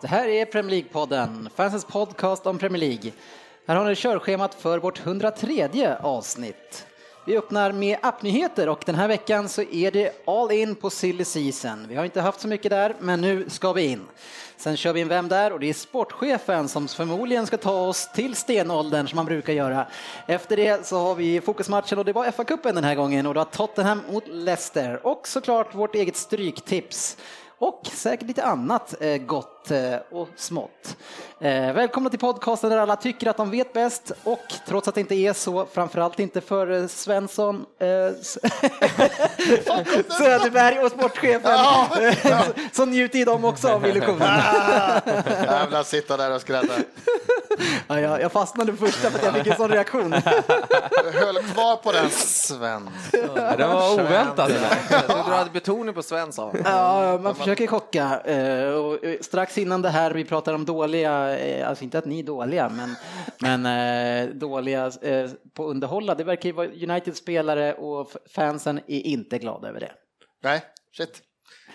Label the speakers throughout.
Speaker 1: Det här är Premier League-podden, fansens podcast om Premier League. Här har ni körschemat för vårt 103 avsnitt. Vi öppnar med appnyheter och den här veckan så är det all in på silly season. Vi har inte haft så mycket där, men nu ska vi in. Sen kör vi in Vem där? och det är sportchefen som förmodligen ska ta oss till stenåldern som man brukar göra. Efter det så har vi fokusmatchen och det var FA-cupen den här gången och då har Tottenham mot Leicester och såklart vårt eget stryktips och säkert lite annat eh, gott eh, och smått. Eh, Välkomna till podcasten där alla tycker att de vet bäst och trots att det inte är så, framförallt inte för eh, Svensson, eh, S- Söderberg och sportchefen, eh, så, så njuter ju de också av illusionen.
Speaker 2: Jävlar, sitta där och skratta.
Speaker 1: Ja, jag, jag fastnade första för att jag fick en sån reaktion.
Speaker 2: Jag höll kvar på den. Sven.
Speaker 3: Det var oväntat. Du hade betoning på Svensson.
Speaker 1: Ja, man försöker chocka. eh, Och eh, strax innan det här, vi pratar om dåliga, eh, alltså inte att ni är dåliga, men, men eh, dåliga eh, på underhålla. Det verkar ju vara United-spelare och f- fansen är inte glada över det.
Speaker 2: Nej, shit.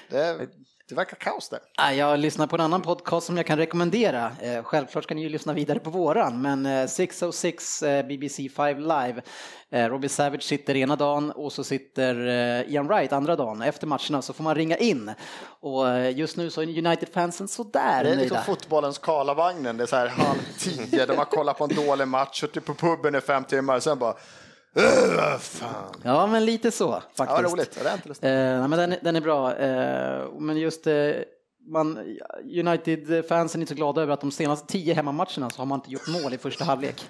Speaker 2: Det, det verkar kaos där.
Speaker 1: Ah, Jag lyssnar på en annan podcast som jag kan rekommendera. Eh, Självklart ska ni ju lyssna vidare på våran, men eh, 606 eh, BBC 5 Live. Eh, Robbie Savage sitter ena dagen och så sitter eh, Ian Wright andra dagen. Efter matcherna så får man ringa in. Och eh, just nu så är United-fansen sådär
Speaker 2: Det är liksom
Speaker 1: nöjda.
Speaker 2: fotbollens Karlavagnen. Det är så här halv tio, de har kollat på en dålig match, suttit på puben i fem timmar, sen bara... "Ugh, vad Fan.
Speaker 1: Ja, men lite så faktiskt.
Speaker 2: Ja, vad roligt. Ja, Det är inte lustigt.
Speaker 1: Eh, nej, men den, den är bra. Eh, men just eh, man, United-fansen är inte så glada över att de senaste tio hemmamatcherna så har man inte gjort mål i första halvlek.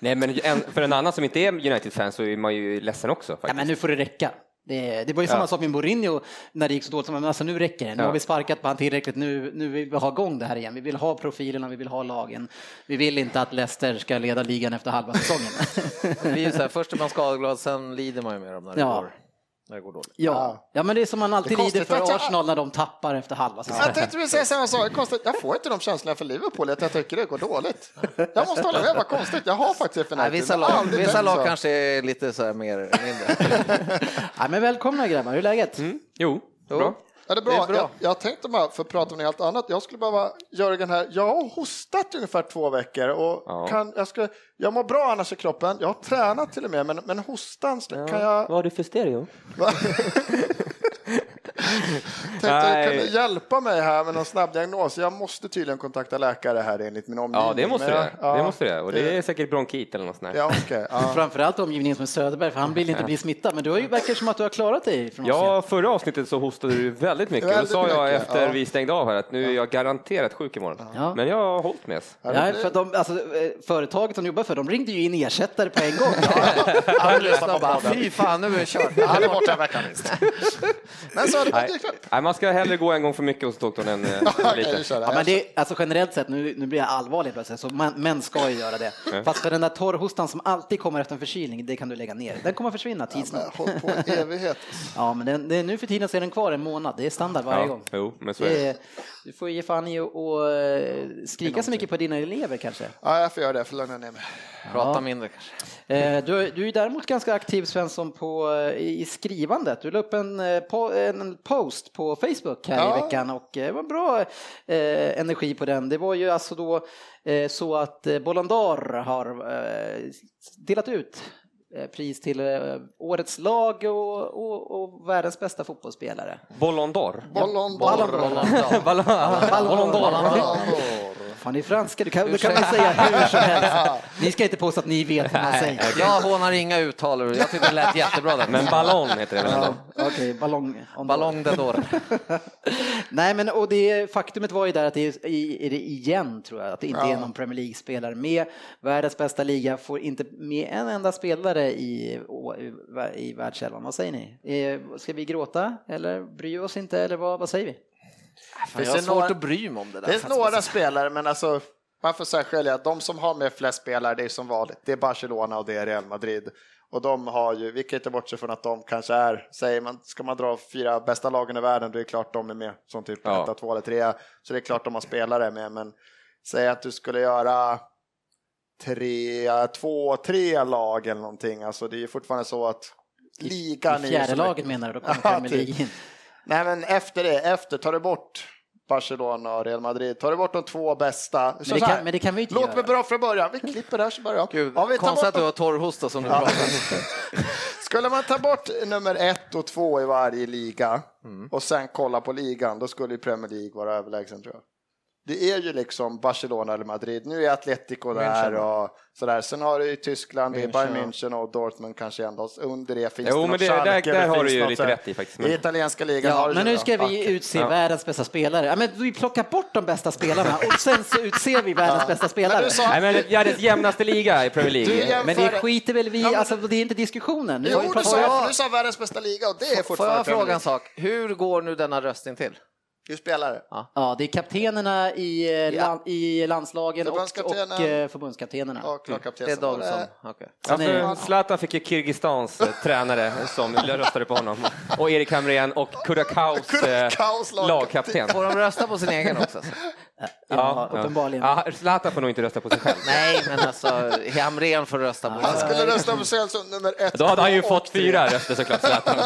Speaker 4: Nej, men en, för en annan som inte är United-fan så är man ju ledsen också.
Speaker 1: Ja,
Speaker 4: Faktiskt.
Speaker 1: men nu får det räcka. Det, det var ju samma sak med Mourinho när det gick så dåligt. som, Men alltså, nu räcker det. Nu
Speaker 4: Ja.
Speaker 1: har vi sparkat på han tillräckligt. Nu, nu vill vi ha igång det här igen. Vi vill ha profilerna, vi vill ha lagen. Vi vill inte att Leicester ska leda ligan efter halva säsongen.
Speaker 3: Det är ju så här, först är man skadeglad, sen lider man ju med dem när det,
Speaker 1: Ja.
Speaker 3: går, när det går dåligt.
Speaker 1: ja. ja, men det är som man alltid
Speaker 2: Det
Speaker 1: rider
Speaker 2: är konstigt att
Speaker 1: för
Speaker 2: jag-
Speaker 1: Arsenal när de tappar efter halva säsongen.
Speaker 2: Jag tänkte precis säga samma sak. Det är Konstigt. Jag får inte de känslorna för Liverpool, att jag tycker det går dåligt. Jag måste hålla med, vad konstigt. Jag har faktiskt för
Speaker 3: Nej,
Speaker 2: United.
Speaker 3: vissa
Speaker 2: Jag har
Speaker 3: lag,
Speaker 2: aldrig
Speaker 3: vissa
Speaker 2: tänkt så.
Speaker 3: lag kanske är lite så här mer mindre.
Speaker 1: Ja, men välkomna grabbar, hur är läget?
Speaker 4: Jo, bra.
Speaker 2: Ja, det är bra.
Speaker 3: Det är bra.
Speaker 2: Jag, jag tänkte bara, för att prata om något helt annat, jag skulle behöva Jörgen här, jag har hostat ungefär två veckor och
Speaker 4: Ja.
Speaker 2: kan, jag, ska, jag mår bra annars i kroppen, jag har tränat till och med, men, men hostan sl- kan jag,
Speaker 4: Vad har du för stereo?
Speaker 2: tänkte, jag
Speaker 4: Nej.
Speaker 2: kunde hjälpa mig här med någon snabb diagnos, jag måste tydligen kontakta läkare här enligt min omgivning.
Speaker 4: Ja, det måste
Speaker 2: Men jag-
Speaker 4: det. Det måste det. Och det är säkert bronkit eller något sånt där.
Speaker 2: Eh, Ja, okej. ja.
Speaker 1: Framförallt omgivningen som är Söderberg, för han vill inte bli smittad. Men du har ju, verkar som att du har klarat dig från oss.
Speaker 4: Ja, förra avsnittet så hostade du väldigt mycket. Då
Speaker 2: Väldigt
Speaker 4: sa jag
Speaker 2: mycket,
Speaker 4: efter
Speaker 2: ja.
Speaker 4: vi stängde av här att nu är jag garanterat sjuk imorgon.
Speaker 1: Ja.
Speaker 4: Men jag har hållit med.
Speaker 1: Nej, för att de, alltså, eh, företaget de jobbar för, de ringde ju in ersättare på en gång.
Speaker 2: Han lyssnar på
Speaker 3: Bara,
Speaker 2: podden.
Speaker 3: Fy fan, nu är det kört.
Speaker 2: Han är borta en vecka minst. Men så har det
Speaker 4: Nej.
Speaker 2: gått ikväll.
Speaker 4: Nej, man ska hellre gå en gång för mycket hos doktorn än eh,
Speaker 2: Okej, vi
Speaker 4: lite.
Speaker 2: kör det.
Speaker 1: Ja, men det, alltså generellt sett, nu, nu blir jag allvarlig plötsligt, så man, män ska ju göra det. Fast för den där torrhostan som alltid kommer efter en förkylning, det kan du lägga ner. Den kommer försvinna tids nog.
Speaker 2: Jag har hållit på i evighet.
Speaker 1: Ja, men den, den, nu för tiden så är den kvar en månad, det är standard varje
Speaker 4: Ja,
Speaker 1: gång.
Speaker 4: jo, men så är
Speaker 1: Det
Speaker 4: det.
Speaker 1: är, du får ge fan i och, och eh, skrika så mycket på dina elever kanske.
Speaker 2: Ja, jag får göra det, jag får lugna ner mig.
Speaker 3: Prata mindre kanske.
Speaker 1: Eh, Du, du är däremot ganska aktiv Svensson på, eh, i skrivandet. Du la upp en, eh, po- en post på Facebook här i
Speaker 2: Ja.
Speaker 1: veckan och eh, det var bra eh, energi på den. Det var ju alltså då eh, så att eh, Bollandar har eh, delat ut eh, pris till eh, årets lag och, och, och världens bästa fotbollsspelare.
Speaker 4: Bollondor.
Speaker 1: Bollon,
Speaker 2: Bollon, bollon, bollon.
Speaker 4: Bollondor.
Speaker 2: Bollon, bollon.
Speaker 1: Fan, ni är franska, du kan, du kan man säga hur som helst. Ni ska inte påstå att ni vet vad man säger.
Speaker 3: Jag hånar inga uttal. Jag tyckte det lät jättebra. Där.
Speaker 4: Men ballong heter det väl ändå?
Speaker 1: Ja, Okej, ballong. om-
Speaker 3: Ballong de Dor.
Speaker 1: Nej, men och det faktumet var ju där att det är, i- är det igen tror jag, att det inte är någon Premier League-spelare med. Världens bästa liga får inte med en enda spelare i, å- i- i världselvan. Vad säger ni? Eh, Ska vi gråta eller bry oss inte eller vad, vad säger vi?
Speaker 3: Jag
Speaker 2: det
Speaker 3: har svårt
Speaker 2: några-
Speaker 3: att bry mig om det där.
Speaker 2: Det är några spelare, men alltså man får särskilja. De som har med flest spelare, det är som vanligt. Det är Barcelona och det är Real Madrid. Och de har ju, vi kan inte bortse från att de kanske är, säger man, ska man dra fyra bästa lagen i världen, då är det klart de är med som typ
Speaker 4: Ja.
Speaker 2: etta, två eller trea. Så det är klart de har spelare med, men säg att du skulle göra tre, två, tre lag eller någonting. Alltså det är ju fortfarande så att ligan
Speaker 1: I
Speaker 2: är ju
Speaker 1: fjärde
Speaker 2: så
Speaker 1: laget menar du, då kommer
Speaker 2: Ja,
Speaker 1: Premier
Speaker 2: typ.
Speaker 1: League in.
Speaker 2: Nej men efter det, efter, tar du bort Barcelona och Real Madrid, tar du bort de två bästa. Så
Speaker 1: det
Speaker 2: så här,
Speaker 1: kan- men det kan vi inte
Speaker 2: Låt
Speaker 1: göra.
Speaker 2: mig börja från början, vi klipper där så börjar jag.
Speaker 3: Gud,
Speaker 2: Om vi tar
Speaker 3: konstigt
Speaker 2: bort
Speaker 3: att du
Speaker 2: de-
Speaker 3: har torrhosta som du pratar.
Speaker 2: Skulle man ta bort nummer ett och två i varje liga och sen kolla på ligan, då skulle ju Premier League vara överlägsen tror jag. Det är ju liksom Barcelona eller Madrid, nu är Atletico där och sådär. Sen har du ju Tyskland, det är Bayern München och Dortmund kanske ändå. Under det finns
Speaker 4: Jo,
Speaker 2: det
Speaker 4: men
Speaker 2: något
Speaker 4: det- där-
Speaker 2: Schalke,
Speaker 4: där
Speaker 2: det
Speaker 4: har
Speaker 2: finns
Speaker 4: du ju
Speaker 2: något
Speaker 4: lite
Speaker 2: så här.
Speaker 4: rätt i faktiskt, men-
Speaker 2: I italienska ligan har
Speaker 1: Ja,
Speaker 2: du
Speaker 1: men
Speaker 2: ju
Speaker 1: nu
Speaker 2: det.
Speaker 1: ska
Speaker 2: Fuck
Speaker 1: vi
Speaker 2: it.
Speaker 1: utse
Speaker 4: Ja.
Speaker 1: världens bästa spelare. Ja, men vi plockar bort de bästa spelarna och sen så utser vi världens bästa
Speaker 2: Men
Speaker 1: spelare.
Speaker 2: du sa
Speaker 4: Nej, men världens jämnaste liga i Premier
Speaker 2: Du
Speaker 4: League.
Speaker 2: jäm-
Speaker 1: Men det
Speaker 2: Före-
Speaker 1: skiter väl vi
Speaker 2: Ja, men-
Speaker 1: alltså det är inte diskussionen. Nu har vi
Speaker 2: Jo, du
Speaker 1: pratat-
Speaker 2: sa,
Speaker 3: jag-
Speaker 2: du sa världens bästa liga och det är
Speaker 3: Får jag
Speaker 2: fortfarande Premier
Speaker 3: fråga
Speaker 2: League.
Speaker 3: en sak? Hur går nu denna röstning till?
Speaker 2: Du spelar.
Speaker 1: Ja, det är kaptenerna i, eh, lan- i landslagen och,
Speaker 2: Förbundskaptenen.
Speaker 1: och eh, förbundskaptenerna.
Speaker 2: Ja, klart
Speaker 3: Mm, Det är
Speaker 2: Eh,
Speaker 3: Davidsson. Okej.
Speaker 4: Alltså, Zlatan fick ju Kirgistans eh, tränare som röstade på honom. Och Erik Hamrén och Kurakaus eh,
Speaker 2: Kurakaus lag-
Speaker 4: lagkapten.
Speaker 3: Får de rösta på sin egen också? Alltså?
Speaker 1: Ja, uppenbarligen.
Speaker 4: Ja, Zlatan får nog inte rösta på sig själv.
Speaker 3: Nej, men alltså Hamrén får rösta på
Speaker 2: Han
Speaker 3: sin
Speaker 2: skulle rösta på sig som nummer ett.
Speaker 4: Då hade han ju
Speaker 2: två och
Speaker 4: fått
Speaker 2: tre.
Speaker 4: fyra röster såklart, Zlatan.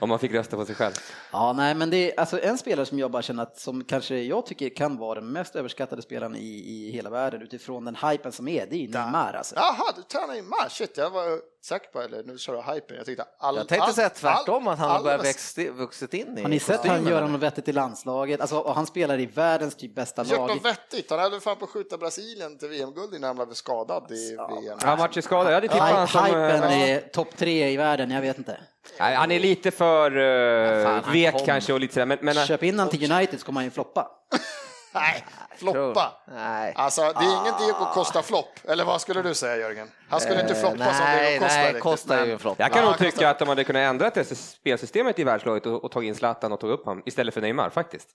Speaker 4: Om han fick rösta på sig själv.
Speaker 1: Ja, nej, men det är alltså en spelare som jag bara känner att som kanske jag tycker kan vara den mest överskattade spelaren i, i hela världen utifrån den hypen som är. Det är ju Neymar alltså.
Speaker 2: Jaha, du tränar i mars. Shit, jag var säker på, eller nu kör du hypen. Jag tyckte all,
Speaker 3: Jag tänkte
Speaker 2: all-
Speaker 3: säga tvärtom,
Speaker 2: all-
Speaker 3: att han har börjat
Speaker 2: alla-
Speaker 3: växt- vuxit in i
Speaker 1: Har ni sett han
Speaker 3: kostymen,
Speaker 1: göra
Speaker 3: eller?
Speaker 1: något vettigt i landslaget? Alltså, och han spelar i världens typ bästa
Speaker 2: Gjort
Speaker 1: lag.
Speaker 2: något vettigt. Han hade fan på att skjuta Brasilien till VM-guld innan han blev skadad i VM.
Speaker 4: Han vart ju skadad. Jag hade tippat han
Speaker 1: Hy-
Speaker 4: som...
Speaker 1: Hypen
Speaker 4: eh,
Speaker 1: är topp tre i världen, jag vet inte.
Speaker 4: Nej, han är lite för eh,
Speaker 3: fan, han
Speaker 4: vek
Speaker 3: kom.
Speaker 4: kanske och lite sådär. Men, men, eh,
Speaker 1: Köp in han till United så kommer han ju floppa.
Speaker 2: Nej, floppa.
Speaker 3: Nej. Ah.
Speaker 2: Alltså, det är ingen Diego Costa-flopp. Eller vad skulle du säga, Jörgen? Han skulle inte floppa som
Speaker 3: Eh, nej,
Speaker 2: Diego Costa.
Speaker 3: nej,
Speaker 2: riktigt,
Speaker 3: Costa är ju
Speaker 2: men-
Speaker 3: en flopp.
Speaker 4: jag kan
Speaker 2: Ja,
Speaker 4: nog
Speaker 2: han
Speaker 4: tycka att de hade kunnat ändra det spelsystemet i världslaget och, och tagit in Zlatan och tog upp honom istället för Neymar faktiskt.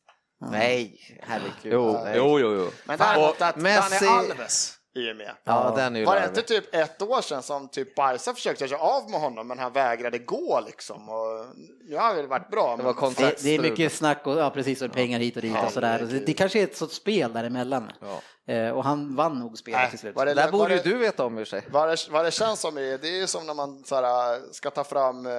Speaker 3: Nej, herregud.
Speaker 4: Jo,
Speaker 3: Nej.
Speaker 4: jo, jo. jo.
Speaker 2: Men däremot
Speaker 3: Och
Speaker 2: att
Speaker 3: Messi-
Speaker 2: Dani Alves är ju med.
Speaker 3: Ja, den är ju
Speaker 2: Var det
Speaker 3: larvig.
Speaker 2: inte typ ett år sedan som typ Barca försökte göra sig av med honom men han vägrade gå liksom? Och nu har han väl varit bra.
Speaker 3: Det
Speaker 2: Men...
Speaker 3: var
Speaker 1: Det, det är
Speaker 3: kontraktstrul.
Speaker 1: mycket snack och ja, precis, och pengar hit och dit och sådär. Och Det, det kanske är ett sorts spel däremellan. Eh, och han vann nog spelet
Speaker 2: Nej,
Speaker 1: till slut.
Speaker 2: var
Speaker 3: Det
Speaker 2: det-
Speaker 3: där borde ju
Speaker 2: det-
Speaker 3: du veta om i och för sig.
Speaker 2: Vad, det, vad det känns som är, det är ju som när man så här, äh, ska ta fram eh,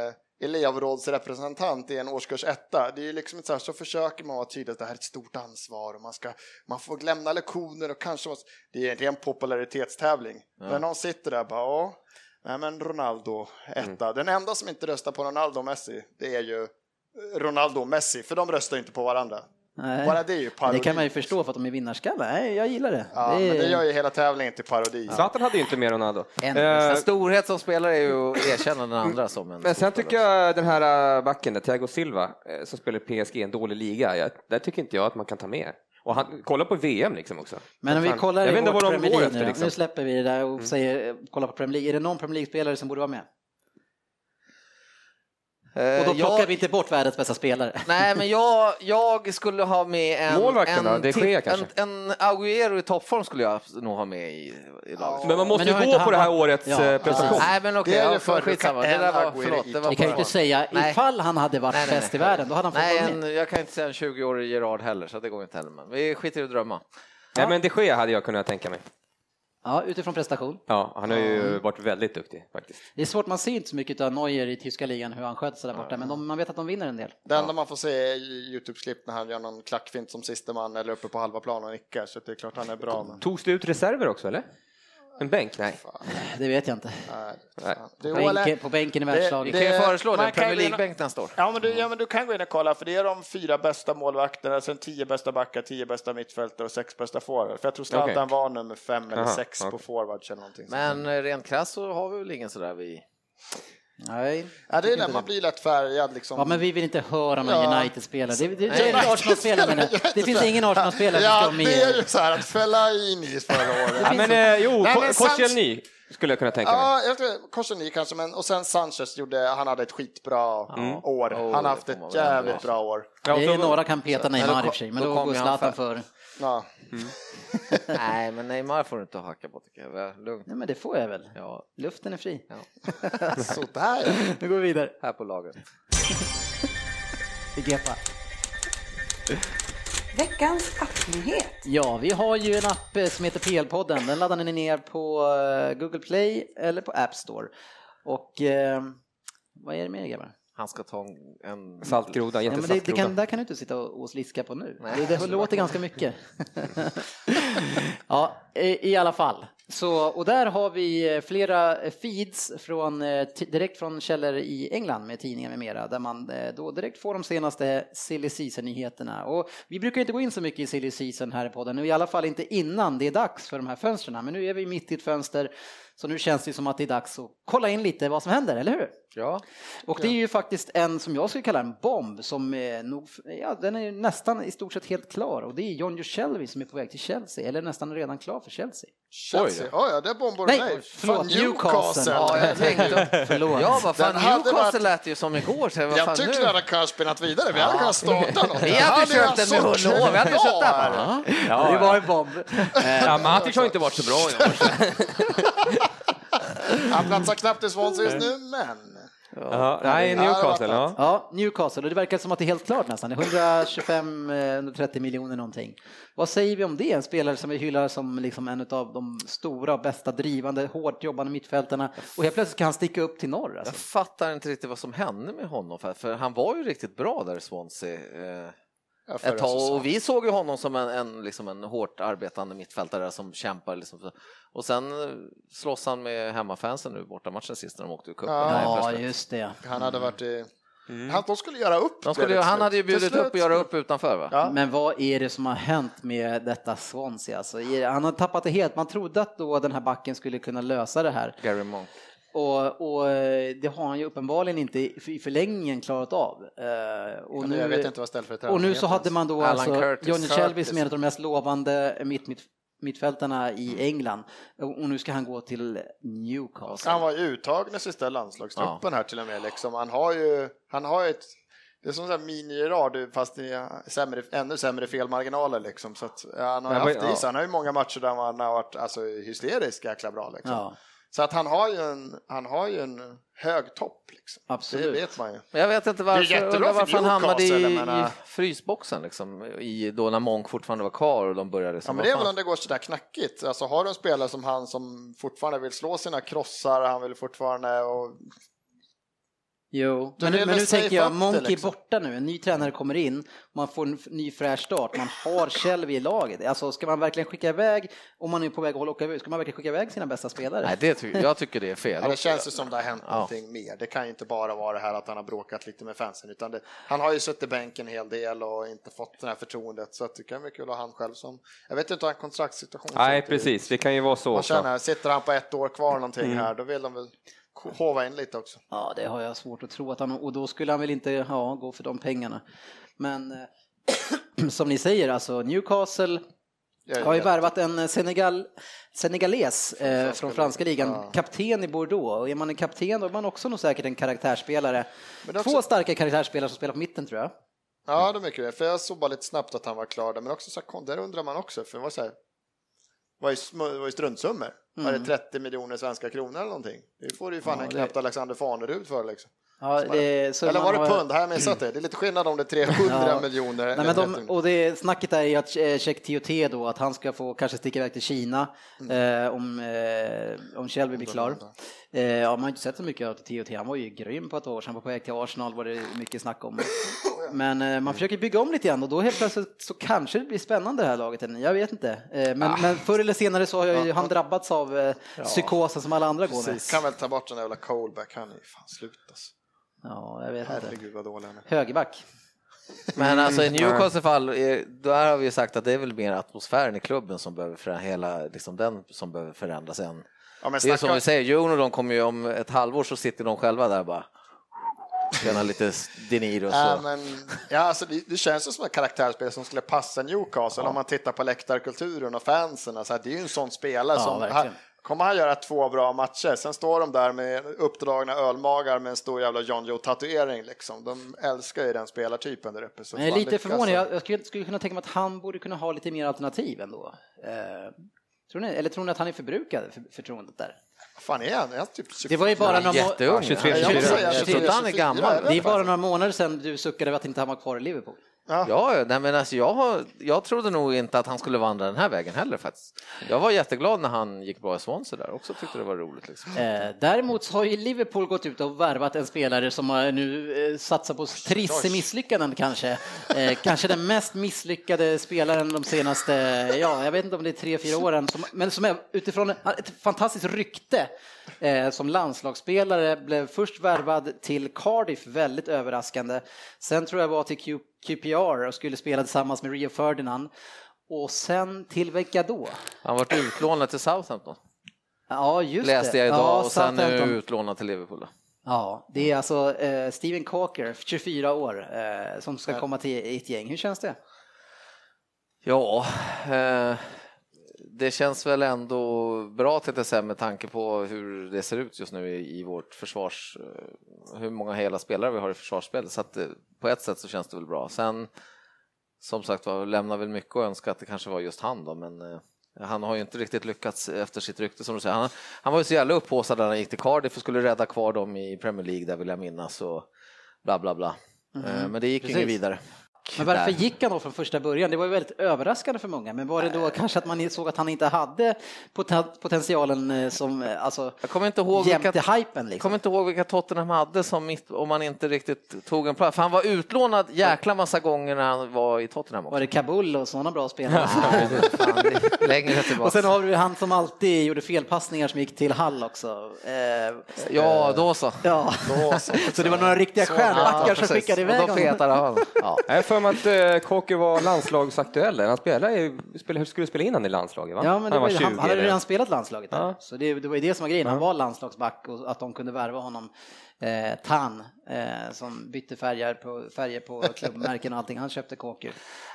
Speaker 2: elevrådsrepresentant i en årskurs etta. Det är ju liksom inte så, här, så försöker man vara tydlig att det här är ett stort ansvar och man, ska, man får lämna lektioner och kanske måste, det är egentligen en popularitetstävling. Men någon sitter där och bara ja, nej men Ronaldo etta. Den enda som inte röstar på Ronaldo och Messi, det är ju eh, Ronaldo och Messi, för de röstar ju inte på varandra.
Speaker 1: Nej.
Speaker 2: Bara det är ju parodi.
Speaker 1: Det kan man ju förstå för att de är vinnarskallar. Nej, jag gillar det.
Speaker 2: Ja,
Speaker 1: det, är,
Speaker 2: men det gör ju hela tävlingen till parodi.
Speaker 4: Zlatan hade ju inte med Ronaldo.
Speaker 1: En-
Speaker 4: Eh,
Speaker 3: Men storhet som spelare är ju att erkänna den andra som en...
Speaker 4: Men sen tycker jag den här äh, backen, där, Thiago Silva, eh, som spelar i PSG, en dålig liga. Jag, där tycker inte jag att man kan ta med. Och han, kolla på VM liksom också.
Speaker 1: Men om vi
Speaker 4: Fan,
Speaker 1: kollar
Speaker 4: jag
Speaker 1: i
Speaker 4: vet inte
Speaker 1: vårt
Speaker 4: vad de
Speaker 1: Premier
Speaker 4: går
Speaker 1: League
Speaker 4: efter
Speaker 1: nu,
Speaker 4: liksom.
Speaker 1: nu släpper vi det där och säger, eh, kolla på Premier League. Är det någon Premier League-spelare som borde vara med?
Speaker 3: Eh,
Speaker 1: Och då plockar
Speaker 3: jag-
Speaker 1: vi inte bort världens bästa spelare.
Speaker 3: Nej, men jag, jag skulle ha med en...
Speaker 4: Målvakten
Speaker 3: en,
Speaker 4: då? De
Speaker 3: till-
Speaker 4: Gea kanske?
Speaker 3: En, en Aguero i toppform skulle jag nog ha med i, i laget.
Speaker 4: Men man måste
Speaker 1: Men nu har
Speaker 4: ju
Speaker 1: inte
Speaker 4: gå på
Speaker 1: han
Speaker 4: det här
Speaker 1: varit-
Speaker 4: årets
Speaker 1: Ja,
Speaker 4: eh, prestation.
Speaker 3: Nej, men okej,
Speaker 2: Det är
Speaker 3: okay,
Speaker 2: det för-
Speaker 3: skitsamma. Det
Speaker 2: en
Speaker 3: där var,
Speaker 2: Aguero i
Speaker 3: förlåt, det var
Speaker 1: Vi kan ju inte säga
Speaker 3: Nej.
Speaker 1: ifall han hade varit
Speaker 3: Nej, nej,
Speaker 1: bäst i
Speaker 3: nej.
Speaker 1: världen, då hade han fått
Speaker 3: Nej,
Speaker 1: vara med.
Speaker 3: en, jag kan inte säga en 20-årig Gerard heller, så det går inte heller. Men vi skiter i att drömma.
Speaker 4: Nej, men de Gea hade jag kunnat tänka mig.
Speaker 1: Ja, utifrån prestation.
Speaker 4: Ja, han har ju varit väldigt duktig faktiskt.
Speaker 1: Det är svårt, man ser inte så mycket av Neuer i tyska ligan hur han sköter sig där borta, men de, man vet att de vinner en del.
Speaker 2: Det enda man får se är Youtube-klipp när han gör någon klackfint som siste man eller uppe på halva plan och nickar, så det är klart han är bra. Men...
Speaker 4: Togs det ut reserver också eller? En bänk? Nej.
Speaker 1: Det vet jag inte.
Speaker 2: Nej,
Speaker 4: Nej.
Speaker 2: äh, fan. Det är
Speaker 1: Bänken,
Speaker 2: OLF.
Speaker 1: på bänken i
Speaker 2: Det-
Speaker 3: Vi
Speaker 1: världslaget.
Speaker 3: kan ju
Speaker 2: Det-
Speaker 3: föreslå
Speaker 2: man
Speaker 3: den,
Speaker 2: kan
Speaker 3: Premier
Speaker 2: ju bli-
Speaker 3: League-bänk nästa år.
Speaker 2: Ja men, du, ja, men du kan gå in och kolla, för det är de fyra bästa målvakterna, sen tio bästa backar, tio bästa mittfältare och sex bästa forward. För jag tror Zlatan
Speaker 4: Okej.
Speaker 2: var nummer fem eller
Speaker 4: Aha,
Speaker 2: sex på
Speaker 4: okej.
Speaker 2: forwards eller någonting. sånt.
Speaker 3: Men eh, rent krasst så har vi väl ingen sådär vi...
Speaker 1: Nej.
Speaker 2: ja, det är när man blir lätt färgad liksom.
Speaker 1: Ja, men vi vill inte höra någon
Speaker 2: Ja.
Speaker 1: United-spelare. Det, det, det
Speaker 2: Nej.
Speaker 1: är Arsenal-spelare menar jag. Det finns ingen Arsenal-spelare som ska
Speaker 2: Ja,
Speaker 1: vara
Speaker 2: det är
Speaker 1: med.
Speaker 2: ju så här att fälla in i förra året.
Speaker 4: Ja, men, eh, jo,
Speaker 2: Nej,
Speaker 4: Ko-
Speaker 2: men
Speaker 4: Koscielny skulle jag kunna tänka mig.
Speaker 2: Ja, jag tror Korseny kanske, men och sen Sanchez gjorde, han hade ett skitbra år.
Speaker 3: Oh,
Speaker 2: han har
Speaker 3: det
Speaker 2: haft
Speaker 3: får
Speaker 2: ett
Speaker 3: man väl ändå
Speaker 2: jävligt
Speaker 3: ge.
Speaker 2: bra år.
Speaker 4: Ja, och
Speaker 1: Det
Speaker 4: så-
Speaker 1: är några kan peta
Speaker 3: Ja,
Speaker 1: Neymar
Speaker 3: då
Speaker 1: i och för sig, men
Speaker 3: kom-
Speaker 1: då
Speaker 3: då
Speaker 1: går
Speaker 3: kom ju han
Speaker 1: Zlatan
Speaker 3: för-
Speaker 1: före.
Speaker 2: Ja.
Speaker 3: Nej, men Neymar får du inte hacka på tycker jag. Lugnt.
Speaker 1: Nej, men det får jag väl.
Speaker 3: Ja,
Speaker 1: Luften är fri.
Speaker 2: Sådär ja.
Speaker 1: Nu går vi vidare.
Speaker 3: här på laget.
Speaker 1: Vi gepar.
Speaker 5: Veckans appnyhet.
Speaker 1: Ja, vi har ju en app eh, som heter PL-podden. Den laddar ni ner på eh, Google Play eller på App Store. Och eh, vad är det mer grabbar?
Speaker 3: Han ska ta en- en...
Speaker 4: Saltgroda,
Speaker 1: Ja, men det, det
Speaker 4: jättesaltgroda.
Speaker 1: kan, där kan du inte sitta och, och sliska på nu.
Speaker 3: Nej.
Speaker 1: det det låter ganska mycket. ja, i, i alla fall. Så, och där har vi eh, flera eh, feeds från, eh, ti- direkt från källor i England med tidningar med mera där man eh, då direkt får de senaste silly season-nyheterna. Och vi brukar inte gå in så mycket i silly season här i podden, i alla fall inte innan det är dags för de här fönstren. Men nu är vi mitt i ett fönster så nu känns det som att det är dags att kolla in lite vad som händer, eller hur?
Speaker 3: Ja,
Speaker 1: Och det är ju faktiskt en som jag skulle kalla en bomb som är nog, ja den är ju nästan i stort sett helt klar och det är John Jushelvi som är på väg till Chelsea, eller nästan redan klar för Chelsea.
Speaker 2: Chelsea. Oj, ja, där bombar du
Speaker 1: Nej,
Speaker 2: mig.
Speaker 1: förlåt,
Speaker 2: Fan,
Speaker 1: Newcastle.
Speaker 2: Ja, jag tänkte...
Speaker 1: Förlåt.
Speaker 3: ja vad fan,
Speaker 2: Den hade
Speaker 3: Newcastle
Speaker 2: varit-
Speaker 3: lät ju som igår. Så vad
Speaker 2: Jag
Speaker 3: fan,
Speaker 2: tycker
Speaker 3: nu?
Speaker 2: vi hade kunnat spinnat vidare, vi hade kunnat starta något.
Speaker 3: Vi
Speaker 2: Det
Speaker 3: hade köpt
Speaker 2: jag
Speaker 3: den med
Speaker 2: så
Speaker 3: hull och hår, vi hade
Speaker 2: klar.
Speaker 3: köpt den. va?
Speaker 4: Ja,
Speaker 1: det var en bomb.
Speaker 4: Ja, Matic har inte varit så bra i år.
Speaker 2: Han platsar knappt i Swansea just nu,
Speaker 3: Mm.
Speaker 2: men...
Speaker 4: Ja, Nej,
Speaker 2: det hade
Speaker 4: Newcastle.
Speaker 2: varit
Speaker 4: Ja.
Speaker 1: Ja, Newcastle och det verkar som att det är helt klart nästan, 125-130 miljoner någonting. Vad säger vi om det? En spelare som vi hyllar som liksom en av de stora, och bästa, drivande, hårt jobbande mittfältarna och helt plötsligt kan han sticka upp till norr. Alltså.
Speaker 3: Jag fattar inte riktigt vad som hände med honom, för- för han var ju riktigt bra där i Swansea. eh,
Speaker 2: Ja, förra
Speaker 3: ett tag.
Speaker 2: säsongen.
Speaker 3: Och vi såg ju honom som en, en, liksom en hårt arbetande mittfältare som kämpar. Liksom. Och sen eh, slåss han med hemmafansen nu bortamatchen sist när de åkte ur cupen.
Speaker 2: Ja.
Speaker 3: Helt
Speaker 1: Ja,
Speaker 3: plötsligt.
Speaker 1: just det.
Speaker 2: Han hade varit i... Han, de skulle göra upp.
Speaker 3: Mm. De skulle,
Speaker 2: det
Speaker 3: ju-
Speaker 2: till
Speaker 3: han
Speaker 2: slut.
Speaker 3: hade ju bjudit
Speaker 2: Till
Speaker 3: upp och
Speaker 2: slut.
Speaker 3: göra upp utanför va?
Speaker 2: Ja.
Speaker 1: Men vad är det som har hänt med detta Swansea? Alltså, i- han har tappat det helt. Man trodde att då den här backen skulle kunna lösa det här.
Speaker 3: Gary Monk.
Speaker 1: Och, och eh, det har han ju uppenbarligen inte i i förlängningen klarat av. Eh, Och
Speaker 2: Jag vet
Speaker 1: nu,
Speaker 2: inte vad ställföreträdaren
Speaker 1: och nu så
Speaker 2: heter
Speaker 1: hade man då
Speaker 3: Alan
Speaker 1: alltså
Speaker 3: Curtis.
Speaker 1: Johnny Shelby som
Speaker 2: Curtis.
Speaker 1: är en av de mest lovande mitt, mitt, mittfältarna
Speaker 2: Mm.
Speaker 1: i England. Och och nu ska han gå till Newcastle.
Speaker 2: Han var ju uttagen i sista landslagstruppen här till och med. Liksom. Han har ju han har ju ett, det är som en mini-Gerard fast i eh, sämre, ännu sämre felmarginaler. Liksom. Så att, ja, han har ju
Speaker 4: Men vad-
Speaker 2: haft det i sig.
Speaker 4: ja.
Speaker 2: Han har ju många matcher där han har varit alltså, hysteriskt jäkla bra. Liksom.
Speaker 1: Ja,
Speaker 2: Så att han har ju en, han har ju en hög topp. Liksom. Det
Speaker 1: absolut.
Speaker 2: vet man ju.
Speaker 3: Men jag vet inte
Speaker 2: Det är
Speaker 3: varför,
Speaker 2: jättebra
Speaker 3: undrar
Speaker 2: för
Speaker 3: varför han hamnade i,
Speaker 2: Newcastle, jag menar.
Speaker 3: i frysboxen liksom, i, då när Monk fortfarande var kvar och de började
Speaker 2: Ja,
Speaker 3: som
Speaker 2: men det är
Speaker 3: vad
Speaker 2: väl
Speaker 3: fan.
Speaker 2: om det går sådär knackigt. Alltså, har du en spelare som han som fortfarande vill slå sina krossar, han vill fortfarande... Och,
Speaker 1: Jo,
Speaker 2: Då
Speaker 1: men,
Speaker 2: det är
Speaker 1: nu- men
Speaker 2: väl
Speaker 1: nu
Speaker 2: safe
Speaker 1: tänker jag,
Speaker 2: up det,
Speaker 1: Monkey
Speaker 2: liksom.
Speaker 1: är borta nu, en ny tränare kommer in, man får en f- ny fräsch start, man har Shelby i laget. Alltså ska man verkligen skicka iväg, om man är på väg att hålla åka ur, ska man verkligen skicka iväg sina bästa spelare?
Speaker 3: Nej, det ty- jag tycker det är fel.
Speaker 2: Ja, det känns ju som det har hänt
Speaker 3: Ja.
Speaker 2: någonting mer. Det kan ju inte bara vara det här att han har bråkat lite med fansen, utan det, han har ju suttit i bänken en hel del och inte fått det här förtroendet, så att det kan vara kul att ha han själv som... Jag vet inte hur en kontraktssituation ser
Speaker 4: Nej,
Speaker 2: ut.
Speaker 4: precis. Det kan ju vara så
Speaker 2: Man
Speaker 4: också.
Speaker 2: känner, sitter han på ett år kvar någonting här, då vill de väl k- hova in lite också.
Speaker 1: Ja, det har jag svårt att tro att han, och då skulle han väl inte ja, gå för de pengarna. Men eh, som ni säger, alltså Newcastle
Speaker 2: Jag
Speaker 1: har ju
Speaker 2: vet.
Speaker 1: värvat en eh, Senegal, senegales eh, från franska ligan,
Speaker 2: Ja.
Speaker 1: kapten i Bordeaux. Och är man en kapten då är man också nog säkert en karaktärsspelare.
Speaker 2: Men det är
Speaker 1: Två
Speaker 2: också-
Speaker 1: starka karaktärsspelare som spelar på mitten tror jag.
Speaker 2: Ja, det är mycket det. För jag såg bara lite snabbt att han var klar där, men också så här, kon- där undrar man också, för det var så här, var ju, sm- var ju struntsummor. Var det 30 miljoner svenska kronor eller någonting? Det får du ju fan
Speaker 1: Mm. Ja,
Speaker 2: en
Speaker 1: det-
Speaker 2: knappt Alexander Fanerud för liksom.
Speaker 1: Ja, det,
Speaker 2: Eller
Speaker 1: Sundman
Speaker 2: var det
Speaker 1: har-
Speaker 2: pund? Här har jag missat det. Det är lite skillnad om det är 300
Speaker 1: Ja.
Speaker 2: miljoner.
Speaker 1: Nej, men
Speaker 2: eller
Speaker 1: de,
Speaker 2: 30.
Speaker 1: och det snacket där är att Check TOT då, att han ska få kanske sticka iväg till Kina
Speaker 2: Mm.
Speaker 1: eh, om, eh, om Shelby blir klar. Eh, ja, man har inte sett så mycket av TOT, han var ju grym på ett år sedan, han var på väg till Arsenal var det mycket snack om. Men eh, man försöker bygga om lite grann och då helt plötsligt så kanske det blir spännande det här laget, än. jag vet inte. Eh, men,
Speaker 2: Ah.
Speaker 1: men förr eller senare så har ju han drabbats av eh, psykosen som alla andra går med.
Speaker 2: Precis. Kan väl ta bort den där jävla Colback. Han är fan slut alltså.
Speaker 1: Ja, jag vet inte.
Speaker 2: Herregud vad dålig han är.
Speaker 1: Högerback.
Speaker 3: Men alltså
Speaker 2: Mm.
Speaker 3: i Newcastle fall, eh, där har vi ju sagt att det är väl mer atmosfären i klubben som behöver förändras, hela, liksom den som behöver förändras än.
Speaker 2: Ja, men
Speaker 3: Det är som
Speaker 2: snacka-
Speaker 3: vi säger, Jon och de kommer ju om ett halvår så sitter de själva där bara. Tjänar lite s- De Niro och
Speaker 2: Ja,
Speaker 3: så.
Speaker 2: men, ja, alltså, det, det känns ju som ett karaktärsspel som skulle passa Newcastle om man tittar på läktarkulturen och fansen. Alltså, det är ju en sån spelare
Speaker 1: Ja,
Speaker 2: som
Speaker 1: verkligen.
Speaker 2: han- kommer han göra två bra matcher. Sen står de där med uppdragna ölmagar med en stor jävla John Joe-tatuering. Liksom. De älskar ju den spelartypen där uppe. Så
Speaker 1: Men jag är
Speaker 2: fan
Speaker 1: lite
Speaker 2: lyckas
Speaker 1: förvånad,
Speaker 2: de.
Speaker 1: jag, jag skulle, skulle kunna tänka mig att han borde kunna ha lite mer alternativ ändå. Eh, tror ni, eller tror ni att han är förbrukad, för, förtroendet där?
Speaker 2: Vad fan är han? Är han typ 24?
Speaker 1: Det var ju bara några, må-
Speaker 3: Jätteung.
Speaker 4: 23,
Speaker 2: Ja, jag måste
Speaker 4: 24.
Speaker 2: säga
Speaker 3: Jag tror
Speaker 2: 23,
Speaker 3: inte han är
Speaker 2: 24,
Speaker 3: gammal.
Speaker 1: det är bara några månader sedan du suckade över att inte han var kvar i Liverpool.
Speaker 3: Ja, ja, nej, men alltså jag, har- jag trodde nog inte att han skulle vandra den här vägen heller faktiskt. Jag var jätteglad när han gick bra i Swansea där också, tyckte det var roligt. Liksom.
Speaker 1: Eh, däremot så har ju Liverpool gått ut och värvat en spelare som har nu eh, satsar på trisse misslyckanden kanske. Eh, kanske den mest misslyckade spelaren de senaste, ja jag vet inte om det är tre, fyra åren, som, men som är utifrån ett fantastiskt rykte eh, som landslagsspelare blev först värvad till Cardiff, väldigt överraskande. Sen tror jag var till Q- QPR och skulle spela tillsammans med Rio Ferdinand. Och sen till vilka då?
Speaker 3: Han vart utlånad till Southampton,
Speaker 1: Ja, just
Speaker 3: läste
Speaker 1: det.
Speaker 3: jag idag,
Speaker 1: ja,
Speaker 3: och sen nu
Speaker 1: Southampton.
Speaker 3: utlånad till Liverpool. då.
Speaker 1: Ja, det är alltså eh, Steven Cocker, 24 år, eh, som ska komma till ett gäng. Hur känns det?
Speaker 3: Ja, eh, det känns väl ändå bra TTSM med tanke på hur det ser ut just nu i, i vårt försvars... Eh, hur många hela spelare vi har i försvarsspelet. Så att, eh, på ett sätt så känns det väl bra. Sen, som sagt var, lämnar väl mycket att önska att det kanske var just han då, men eh, han har ju inte riktigt lyckats efter sitt rykte som du säger. Han, han var ju så jävla upphaussad när han gick till Cardiff och skulle rädda kvar dem i Premier League där vill jag minnas och bla bla bla. Eh, men det gick ju
Speaker 1: precis.
Speaker 3: inget vidare.
Speaker 1: Men varför
Speaker 3: Där.
Speaker 1: gick han då från första början? Det var ju väldigt överraskande för många, men var det då kanske att man såg att han inte hade poten- potentialen eh, som, eh, alltså,
Speaker 3: Jag kommer inte ihåg vilka
Speaker 1: jämte hypen
Speaker 3: Jag
Speaker 1: liksom?
Speaker 3: kommer inte ihåg vilka Tottenham hade som mitt, om man inte riktigt tog en plats. För han var utlånad jäkla massa gånger när han var i Tottenham
Speaker 1: Var
Speaker 3: också.
Speaker 1: det Kabul och sådana bra spelare?
Speaker 3: Nej, men fan, det är Längre
Speaker 1: och sen
Speaker 3: tillbaka.
Speaker 1: har du han som alltid gjorde felpassningar som gick till Hall också. Eh,
Speaker 3: Ja, då så.
Speaker 1: ja. Så det var några riktiga stjärnbackar som
Speaker 3: precis.
Speaker 1: skickade
Speaker 3: Och
Speaker 1: iväg
Speaker 3: de
Speaker 1: honom.
Speaker 3: petade av honom. Ja.
Speaker 4: Jag har för mig att eh, Kåke var landslagsaktuell. Han spelade, ju- spelade, skulle spela in han i landslaget va?
Speaker 1: Ja, men det var, ju- han, han hade
Speaker 4: eller-
Speaker 1: redan spelat landslaget där.
Speaker 4: Ja.
Speaker 1: Så det, det var ju det som var grejen. Han var landslagsback och att de kunde värva honom. Eh, Tan, eh, som bytte färger på, färger på klubbmärken och allting. Han köpte kåkor.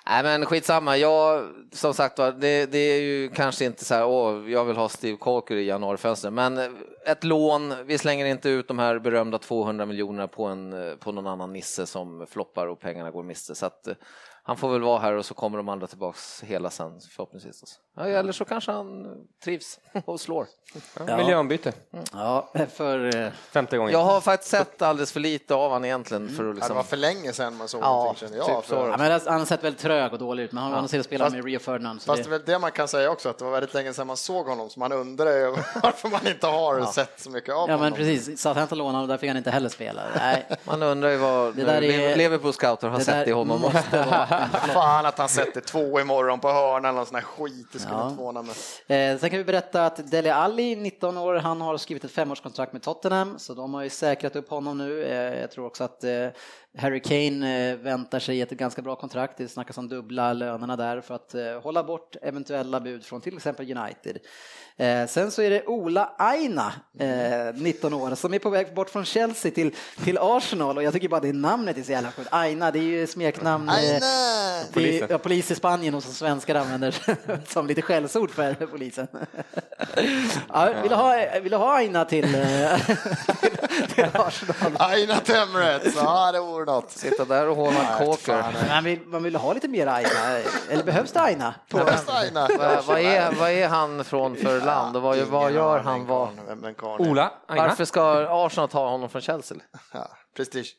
Speaker 3: Nej men skitsamma, jag, som sagt var, det, det är ju kanske inte så här, åh, jag vill ha Steve Coker i januarifönstret, men ett lån, vi slänger inte ut de här berömda 200 miljonerna på, en, eh, på någon annan nisse som floppar och pengarna går miste, så att eh, han får väl vara här och så kommer de andra tillbaks hela sen förhoppningsvis. Alltså. Ja, eller så kanske han trivs och slår.
Speaker 4: Ja. Miljöombyte,
Speaker 1: Ja, för... Eh,
Speaker 4: femte gången.
Speaker 3: Jag har faktiskt sett alldeles för lite av han egentligen för att
Speaker 2: Ja, Det
Speaker 3: liksom...
Speaker 2: var för länge sedan man såg
Speaker 3: Ja,
Speaker 2: någonting känner jag.
Speaker 3: typ så
Speaker 2: för-
Speaker 3: då.
Speaker 1: ja, men han har sett väldigt trög och dålig ut, men han har ja. spelat
Speaker 2: Fast-
Speaker 1: med Rio Ferdinand. Så
Speaker 2: Fast det är
Speaker 1: det,
Speaker 2: väl det man kan säga också, att det var väldigt länge sedan man såg honom, så man undrar ju varför man inte har sett så mycket av
Speaker 1: ja,
Speaker 2: honom.
Speaker 1: men precis. Southampton lånade honom, där fick han inte heller spela. Nej,
Speaker 3: Man undrar ju vad
Speaker 1: Det där är-
Speaker 3: Liverpool scouter har
Speaker 1: det
Speaker 3: sett
Speaker 1: där Mm.
Speaker 3: i honom.
Speaker 1: måste vara-
Speaker 2: Fan att han sätter två imorgon på hörnan eller någon sån här skit, det skulle
Speaker 1: Ja.
Speaker 2: inte förvåna mig.
Speaker 1: Eh, sen kan vi berätta att Dele Alli, 19 år, han har skrivit ett femårskontrakt med Tottenham, så de har ju säkrat upp honom nu. Eh, jag tror också att eh, Harry Kane eh, väntar sig ett ganska bra kontrakt. Det snackas om dubbla lönerna där för att eh, hålla bort eventuella bud från till exempel United. Eh, sen så är det Ola Aina, eh, 19 år, som är på väg bort från Chelsea till, till Arsenal och jag tycker bara det namnet är så jävla skönt. Aina, det är ju smeknamn. eh,
Speaker 2: Aina!
Speaker 1: Polis, ja, polis i Spanien och som svenskar använder som lite skällsord för polisen. Ja, vill, du ha, vill du ha Aina till, eh, till, till Arsenal?
Speaker 2: Aina Temrets, ja det vore något.
Speaker 3: Sitta där och håna
Speaker 2: Nej,
Speaker 3: Coker.
Speaker 2: fan,
Speaker 1: Man vill, man vill ha lite mer Aina, eller behövs det Aina?
Speaker 2: På bästa Aina.
Speaker 3: Vad, vad, är, vad är han från för land och vad, vad gör han? Vad,
Speaker 2: Vem den karln är.
Speaker 4: Ola, Aina.
Speaker 3: varför ska Arsenal ta honom från Chelsea?
Speaker 2: Ja, prestige.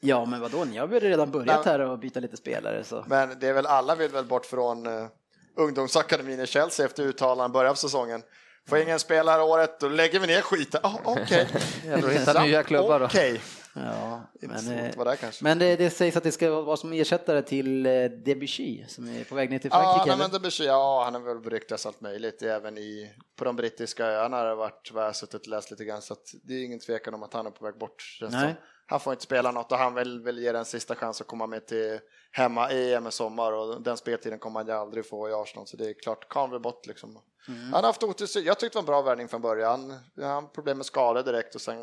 Speaker 1: Ja, men vadå, ni har väl redan börjat här och byta lite spelare så.
Speaker 3: Alltså.
Speaker 2: Men det är väl alla vill väl bort från eh, ungdomsakademin i Chelsea efter uttalandet i början av säsongen. Får ingen spelare året, då lägger vi ner skiten. Ah, Okej.
Speaker 3: Jävlar, hitta nya klubbar då.
Speaker 2: Okej.
Speaker 1: Ja, men,
Speaker 2: svårt att
Speaker 1: eh,
Speaker 2: vara där kanske.
Speaker 1: men det, det sägs att det ska vara som ersättare till eh, Debussy som är på väg ner till
Speaker 2: Ja,
Speaker 1: Frankrike.
Speaker 2: nej,
Speaker 1: eller?
Speaker 2: men det blir så, ja, han har väl ryktats allt möjligt, även i, på de brittiska öarna har det varit vad jag har suttit och läst lite grann, så att det är ingen tvekan om att han är på väg bort. känns det
Speaker 1: Nej.
Speaker 2: som. Han får inte spela något och han vill, vill ge den sista chans att komma med till hemma EM i sommar och den speltiden kommer han ju aldrig få i Arsenal, så det är klart, kan vi bort liksom. Han har haft otur, jag tyckte det var en bra värvning från början, han har problem med skador direkt och sen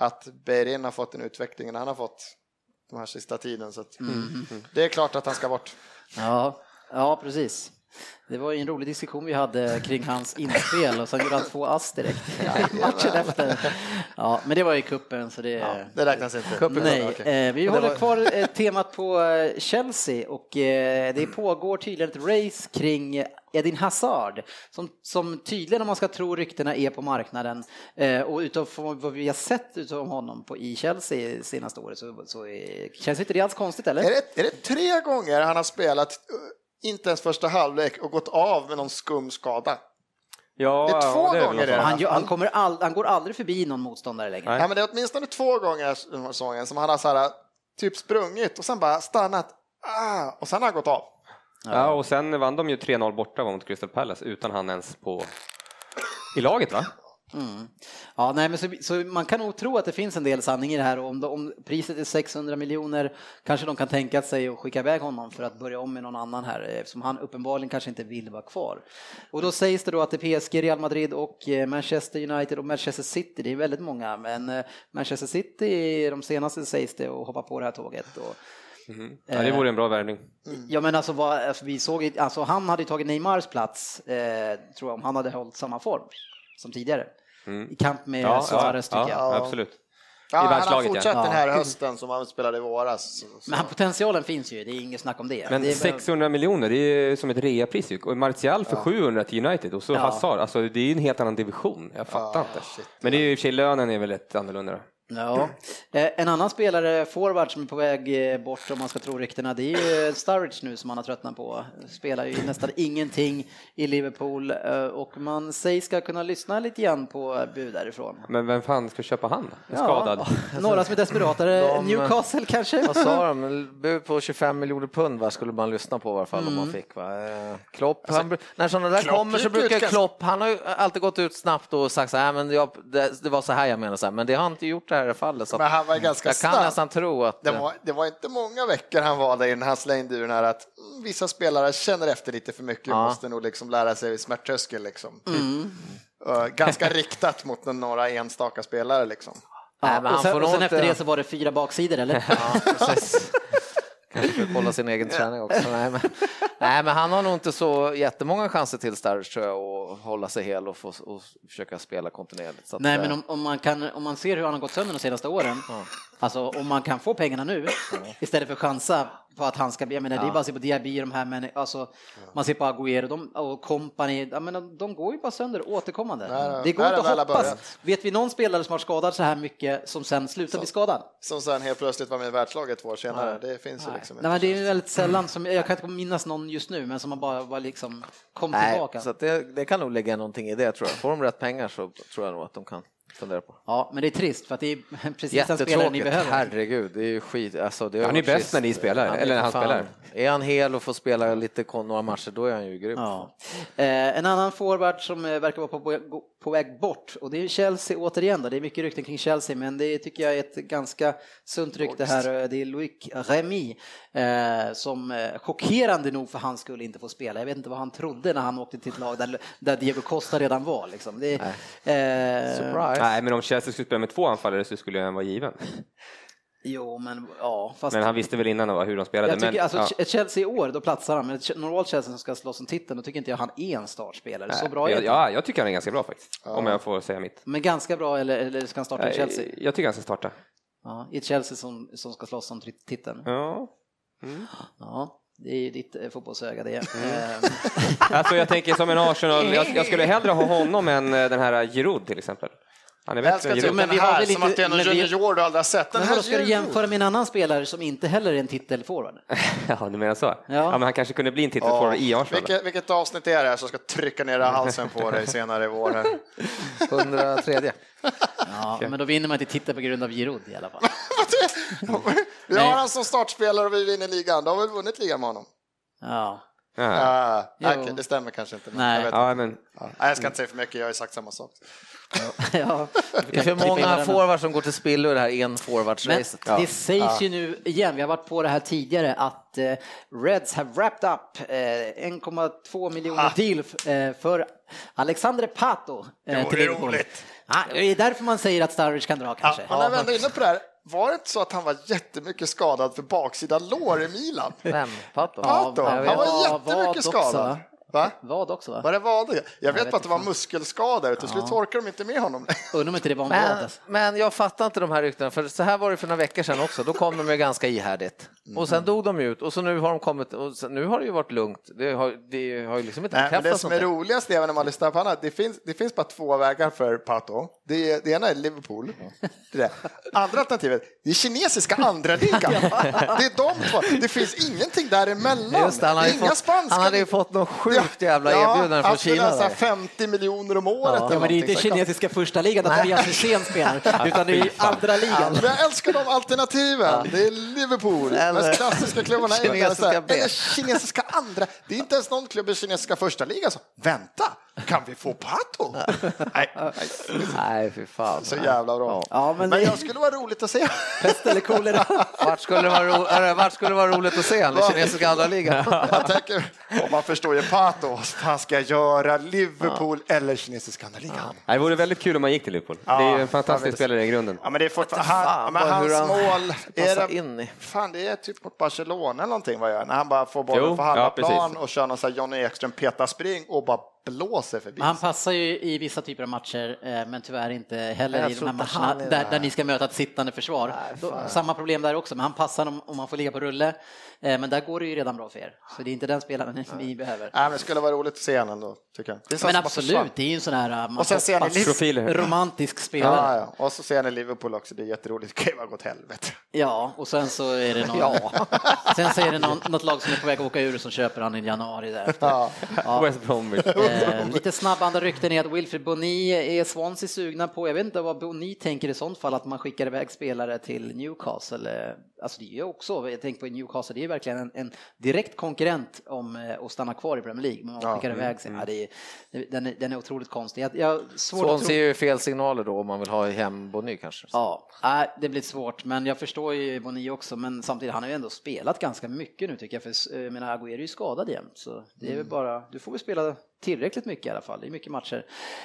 Speaker 2: att Berin har fått den utvecklingen han har fått de här sista tiden, så att, det är klart att han ska bort.
Speaker 1: Ja, ja, precis. Det var ju en rolig diskussion vi hade kring hans inspel och sen gjorde han två ass direkt i matchen efter. Ja, men det var i kuppen så det...
Speaker 2: Det räknas inte.
Speaker 1: Nej,
Speaker 2: Okej.
Speaker 1: eh, vi
Speaker 2: Och det
Speaker 1: håller
Speaker 2: var-
Speaker 1: kvar eh, temat på eh, Chelsea och eh, det pågår tydligen ett race kring eh, Edin Hazard som, som tydligen om man ska tro ryktena är på marknaden eh, och utav vad vi har sett utav honom på, i Chelsea senaste året så, så eh, känns inte det alls konstigt eller?
Speaker 2: Är det, är det tre gånger han har spelat eh, inte ens första halvlek och gått av med någon skum skada?
Speaker 4: Ja,
Speaker 2: Det är två
Speaker 4: väl
Speaker 2: gånger
Speaker 4: något
Speaker 2: det.
Speaker 4: sånt.
Speaker 1: Han, gör- han, kommer all, han går aldrig förbi någon motståndare längre.
Speaker 4: Nej.
Speaker 2: Ja, men det är åtminstone två gånger den här säsongen som han har så här, typ sprungit och sen bara stannat ah, och sen har han gått av.
Speaker 4: Ja, och sen vann de ju 3-0 borta mot Crystal Palace utan han ens på i laget va?
Speaker 1: Mm. Ja, nej, men så, så man kan nog tro att det finns en del sanning i det här och om, de- om priset är 600 miljoner kanske de kan tänka sig att skicka iväg honom för att börja om med någon annan här eh, eftersom han uppenbarligen kanske inte vill vara kvar. Och då sägs det då att det är PSG, Real Madrid och eh, Manchester United och Manchester City, det är väldigt många, men eh, Manchester City de senaste sägs det och hoppa på det här tåget. Och,
Speaker 4: Ja,
Speaker 1: Eh,
Speaker 4: det vore en bra värvning.
Speaker 1: Ja men alltså, vad, alltså, vi såg, ju- alltså han hade ju tagit Neymars plats, eh, tror jag, om han hade hållit samma form som tidigare. I kamp med Suarez
Speaker 4: Mm. ja,
Speaker 1: tycker jag.
Speaker 4: ja,
Speaker 2: jag.
Speaker 4: absolut.
Speaker 2: Ja, han har
Speaker 4: världslaget, ja.
Speaker 2: fortsatt den här hösten som han spelade i våras. Så, så.
Speaker 1: Men han, potentialen finns ju, det är inget snack om det.
Speaker 4: Men
Speaker 1: det är,
Speaker 4: 600 miljoner, det är som ett reapris ju. Och Martial för 700 till United och så
Speaker 1: Ja.
Speaker 4: Hazard, alltså det är ju en helt annan division. Jag fattar
Speaker 2: Ah,
Speaker 4: inte.
Speaker 2: shit.
Speaker 4: Men det är ju i och för sig lönen är väl rätt annorlunda. då.
Speaker 1: Ja. Eh, En annan spelare, forward, som är på väg eh, bort om man ska tro ryktena, det är ju Sturridge nu som han har tröttnat på. Spelar ju nästan ingenting i Liverpool eh, och man sägs ska kunna lyssna lite grann på bud därifrån.
Speaker 4: Men vem fan ska köpa han? då? Skadad.
Speaker 1: Ja, några som är desperatare,
Speaker 3: De- alltså,
Speaker 1: Newcastle kanske?
Speaker 3: Vad sa de? Bud på 25 miljoner pund va, skulle man lyssna på i varje fall om man fick. Va? Eh, Klopp, han, br- när sådana där
Speaker 2: Klopp
Speaker 3: kommer så
Speaker 2: gick ut
Speaker 3: brukar
Speaker 2: ganska-
Speaker 3: Klopp, han har ju alltid gått ut snabbt och sagt så här, "Nej, men jag, det, det var så här jag menar, så här. men det har han inte gjort det här i fallet. Så att
Speaker 2: Men han var ju ganska
Speaker 3: jag kan
Speaker 2: snabb.
Speaker 3: nästan tro att...
Speaker 2: Det var, det var inte många veckor han var där innan han slängde ur den här att mm, vissa spelare känner efter lite för mycket och
Speaker 3: Ja.
Speaker 2: måste nog liksom lära sig vid smärttröskel. Liksom.
Speaker 1: Mm.
Speaker 2: Eh, Ganska riktat mot några enstaka spelare. Liksom.
Speaker 1: Ja,
Speaker 3: Nej, Äh, men
Speaker 1: och
Speaker 3: han
Speaker 1: sen,
Speaker 3: får
Speaker 1: och sen
Speaker 3: nog
Speaker 1: efter
Speaker 3: inte-
Speaker 1: det så var det fyra baksidor eller?
Speaker 3: Ja, precis. Kanske ska kolla sin egen träning också. Nej men, nej, men han har nog inte så jättemånga chanser till Sturridge tror jag och hålla sig hel och, få, och försöka spela kontinuerligt. Så att,
Speaker 1: Nej
Speaker 3: eh,
Speaker 1: men om, om, man kan, om man ser hur han har gått sönder de senaste åren, alltså om man kan få pengarna nu istället för att chansa på att han ska bli, jag menar det är bara att se på Diaby och de här men alltså man ser på Agüero de, och Company, jag menar, de går ju bara sönder återkommande.
Speaker 2: Där har-
Speaker 1: det går
Speaker 2: där
Speaker 1: inte
Speaker 2: har
Speaker 1: att
Speaker 2: väl
Speaker 1: hoppas.
Speaker 2: börjat.
Speaker 1: Vet vi någon spelare som har skadat så här mycket som sen slutar bli skadad?
Speaker 2: Som sen helt plötsligt var med i världslaget två år senare. Det finns ju liksom
Speaker 1: Nej, men det är ju väldigt sällan som, jag kan inte minnas någon just nu men som har bara, bara liksom kom
Speaker 3: nej,
Speaker 1: tillbaka.
Speaker 3: så att det, det kan nog lägga någonting i det tror jag. Får de rätt pengar så tror jag nog att de kan fundera på.
Speaker 1: Ja, men det är trist för att det är precis den spelaren ni
Speaker 3: Jättetråkigt,
Speaker 1: behöver.
Speaker 3: herregud. Det är ju skit. Alltså, det har
Speaker 4: Han är
Speaker 3: varit
Speaker 4: bäst
Speaker 3: schysst.
Speaker 4: när ni spelar,
Speaker 3: är
Speaker 4: eller när
Speaker 3: för
Speaker 4: han
Speaker 3: fan-
Speaker 4: spelar.
Speaker 3: Är han hel och får spela lite kon- några matcher, då är han ju grym.
Speaker 1: Ja. Eh, en annan forward som eh, verkar vara på, på väg bort och det är ju Chelsea återigen då. Det är mycket rykten kring Chelsea men det tycker jag är ett ganska sunt rykte här. Eh, Det är Loic Remy eh, som eh, chockerande nog för hans skull inte får spela. Jag vet inte vad han trodde när han åkte till ett lag där, där Diego Costa redan var liksom. Det, eh,
Speaker 3: Surprise.
Speaker 4: Nej, men om Chelsea skulle spela med två anfallare så skulle han vara given.
Speaker 1: Jo men ja, fast
Speaker 4: Men han visste väl innan va, hur de spelade.
Speaker 1: Jag tycker
Speaker 4: men,
Speaker 1: alltså
Speaker 4: ja.
Speaker 1: ett Chelsea i år, då platsar han, men ett normalt Chelsea som ska slåss om titeln, då tycker inte jag han är en startspelare. Så bra är
Speaker 4: jag,
Speaker 1: han.
Speaker 4: ja, jag tycker han är ganska bra faktiskt, om jag får säga mitt.
Speaker 1: Men ganska bra, eller, eller ska han starta i Chelsea?
Speaker 4: Jag, jag tycker han ska starta.
Speaker 1: Ja, I ett Chelsea som, som ska slåss om tri- titeln.
Speaker 4: Ja. Mm.
Speaker 1: Ja, det är ju ditt eh, fotbollsöga det.
Speaker 3: Mm.
Speaker 1: Ehm,
Speaker 4: Alltså jag tänker som en Arsenal, jag, jag skulle hellre ha honom än eh, den här Giroud till exempel. Han är
Speaker 2: Jag älskar
Speaker 4: bättre än
Speaker 2: att
Speaker 4: Giroud.
Speaker 2: den
Speaker 1: men vi har
Speaker 2: här,
Speaker 1: väl
Speaker 2: som
Speaker 1: inte-
Speaker 2: att det är någon
Speaker 1: men vi-
Speaker 2: junior du aldrig har sett. Den
Speaker 1: Men
Speaker 2: här
Speaker 1: hallå, ska du
Speaker 2: Giroud.
Speaker 1: jämföra med en annan spelare som inte heller är en titelforward?
Speaker 4: Ja, du menar så? Ja. men han kanske kunde bli en titelforward i Arsenal.
Speaker 2: Vilket, vilket avsnitt är det här som ska trycka ner halsen på dig senare i vår? här?
Speaker 3: 103.
Speaker 1: Ja, men då vinner man inte titeln på grund av Giroud i alla fall.
Speaker 2: Vi har han som startspelare och vi vinner ligan. Då har vi vunnit ligan med honom.
Speaker 1: Ja.
Speaker 4: Ja.
Speaker 2: Ah,
Speaker 1: Jo.
Speaker 2: okej, det stämmer kanske inte. men
Speaker 1: Nej.
Speaker 2: Jag, vet inte.
Speaker 4: Ja, men,
Speaker 2: Ja. Nej, jag ska inte säga för mycket, jag har ju sagt samma sak.
Speaker 1: ja.
Speaker 3: Det är för
Speaker 2: Typ
Speaker 3: många forwards som går till spillo i det här en
Speaker 1: Men
Speaker 3: forwardsracet.
Speaker 1: det sägs ju nu igen, vi har varit på det här tidigare, att eh, Reds have wrapped up eh, 1,2 miljoner deal f- eh, för Alexander Pato. Eh,
Speaker 2: vore
Speaker 1: Liverpool.
Speaker 2: roligt.
Speaker 1: Ja, det är därför man säger att Starwich kan dra kanske.
Speaker 2: Men när vi ändå är inne på det här, var det inte så att han var jättemycket skadad för baksida lår i Milan?
Speaker 3: Vem? Pato?
Speaker 2: Pato,
Speaker 1: jag
Speaker 2: han
Speaker 1: vet.
Speaker 2: var
Speaker 1: Ja, vad
Speaker 2: jättemycket
Speaker 1: också,
Speaker 2: skadad.
Speaker 1: va?
Speaker 2: Va?
Speaker 1: Vad också va?
Speaker 2: Var det vad? Jag, jag vet
Speaker 1: vet
Speaker 2: bara att det var
Speaker 1: inte.
Speaker 2: muskelskada, till slut orkar de inte med honom.
Speaker 1: Undrar om inte det var en vad
Speaker 3: Men,
Speaker 1: alltså.
Speaker 3: men jag fattar inte de här ryktena, för så här var det för några veckor sedan också. Då kom de ju ganska ihärdigt.
Speaker 2: Mm.
Speaker 3: Och sen dog de ut och så nu har de kommit och så, nu har det ju varit lugnt. Det har, det har ju liksom inte
Speaker 2: Nej, men det
Speaker 3: bekräftats
Speaker 2: som är
Speaker 3: någonting.
Speaker 2: roligast även när man lyssnar på annat, det finns, det finns bara två vägar för Pato. Det, är- det ena är Liverpool. Det där. Andra alternativet, det är kinesiska andra ligan. Det är de två. Det finns ingenting däremellan.
Speaker 3: Just det, han, hade ju
Speaker 2: Inga
Speaker 3: fått,
Speaker 2: spanska.
Speaker 3: han hade ju fått någon sjukt jävla erbjudande från
Speaker 2: han skulle
Speaker 3: Kina.
Speaker 2: ha så här
Speaker 3: där.
Speaker 2: 50 miljoner om året. eller
Speaker 1: Ja, men det är inte
Speaker 2: någonting, så här.
Speaker 1: kinesiska första ligan där Tobias Hysén spelar, utan det är andra ligan.
Speaker 2: Men jag älskar de alternativen. Det är Liverpool,
Speaker 3: Eller-
Speaker 2: de mest klassiska klubbarna. är inte ens så här-
Speaker 3: Kinesiska B.
Speaker 2: Eller kinesiska andra. Det är inte ens någon klubb i kinesiska första ligan som vänta, kan vi få Pato? Nej, nej.
Speaker 3: Nej, fy fan.
Speaker 2: Så jävla bra.
Speaker 1: Ja, men
Speaker 2: men
Speaker 1: det-
Speaker 2: jag skulle vara roligt att se.
Speaker 1: Pest eller kolera.
Speaker 3: Vart skulle det vara, ro, eller vart skulle det vara roligt att se han i kinesiska andra ligan?
Speaker 2: jag tänker, om man förstår ju Pato, vad fan ska jag göra? Liverpool eller kinesiska andra ligan?
Speaker 4: det vore väldigt kul om man gick till Liverpool.
Speaker 2: Ja,
Speaker 4: det är ju en
Speaker 2: jag vet
Speaker 4: fantastisk
Speaker 2: det.
Speaker 4: spelare i grunden.
Speaker 2: Ja, men det är fortfarande, han, ja, men
Speaker 3: vad-
Speaker 2: hans
Speaker 3: hur han
Speaker 2: mål, är
Speaker 3: passar
Speaker 2: det,
Speaker 3: in i.
Speaker 2: fan det är typ mot Barcelona eller någonting vad jag gör, när han bara får bollen
Speaker 4: Jo,
Speaker 2: på
Speaker 4: ja,
Speaker 2: halva
Speaker 4: precis.
Speaker 2: plan och kör någon sån här Johnny Ekström peta-spring och bara blåser förbi.
Speaker 1: Men Han passar ju i vissa typer av matcher, eh, men tyvärr inte heller
Speaker 3: Jag
Speaker 1: i de
Speaker 3: tror
Speaker 1: här
Speaker 3: inte han
Speaker 1: matcherna
Speaker 3: är
Speaker 1: där,
Speaker 3: där.
Speaker 1: där ni ska möta ett sittande försvar. Då, samma problem där också, men han passar om, om man får ligga på rulle. Eh, Men där går det ju redan bra för er, så det är inte den spelaren ni behöver.
Speaker 2: Nej, men det skulle vara roligt att se honom ändå, tycker jag. Det är så
Speaker 1: Men
Speaker 2: som att försvann.
Speaker 1: absolut, det är ju en sån här eh, man
Speaker 2: Och sen ser han i
Speaker 1: hoppas-
Speaker 4: Liverpool- Profiler.
Speaker 1: romantisk
Speaker 2: Ja,
Speaker 1: spelare.
Speaker 2: ja. Och så ser han i Liverpool också, det är jätteroligt. Det kan ju bara gå åt helvete.
Speaker 1: Ja, och sen så är det någon, sen så är det någon, något lag som är på väg att åka ur som köper han i januari där.
Speaker 2: Ja.
Speaker 4: West Bromwich.
Speaker 1: Eh, lite snabba andra rykten är att Wilfred Boni är Swansea sugna på. Jag vet inte vad Boni tänker i sånt fall, att man skickar iväg spelare till Newcastle. Eh, Alltså det är ju också, jag tänker på Newcastle, det är ju verkligen en, en direkt konkurrent om eh, att stanna kvar i Premier League. Men man
Speaker 2: Ja, Mm,
Speaker 1: skickar iväg sig. Ja, det är, den, är, den är otroligt konstig. Jag, jag svårt att
Speaker 3: Swansea
Speaker 1: tro...
Speaker 3: är ju fel signaler då om man vill ha hem Bonny kanske.
Speaker 1: Ja, nej, det blir svårt, men jag förstår ju Boni också, men samtidigt, han har ju ändå spelat ganska mycket nu tycker jag, för eh, jag menar, Agüero är ju skadad igen, så det är väl
Speaker 2: Mm.
Speaker 1: bara, du får väl spela tillräckligt mycket i alla fall, det är mycket matcher.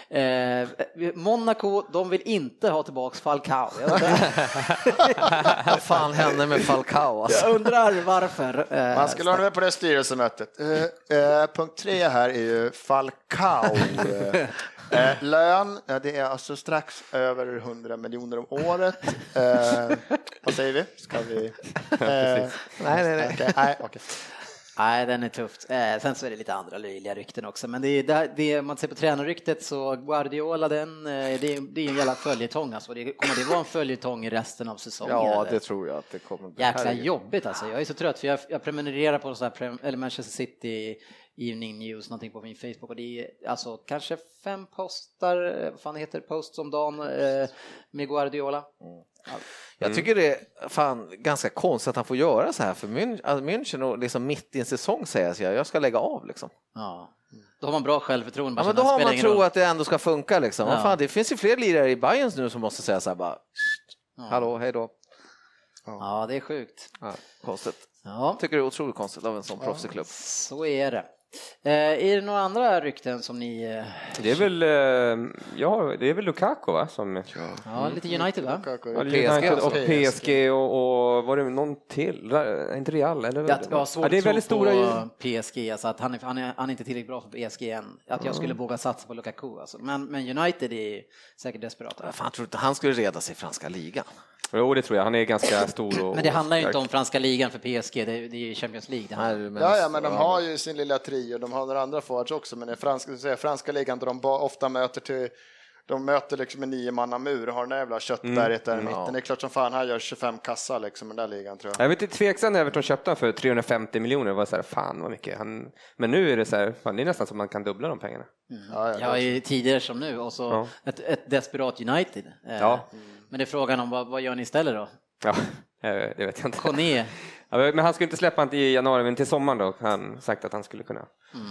Speaker 1: Eh, Monaco, de vill inte ha tillbaks Falcao. Jag undrar,
Speaker 3: Vad fan hände med Falcao? Alltså?
Speaker 1: jag undrar varför. Eh,
Speaker 2: Man skulle ha med på det styrelsemötet. Eh, eh, punkt tre här är ju Falcao. Eh, lön, eh, det är alltså strax över 100 miljoner om året. Eh, vad säger vi? Ska vi? Eh,
Speaker 3: Nej, nej, nej.
Speaker 2: okej, nej, okej.
Speaker 1: Nej, den är tufft. Eh, sen så är det lite andra löjliga rykten också, men det är där, det man ser på tränarryktet så Guardiola, den, eh, det, är, det är en jävla följetong alltså. Det, kommer det vara en följetong i resten av säsongen?
Speaker 3: Ja,
Speaker 1: eller?
Speaker 3: det tror jag att det kommer bli.
Speaker 1: Jäkla
Speaker 3: Herregud.
Speaker 1: jobbigt alltså. Jag är så trött för jag, jag prenumererar på så här, prem- eller Manchester City Evening News någonting på min Facebook och det är alltså kanske fem postar, eh, vad fan heter det, posts om dagen eh, med Guardiola.
Speaker 3: Jag tycker det är fan ganska konstigt att han får göra så här för Mün- alltså München och liksom mitt i en säsong säger jag, jag ska lägga av liksom.
Speaker 1: Ja. Då har man bra självförtroende.
Speaker 3: Ja,
Speaker 1: bara
Speaker 3: men
Speaker 1: så
Speaker 3: då
Speaker 1: här,
Speaker 3: har
Speaker 1: Alltså, spelar ingen
Speaker 3: man tro
Speaker 1: roll.
Speaker 3: att det ändå ska funka liksom. Vad
Speaker 1: Ja.
Speaker 3: fan, det finns ju fler lirare i Bayerns nu som måste säga så här bara, "Sst, hallå, hej då.
Speaker 1: Ja, det är sjukt.
Speaker 3: Ja, konstigt.
Speaker 1: Ja,
Speaker 3: Jag tycker det är otroligt konstigt av en sån proffsig klubb.
Speaker 1: så är det. Eh, är det några andra rykten som ni... Eh,
Speaker 4: Det är väl, eh, ja, det är väl Lukaku va? Som,
Speaker 1: ja, lite United va?
Speaker 4: Och
Speaker 3: PSG
Speaker 4: United
Speaker 3: alltså.
Speaker 4: och PSG och, och var det någon till? Ra- Inte Real? Eller?
Speaker 1: Jag, jag har svårt
Speaker 4: ja, det är
Speaker 1: att tro
Speaker 4: väldigt stora
Speaker 1: på PSG, alltså att han är, han, är, han är inte tillräckligt bra för PSG än. Att jag skulle våga satsa på Lukaku alltså. men, men United är säkert desperata.
Speaker 3: Fan, tror du inte han skulle reda sig i franska ligan?
Speaker 4: Jo, det tror jag. Han är ganska stor och
Speaker 1: Men det handlar ju inte om franska ligan för PSG, det är, det är ju Champions League det handlar om.
Speaker 2: Ja, ja, men de har ju sin lilla trio, de har några andra forwards också, men i franska, så säger jag, franska ligan där de ba- ofta möter till de möter liksom en niomanna-mur och har den där jävla köttberget där i mitten.
Speaker 3: ja.
Speaker 2: Det är klart som fan han gör 25 kassa liksom i den där ligan tror jag.
Speaker 4: Jag vet inte, tveksam när Everton köpte han för 350 miljoner. Det var så här, fan vad mycket. Han, men nu är det så här, fan, det är nästan som man kan dubbla de pengarna.
Speaker 2: Ja, ja,
Speaker 1: Ja, i tidigare som nu och så
Speaker 4: Ja.
Speaker 1: ett, ett desperat United. Eh,
Speaker 4: Ja.
Speaker 1: Men det är frågan om vad, vad gör ni istället då?
Speaker 4: Ja, eh, det vet jag inte.
Speaker 1: Kone
Speaker 4: Ja, men han skulle inte släppa han i januari, men till sommaren då har han sagt att han skulle kunna.
Speaker 1: Mm.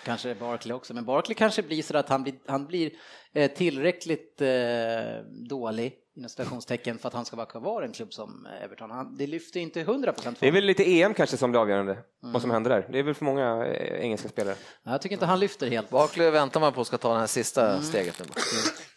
Speaker 1: och kanske Barkley också, men Barkley kanske blir så att han blir, han blir eh, tillräckligt eh, dålig inom citationstecken för att han ska vara kvar i en klubb som Everton. Han, det lyfter inte 100 procent.
Speaker 4: Det är väl lite EM kanske som blir avgörande, vad
Speaker 3: Mm.
Speaker 4: som händer där. Det är väl för många eh, engelska spelare.
Speaker 1: Jag tycker inte han lyfter helt.
Speaker 3: Barkley väntar man på ska ta det här sista steget nu.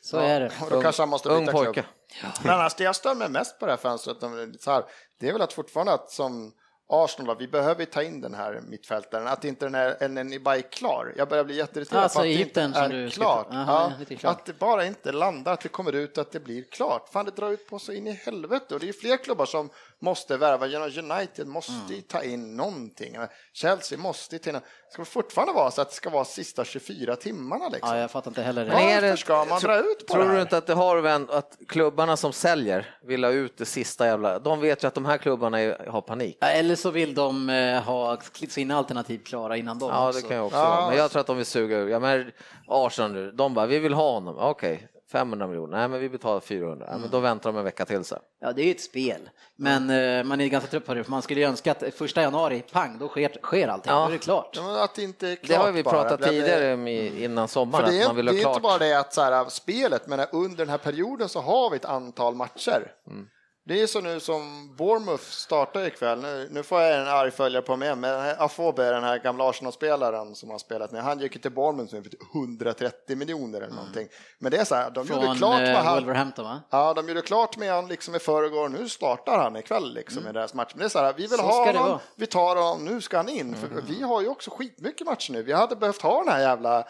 Speaker 1: Så är det.
Speaker 2: Och då kanske han måste
Speaker 3: Ung
Speaker 2: byta
Speaker 3: pojke.
Speaker 2: klubb. Men annars, det jag stör mig mest på det här fönstret, om det är så här, det är väl att fortfarande att som Arsenal, vi behöver ta in den här mittfältaren, att inte den här en är klar. Jag börjar bli jätteirriterad
Speaker 1: Alltså,
Speaker 2: på att det inte
Speaker 1: Egypten som
Speaker 2: är
Speaker 1: du ska-
Speaker 2: klart.
Speaker 1: Aha,
Speaker 2: ja,
Speaker 1: lite klart.
Speaker 2: Att det bara inte landar, att det kommer ut, att det blir klart. Fan, det drar ut på så in i helvete och det är fler klubbar som måste värva. Genom United måste
Speaker 1: Mm.
Speaker 2: ju ta in någonting. Chelsea måste ju ta in. Det ska fortfarande vara så att det ska vara sista 24 timmarna liksom.
Speaker 1: Ja, jag fattar inte heller
Speaker 3: Men
Speaker 1: det.
Speaker 2: Ja.
Speaker 3: är
Speaker 2: Varför
Speaker 3: det-
Speaker 2: ska man
Speaker 3: tro-
Speaker 2: dra ut på
Speaker 3: Tror
Speaker 2: det här?
Speaker 3: du inte att det har vänt, att klubbarna som säljer vill ha ut det sista jävla... De vet ju att de här klubbarna är, har panik.
Speaker 1: Ja, Eller så vill de eh, ha sina alternativ klara innan dem
Speaker 3: Ja,
Speaker 1: också.
Speaker 3: det kan jag också
Speaker 2: Ja.
Speaker 3: vara. Men jag tror att de vill suga ur. Jag menar, Arsenal nu, de bara, vi vill ha honom. Okej, 500 miljoner. Nej, men vi betalar 400. Nej,
Speaker 2: Mm.
Speaker 3: men då väntar de en vecka till så.
Speaker 1: Ja, det är ju ett spel. Men eh, man är ganska trött på det, för man skulle ju önska att första januari, pang, då sker, sker allting.
Speaker 3: Ja.
Speaker 1: Då är det klart.
Speaker 2: Ja, men Att det inte är klart
Speaker 3: Det har vi
Speaker 2: bara.
Speaker 3: pratat
Speaker 2: Det blir-
Speaker 3: tidigare om i- innan
Speaker 2: För
Speaker 3: sommaren,
Speaker 2: det
Speaker 3: att
Speaker 2: är,
Speaker 3: man vill
Speaker 2: det
Speaker 3: ha
Speaker 2: är inte
Speaker 3: klart.
Speaker 2: bara det att så här, äh, spelet, men eh, under den här perioden så har vi ett antal matcher.
Speaker 3: Mm.
Speaker 2: Det är så nu som Bournemouth startar ikväll, nu, nu får jag en arg följare på mig, men eh, den här Afobe, den här gamla Arsenal-spelaren som har spelat med, han gick ju till Bournemouth nu för typ 130 miljoner
Speaker 3: Mm.
Speaker 2: eller någonting. Men det är så här, de gjorde
Speaker 1: Från
Speaker 2: klart vad
Speaker 1: eh,
Speaker 2: han,
Speaker 1: Wolverhampton, va?
Speaker 2: ja, de gjorde klart med han liksom i förrgår, nu startar han ikväll liksom i deras match. Men det är så här, vi vill
Speaker 1: Mm. Så
Speaker 2: ha
Speaker 1: ska det
Speaker 2: honom,
Speaker 1: vara. Mm.
Speaker 2: vi tar honom, nu ska han in. För vi har ju också skitmycket matcher nu, vi hade behövt ha den här jävla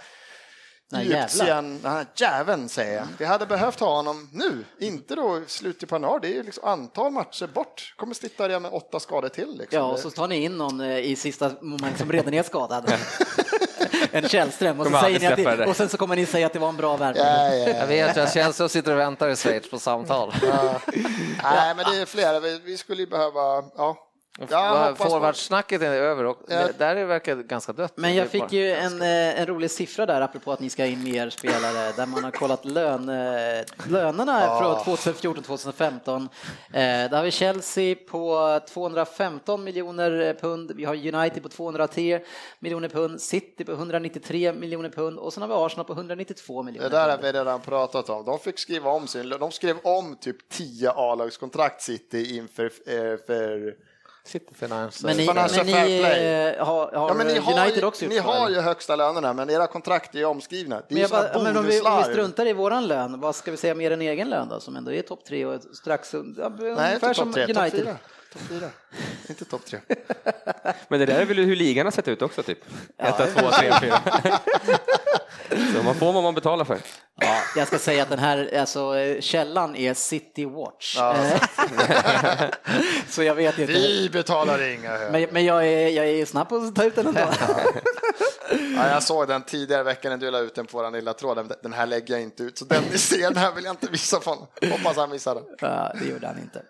Speaker 1: Nej, jävlar. Mm.
Speaker 2: Egyptien, den här jäveln säger jag. Vi hade behövt ha honom nu, inte då i slutet på januari. Det är ju liksom antal matcher bort. Kommer sitta där med åtta skador till. Liksom.
Speaker 1: Ja, och så tar ni in någon eh, i sista moment som redan är skadad. en Källström. Och, så
Speaker 4: Kommer
Speaker 1: säger ni
Speaker 4: aldrig
Speaker 1: att
Speaker 4: släppa
Speaker 1: det,
Speaker 4: det.
Speaker 1: och sen så kommer ni säga att det var en bra värvning.
Speaker 2: Ja, ja, ja.
Speaker 3: Jag vet, jag känner så jag sitter och väntar i Schweiz på samtal.
Speaker 2: Nej, men det är flera. Vi, vi skulle ju behöva... Ja.
Speaker 3: Ja,
Speaker 2: hoppas på-
Speaker 3: Forwardsnacket är över och
Speaker 2: Ja.
Speaker 3: där det verkar ganska dött.
Speaker 1: Men jag
Speaker 3: Det är bara-
Speaker 1: fick ju en, eh, en rolig siffra där, apropå att ni ska in mer spelare, där man har kollat lön, eh, lönerna från 2014-2015. Eh, Där har vi Chelsea på 215 miljoner pund, vi har United på 210 miljoner pund, City på 193 miljoner pund och sen har vi Arsenal på 192
Speaker 2: Det
Speaker 1: miljoner
Speaker 2: där har
Speaker 1: pund.
Speaker 2: vi redan pratat om. De fick skriva om sin... De skrev om typ 10 A-lagskontrakt City inför... eh, för
Speaker 3: City Finance.
Speaker 1: Men ni,
Speaker 2: Financial
Speaker 1: men ni
Speaker 2: alltså, fair play.
Speaker 1: eh, har, har
Speaker 2: Ja, men ni har,
Speaker 1: United
Speaker 2: ju,
Speaker 1: också gjort
Speaker 2: ni
Speaker 1: så,
Speaker 2: har
Speaker 1: eller?
Speaker 2: ju högsta lönerna, men era kontrakt är ju omskrivna. Det är
Speaker 1: Men,
Speaker 2: ju
Speaker 1: jag bara,
Speaker 2: sådana
Speaker 1: men om, vi, om vi
Speaker 2: bonuslarv.
Speaker 1: struntar i våran lön, vad ska vi säga mer än egen lön då, som ändå är topp tre och strax ja,
Speaker 2: Nej,
Speaker 1: ungefär
Speaker 2: inte
Speaker 1: som
Speaker 2: topp tre, topp
Speaker 1: United?
Speaker 2: fyra. Topp fyra. Inte topp tre.
Speaker 4: Men det där är väl hur ligan har sett ut också, typ. Etta, tvåa, trea, fyra. Så man får vad man betalar för.
Speaker 1: Ja, jag ska säga att den här alltså, eh, källan är City Watch. så jag vet inte.
Speaker 2: Vi betalar inga högre.
Speaker 1: Men, men jag, är, jag är snabb på att ta ut den ändå.
Speaker 2: Ja, jag såg den tidigare veckan när du la ut den på vår lilla tråd. Den- Den här lägger jag inte ut, så den ni ser, den här vill jag inte visa på honom. Hoppas han missar den.
Speaker 1: Ja, det gjorde han inte.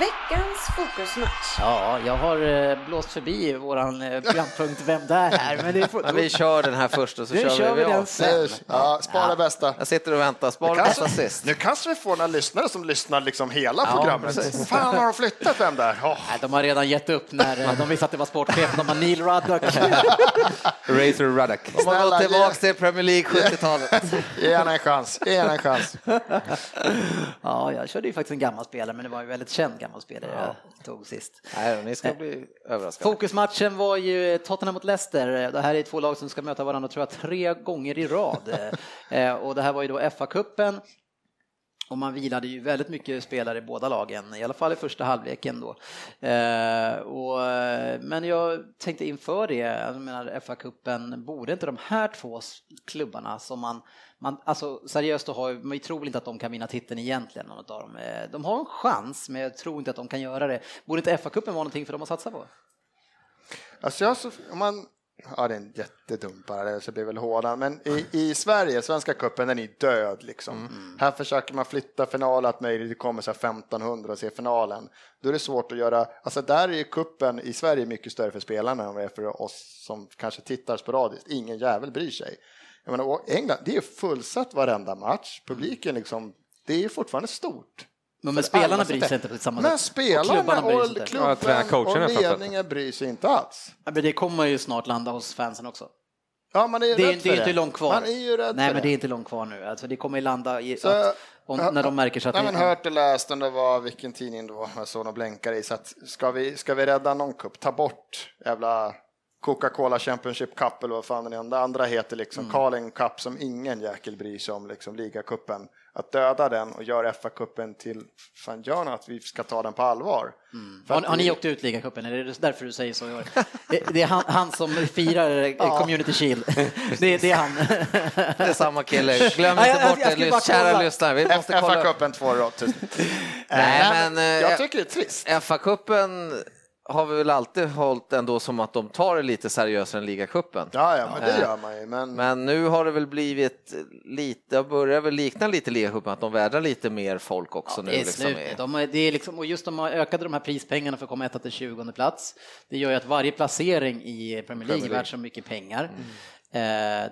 Speaker 5: Veckans fokusmatch.
Speaker 1: Ja, jag har eh, blåst förbi våran eh, programpunkt Vem där här. Men det är
Speaker 3: Men vi
Speaker 1: fort-
Speaker 3: kör den här först och så
Speaker 1: Nu
Speaker 3: kör,
Speaker 1: kör vi
Speaker 3: av.
Speaker 1: den sen.
Speaker 2: Ja, spara bästa.
Speaker 3: Jag sitter och väntar, spara bästa sist.
Speaker 2: nu kanske vi får några lyssnare som lyssnar liksom hela
Speaker 3: Ja,
Speaker 2: programmet.
Speaker 3: precis.
Speaker 2: Fan, har de flyttat den där? Åh.
Speaker 1: Nej, de har redan gett upp när eh, de visste att det var sportchefen. De har Neil Ruddock.
Speaker 4: Razor Ruddock.
Speaker 3: Om man går
Speaker 2: Snälla,
Speaker 3: tillbaka
Speaker 2: ge-
Speaker 3: till Premier League 70-talet.
Speaker 2: Ge henne en chans, ge henne en chans.
Speaker 1: Ja, jag körde ju faktiskt en gammal spelare, men det var ju väldigt känd gammal spelare jag tog sist.
Speaker 3: Nej, ni ska bli överraskade.
Speaker 1: Fokusmatchen var ju eh, Tottenham mot Leicester. Det här är två lag som ska möta varandra tror jag tre gånger i rad. Eh, och det här var ju då FA-cupen. Och man vilade ju väldigt mycket spelare i båda lagen, i alla fall i första halvleken då. Eh, och, eh, men jag tänkte inför det, jag menar FA-cupen, borde inte de här två s- klubbarna som man, man alltså seriöst då har ju- man tror väl inte att de kan vinna titeln egentligen, någon av dem. Eh, De har en chans, men jag tror inte att de kan göra det. Borde inte FA-cupen vara någonting för dem att satsa på?
Speaker 2: Alltså jag, har så- om man Ja, det är en jättedum parallell, så det blir väl hårdan. Men i, i Sverige, Svenska cupen, den är död liksom.
Speaker 1: Mm.
Speaker 2: Här försöker man flytta finalen, att möjligt det kommer så här 1500 och se finalen. Då är det svårt att göra, alltså där är ju cupen i Sverige mycket större för spelarna än vad det är för oss som kanske tittar sporadiskt. Ingen jävel bryr sig. Jag menar, och England, det är ju fullsatt varenda match. Publiken liksom, det är ju fortfarande stort.
Speaker 1: Men,
Speaker 2: För
Speaker 1: men spelarna
Speaker 2: alla
Speaker 1: bryr
Speaker 2: sitter-
Speaker 1: sig inte på samma sätt.
Speaker 2: Men spelarna
Speaker 1: klubbarna bryr sig
Speaker 2: och,
Speaker 1: inte. Ja,
Speaker 2: klubben
Speaker 4: tränarcoacherna
Speaker 2: och
Speaker 4: framförallt.
Speaker 2: ledningen bryr sig inte alls.
Speaker 1: Ja, Men det kommer ju snart landa hos fansen också.
Speaker 2: Ja, man är ju
Speaker 1: Det är,
Speaker 2: rädd
Speaker 1: det är
Speaker 2: för
Speaker 1: inte långt kvar.
Speaker 2: Man är ju rädd
Speaker 1: Nej,
Speaker 2: för
Speaker 1: men det är inte långt kvar nu. Alltså, det kommer ju landa i,
Speaker 2: Så-
Speaker 1: att, om, när de märker så att...
Speaker 2: Nej,
Speaker 1: vi-
Speaker 2: men hört och läst om det var vilken tidning det var, jag såg någon blänkare i, så att ska vi, ska vi rädda någon kupp, ta bort jävla Coca-Cola Championship Cup eller vad fan den enda andra heter liksom,
Speaker 1: Mm.
Speaker 2: Carling Cup som ingen jäkel bryr sig om, liksom ligacupen. Att döda den och göra FA-cupen till, fan gör något, att vi ska ta den på allvar. För
Speaker 1: Har,
Speaker 2: att
Speaker 1: har
Speaker 2: vi-
Speaker 1: ni åkt ut ligacupen? Är det därför du säger så? i år? Det, det är han, han som firar eh, Community Shield. Det, det är han.
Speaker 3: Det är samma kille. Glöm
Speaker 1: Ja, jag-
Speaker 3: inte
Speaker 1: jag-
Speaker 3: bort
Speaker 1: jag
Speaker 3: det,
Speaker 1: skulle
Speaker 3: lys-
Speaker 1: bara
Speaker 3: kära
Speaker 1: kolla.
Speaker 3: lyssnare. Vi måste kolla.
Speaker 2: FA-cupen två år åt.
Speaker 3: Nej, men, eh,
Speaker 2: jag tycker det är trist.
Speaker 3: FA-cupen har vi väl alltid hållit ändå som att de tar det lite seriösare än ligacupen. Eh,
Speaker 2: Ja, ja, men det gör man ju. Men,
Speaker 3: Men nu har det väl blivit lite, det börjar väl likna lite ligacupen, att de värdar lite mer folk också nu.
Speaker 1: det är
Speaker 3: liksom
Speaker 1: slut.
Speaker 3: i-
Speaker 1: De, är- det är liksom, och just de har ökade de här prispengarna för att komma etta till 20 plats. Det gör ju att varje placering i Premier League är värt så mycket pengar. Eh,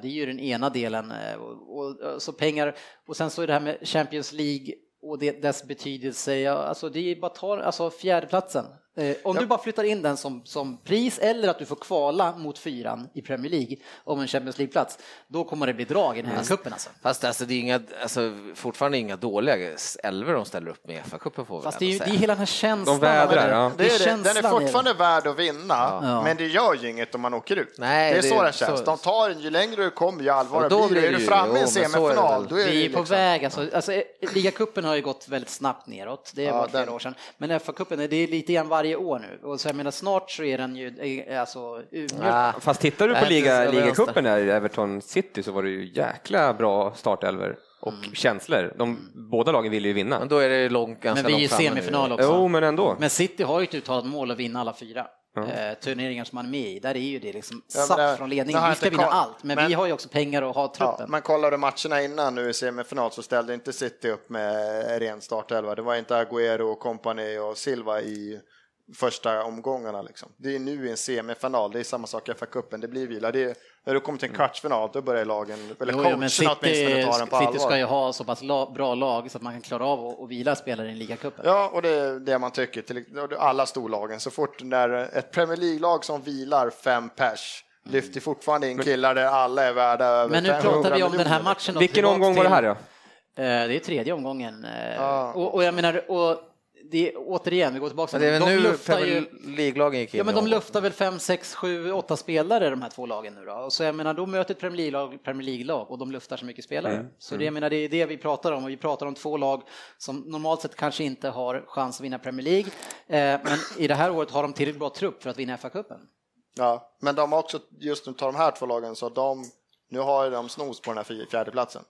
Speaker 1: Det är ju den ena delen. eh, Och, och, och, så pengar. och sen så är det här med Champions League och det, dess betydelse. Ja, Alltså det är ju bara ta, alltså fjärdeplatsen. Eh, Om du bara flyttar in den som, som pris eller att du får kvala mot fyran i Premier League om en Champions League-plats, då kommer det bli drag i den här cupen alltså.
Speaker 3: Fast alltså, det är inga, alltså, fortfarande inga dåliga elver de ställer upp med i FA-cupen får vi
Speaker 1: Fast det är
Speaker 3: ändå
Speaker 1: ju det är
Speaker 3: säga.
Speaker 1: hela den här känslan.
Speaker 4: De vädrar, ja.
Speaker 2: Det är det.
Speaker 1: känslan
Speaker 2: Den
Speaker 1: i
Speaker 2: är fortfarande värd att vinna, men det gör ju inget om man åker ut.
Speaker 3: Nej,
Speaker 2: det är
Speaker 3: det-
Speaker 2: så det känns.
Speaker 3: så-
Speaker 2: De tar en ju längre du kommer, ju allvarligare
Speaker 3: Ja, då
Speaker 2: blir det.
Speaker 3: blir
Speaker 2: Är
Speaker 3: det
Speaker 2: du
Speaker 3: ju-
Speaker 2: framme i en
Speaker 3: jo, men så är det
Speaker 2: semifinal,
Speaker 3: väl.
Speaker 2: då är det
Speaker 1: Vi
Speaker 2: ju
Speaker 1: är på
Speaker 2: liksom...
Speaker 1: väg, alltså, alltså eh, ligacupen har ju gått väldigt snabbt neråt, det var flera
Speaker 2: den-
Speaker 1: år sedan. Men FA-cupen, det är lite grann varje år nu. Och så jag menar snart så är den ju eh, alltså urmjölkad.
Speaker 3: Ah,
Speaker 4: Fast tittar du på
Speaker 3: Nej, inte
Speaker 4: liga,
Speaker 3: så alltså.
Speaker 4: ligacupen där i Everton City så var det ju jäkla bra startelver och känslor. De, båda lagen ville ju vinna.
Speaker 3: Mm. Men då är det ju långt, ganska
Speaker 1: Men vi är ju
Speaker 3: långt framme nu.
Speaker 1: semifinal också.
Speaker 4: Jo, men ändå.
Speaker 1: Men City har ju ett uttalat mål att vinna alla fyra.
Speaker 4: Ja.
Speaker 1: Eh, turneringar som man är med i, där är ju det liksom
Speaker 2: Ja, men
Speaker 1: satt
Speaker 2: det-
Speaker 1: från
Speaker 2: det
Speaker 1: ledningen.
Speaker 2: har
Speaker 1: Vi
Speaker 2: jag
Speaker 1: ska
Speaker 2: inte
Speaker 1: vinna
Speaker 2: koll-
Speaker 1: allt, men,
Speaker 2: men-
Speaker 1: vi har ju också pengar och har
Speaker 2: Ja,
Speaker 1: truppen.
Speaker 2: man kollade matcherna innan nu i semifinal så ställde inte City upp med ren startelva. Det var inte Agüero, och kompani och Silva i första omgångarna. Liksom. Det är nu i en semifinal, det är samma sak i FA-cupen, det blir vila. Det är, när du kommer till en kvartsfinal, då börjar lagen, eller
Speaker 1: Jo, jo,
Speaker 2: coacherna
Speaker 1: men City,
Speaker 2: åtminstone, ta den på
Speaker 1: City
Speaker 2: allvar.
Speaker 1: ska ju ha så pass la, bra lag så att man kan klara av att- att vila spelare i ligacupen.
Speaker 2: Ja, och det är det man tycker. Till och det- alla storlagen. Så fort när ett Premier League-lag som vilar fem pers lyfter fortfarande in killar där alla är värda över
Speaker 1: Men nu
Speaker 2: 500
Speaker 1: pratar vi om den här
Speaker 2: miljoner.
Speaker 1: matchen. då,
Speaker 4: Vilken
Speaker 1: tillbaks
Speaker 4: omgång var det
Speaker 1: till-
Speaker 4: här då?
Speaker 1: Eh, Det är tredje omgången. eh,
Speaker 2: Ja.
Speaker 1: Och, och jag menar, och det, återigen, vi går tillbaka
Speaker 3: Men
Speaker 1: till
Speaker 3: det är väl
Speaker 1: de
Speaker 3: nu
Speaker 1: luftar
Speaker 3: Premier
Speaker 1: ju...
Speaker 3: League-lagen gick in
Speaker 1: Ja, men de
Speaker 3: i
Speaker 1: luftar väl fem, sex, sju, åtta spelare de här två lagen nu då. Och Så jag menar, då möter ett Premier League-lag Premier League-lag och de luftar så mycket spelare. Så det, jag menar, det är det vi pratar om och vi pratar om två lag som normalt sett kanske inte har chans att vinna Premier League. Eh, Men i det här året har de tillräckligt bra trupp för att vinna FA-cupen.
Speaker 2: Ja, men de har också, just nu tar de här två lagen, så de, nu har ju de snos på den här fj- fjärdeplatsen.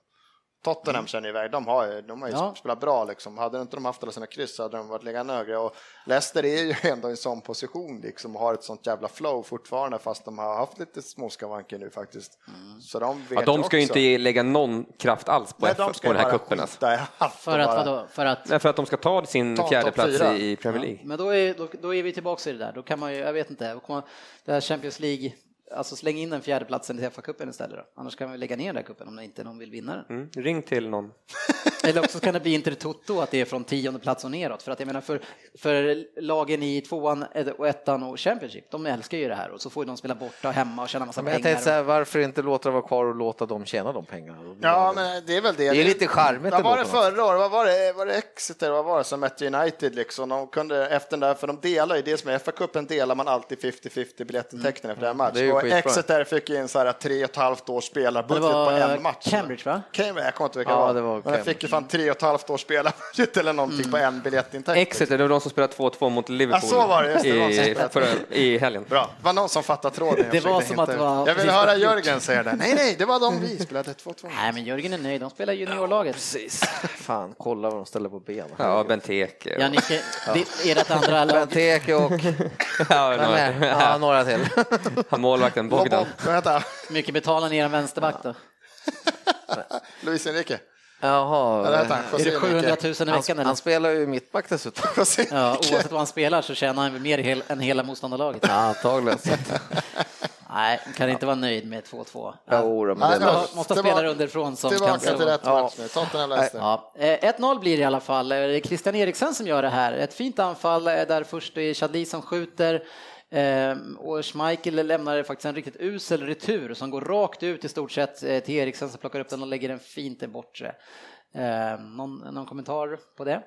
Speaker 2: Tottenham känner ju iväg, de har ju, de har ju
Speaker 1: Mm. Ja.
Speaker 2: spelat bra liksom. Hade inte de haft alla sina kryss så hade de varit liggande högre. Och Leicester är ju ändå i en sån position liksom och har ett sånt jävla flow fortfarande fast de har haft lite småskavanker nu faktiskt.
Speaker 1: Mm.
Speaker 2: Så de vet
Speaker 4: Ja, de ska ju
Speaker 2: också.
Speaker 4: inte lägga någon kraft alls på,
Speaker 2: Nej,
Speaker 4: F-
Speaker 2: de ska
Speaker 4: på
Speaker 2: ju
Speaker 4: den här
Speaker 2: bara
Speaker 4: cupen. Alltså.
Speaker 2: skita i allt
Speaker 1: För
Speaker 2: och
Speaker 1: att
Speaker 2: bara-
Speaker 1: vadå? För att...
Speaker 4: Nej, för att de ska ta sin
Speaker 2: Ta
Speaker 4: fjärde
Speaker 2: topp
Speaker 4: plats
Speaker 2: fyra.
Speaker 4: i i Premier League.
Speaker 1: Men då är, då, då är vi tillbaka i det där. Då kan man ju, jag vet inte, då kommer- det här Champions League, alltså släng in den fjärde platsen i FA-cupen istället då. Annars kan vi lägga ner den där cupen om det inte någon vill vinna den.
Speaker 4: Mm, ring till någon.
Speaker 1: Eller också kan det bli Inter Toto att det är från tionde plats och neråt. För att jag menar för, för lagen i tvåan eh, och ettan och Championship, de älskar ju det här och så får ju de spela borta och hemma och tjäna massa
Speaker 3: Men jag
Speaker 1: pengar.
Speaker 3: tänkte så här, varför inte låta det vara kvar och låta dem tjäna de pengarna? Då blir
Speaker 2: Ja,
Speaker 3: det-
Speaker 2: men det är väl det.
Speaker 3: Det är lite charmigt
Speaker 2: Vad var
Speaker 3: ändå
Speaker 2: det
Speaker 3: på något
Speaker 2: förra året? Vad var det? Var det Exeter? Vad var det som mötte United liksom? De kunde efter den där, för de delar ju det som är FA-cupen delar man alltid 50-50 biljettintäkterna efter en match.
Speaker 3: Mm. Det är ju
Speaker 2: och
Speaker 3: skitbra.
Speaker 2: Exeter fick in så här tre och ett halvt års
Speaker 1: Men det
Speaker 2: spelarbudget på typ en
Speaker 1: var
Speaker 2: match.
Speaker 1: Cambridge va?
Speaker 2: Cambridge, jag kommer inte ihåg vilka
Speaker 3: Ja,
Speaker 2: det
Speaker 3: det
Speaker 2: var.
Speaker 3: var
Speaker 2: Men de fick ju fan tre och ett halvt års spelarbudget eller någonting på en biljettintäkt.
Speaker 4: Exeter, det var de som spelade 2-2 mot Liverpool
Speaker 2: Ja, så var det, just det, de som
Speaker 4: i,
Speaker 2: spelade.
Speaker 4: förra- i helgen.
Speaker 2: Bra, det var någon som fattade tråden. jag
Speaker 1: Det var
Speaker 2: försökte
Speaker 1: som att det
Speaker 2: hitta ut.
Speaker 1: var
Speaker 2: Jag vill
Speaker 1: precis
Speaker 2: höra
Speaker 1: bara-
Speaker 2: Jörgen säga det. Nej, nej, det var de vi spelade 2-2.
Speaker 1: Nej men Jörgen är nöjd, de spelar juniorlaget.
Speaker 3: Precis. Fan, kolla vad de ställer på benen.
Speaker 4: Ja, Benteke.
Speaker 1: Ja,
Speaker 4: och-
Speaker 1: Nicke, det, ert andra lag
Speaker 3: Benteke och
Speaker 4: Ja,
Speaker 3: Ja,
Speaker 4: några-
Speaker 3: några till.
Speaker 4: Han mål målvakten Bogdan.
Speaker 2: Vad heter han?
Speaker 1: Mycket betalar ni er en vänsterback då?
Speaker 2: Luis Enrique?
Speaker 3: Jaha.
Speaker 2: Eller heter han?
Speaker 1: Är
Speaker 2: José
Speaker 1: det 700 000 i
Speaker 2: Enrique?
Speaker 1: veckan
Speaker 3: Han,
Speaker 1: eller?
Speaker 3: han spelar ju mittback dessutom.
Speaker 2: José
Speaker 1: Ja,
Speaker 2: Enrique.
Speaker 1: oavsett vad han spelar så tjänar han väl mer hel, än hela motståndarlaget.
Speaker 3: Ja, antagligen.
Speaker 1: Nej, kan inte vara nöjd med 2-2.
Speaker 3: Jo, då, men
Speaker 2: Nej,
Speaker 1: Måste
Speaker 3: det var...
Speaker 1: ha- måste ha
Speaker 2: Tillbaka-
Speaker 1: spelare underifrån som kan
Speaker 2: Tillbaka till
Speaker 1: slå.
Speaker 2: rätt
Speaker 3: Ja.
Speaker 2: match nu. Tottenham Leicester.
Speaker 1: Ja, eh, 1-0 blir det i alla fall. Det är Christian Eriksen som gör det här. Ett fint anfall eh, där först är Chadli som skjuter eh, och Schmeichel lämnar faktiskt en riktigt usel retur som går rakt ut i stort sett eh, till Eriksen som plockar upp den och lägger den fint i bortre. Eh, Någon, någon kommentar på det?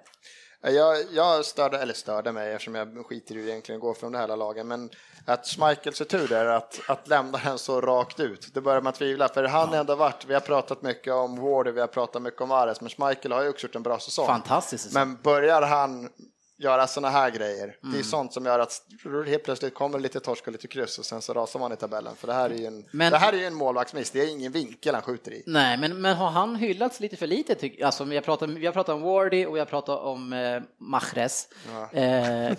Speaker 2: Jag, jag störde, eller störde mig eftersom jag skiter i hur det egentligen går från det här lagen, men att Schmeichels tur är att, att lämna den så rakt ut. Det börjar man tvivla, för han har ändå varit, vi har pratat mycket om Wardy, vi har pratat mycket om Ares, men Schmeichel har ju också gjort en bra säsong.
Speaker 1: Fantastiskt. säsong.
Speaker 2: Men börjar han göra sådana här grejer,
Speaker 1: Mm.
Speaker 2: det är sånt som gör att helt plötsligt kommer lite torsk och lite kryss och sen så rasar man i tabellen. För det här är ju en,
Speaker 1: Men- Mm.
Speaker 2: det här är ju en målvaktsmiss, det är ingen vinkel han skjuter i.
Speaker 1: Nej, men, men har han hyllats lite för lite? Tyck, alltså, vi, har pratat, vi har pratat om Wardy och vi har pratat om eh, Mahrez. Eh,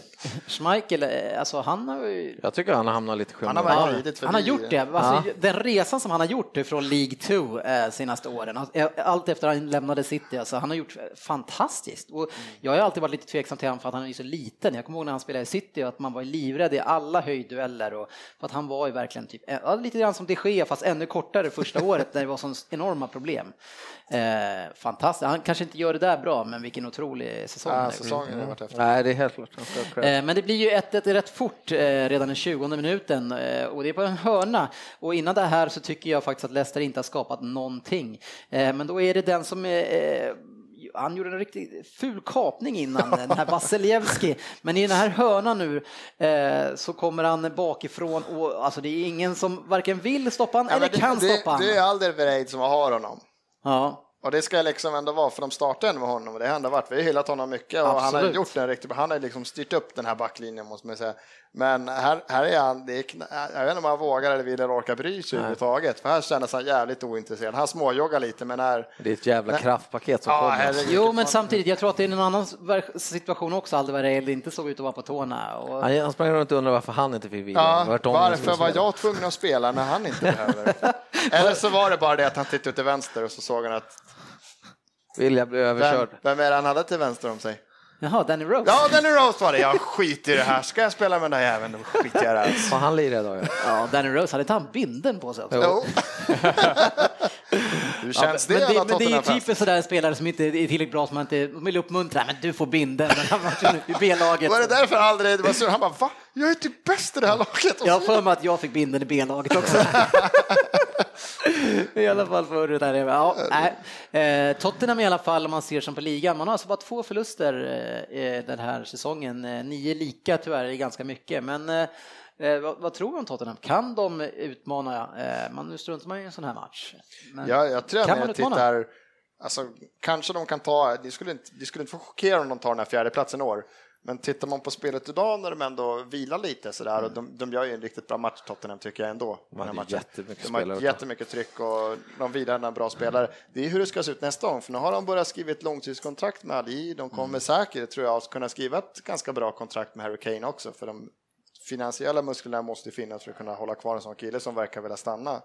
Speaker 1: Schmeichel, eh, alltså han har ju...
Speaker 3: Jag tycker han hamnar lite i
Speaker 2: Han har
Speaker 3: skymundan.
Speaker 2: verkligen glidit
Speaker 1: Han har
Speaker 2: förbi-
Speaker 1: gjort det. Alltså, Den resan som han har gjort från League 2 eh, senaste åren, alltså, allt efter han lämnade City, alltså, han har gjort fantastiskt. Och jag har alltid varit lite tveksam till honom för att han är ju så liten. Jag kommer ihåg när han spelade i City att man var livrädd i alla höjddueller. Och, för att han var ju verkligen typ, ja, lite grann som de Gea fast ännu kortare första året när det var sån enorma problem. Eh, fantastiskt. Han kanske inte gör det där bra, men vilken otrolig säsong. han har
Speaker 2: Ja,
Speaker 1: gjort.
Speaker 2: säsongen har varit efter.
Speaker 3: Nej, det är helt klart. Han ska ha cred.
Speaker 1: Eh, Men det blir ju 1-1 rätt fort eh, redan i 20 minuten eh, och det är på en hörna. Och innan det här så tycker jag faktiskt att Leicester inte har skapat någonting. Eh, Men då är det den som eh, han gjorde en riktigt ful kapning innan, den här Vasilevski. Men i den här hörnan nu eh, så kommer han bakifrån och alltså det är ingen som varken vill stoppa han
Speaker 2: Ja,
Speaker 1: eller
Speaker 2: men det-
Speaker 1: kan
Speaker 2: det,
Speaker 1: stoppa han.
Speaker 2: Det är Alderweireld som har honom.
Speaker 1: Ja.
Speaker 2: Och det ska liksom ändå vara, för de startar ändå med honom och det har ändå varit. Vi har hyllat honom mycket och han har
Speaker 1: Absolut.
Speaker 2: gjort den riktigt bra. Han har liksom styrt upp den här backlinjen måste man säga. Men här, här är han, det är, kn- jag vet inte om han vågar eller vill eller orkar bry sig överhuvudtaget. För här kändes han jävligt ointresserad. Han småjoggar lite men här,
Speaker 3: Det är ett jävla kraftpaket som
Speaker 2: Ja,
Speaker 3: kommer.
Speaker 2: herregud.
Speaker 1: Jo, men samtidigt, jag tror att det är en annan situation också, Alderweireld inte såg ut att vara på tårna. Och...
Speaker 3: Han, han sprang runt och undrade varför han inte fick vila.
Speaker 2: ja,
Speaker 3: Vartom-
Speaker 2: varför var jag tvungen att spela när han inte behöver? eller så var det bara det att han tittade ut till vänster och så såg han att
Speaker 3: Vilja blev
Speaker 2: vem,
Speaker 3: överkörd.
Speaker 2: vem är det han hade till vänster om sig?
Speaker 1: Jaha, Danny Rose.
Speaker 2: Ja, Danny Rose var det. Jag skiter i det här. Ska jag spela med den där jäveln, då skiter jag i det här.
Speaker 3: Har han lirat idag? ja?
Speaker 1: Ja, Danny Rose, hade inte han binden på sig också?
Speaker 2: Jo. Hur känns
Speaker 1: men,
Speaker 2: det,
Speaker 1: det,
Speaker 2: alla
Speaker 1: men det är ju
Speaker 2: Tottenham-fans?
Speaker 1: typiskt sådär spelare som inte är tillräckligt bra, som man inte de vill uppmuntra. Men du får binden, men han var i B-laget.
Speaker 2: Var det därför aldrig det var sur? Han bara, va? Jag är typ bäst i det här laget. Och
Speaker 1: Jag har
Speaker 2: så-
Speaker 1: för mig att jag fick binden i B-laget också. I alla fall förr. Där det var. ja, nej. Eh, Tottenham i alla fall, om man ser som på ligan, man har alltså bara två förluster eh, eh, den här säsongen. Eh, Nio lika tyvärr är ganska mycket, men eh, eh, vad, vad tror du om Tottenham? Kan de utmana? Eh, man, nu struntar man ju i en sån här match. Men,
Speaker 2: Ja, jag tror jag
Speaker 1: Kan
Speaker 2: mer
Speaker 1: man utmana?
Speaker 2: tittar, alltså kanske de kan ta, det skulle inte, det skulle inte få chockera om de tar den här fjärde platsen i år. Men tittar man på spelet idag när de ändå vilar lite sådär,
Speaker 1: Mm.
Speaker 2: och de, de gör ju en riktigt bra match Tottenham tycker jag ändå. den här
Speaker 3: hade
Speaker 2: matchen.
Speaker 3: jättemycket
Speaker 2: de har
Speaker 3: spelare.
Speaker 2: jättemycket tryck och de vilar en bra spelare. Det är hur det ska se ut nästa gång, för nu har de börjat skriva ett långtidskontrakt med Ali, de kommer
Speaker 3: Mm.
Speaker 2: säkert, tror jag, att kunna skriva ett ganska bra kontrakt med Harry Kane också, för de finansiella musklerna måste ju finnas för att kunna hålla kvar en sån kille som verkar vilja stanna.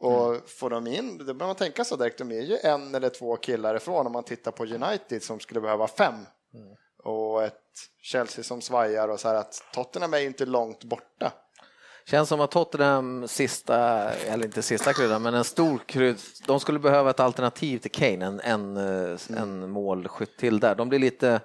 Speaker 2: Och
Speaker 3: Mm.
Speaker 2: får de in, då börjar man tänka så direkt, de är ju en eller två killar ifrån om man tittar på United som skulle behöva fem.
Speaker 3: Mm.
Speaker 2: Och ett Chelsea som svajar och så här att Tottenham är ju inte långt borta.
Speaker 3: Känns som att Tottenham sista, eller inte sista kryddan, men en stor krydd. De skulle behöva ett alternativ till Kane, en, en, eh, en målskytt till där. De blir lite,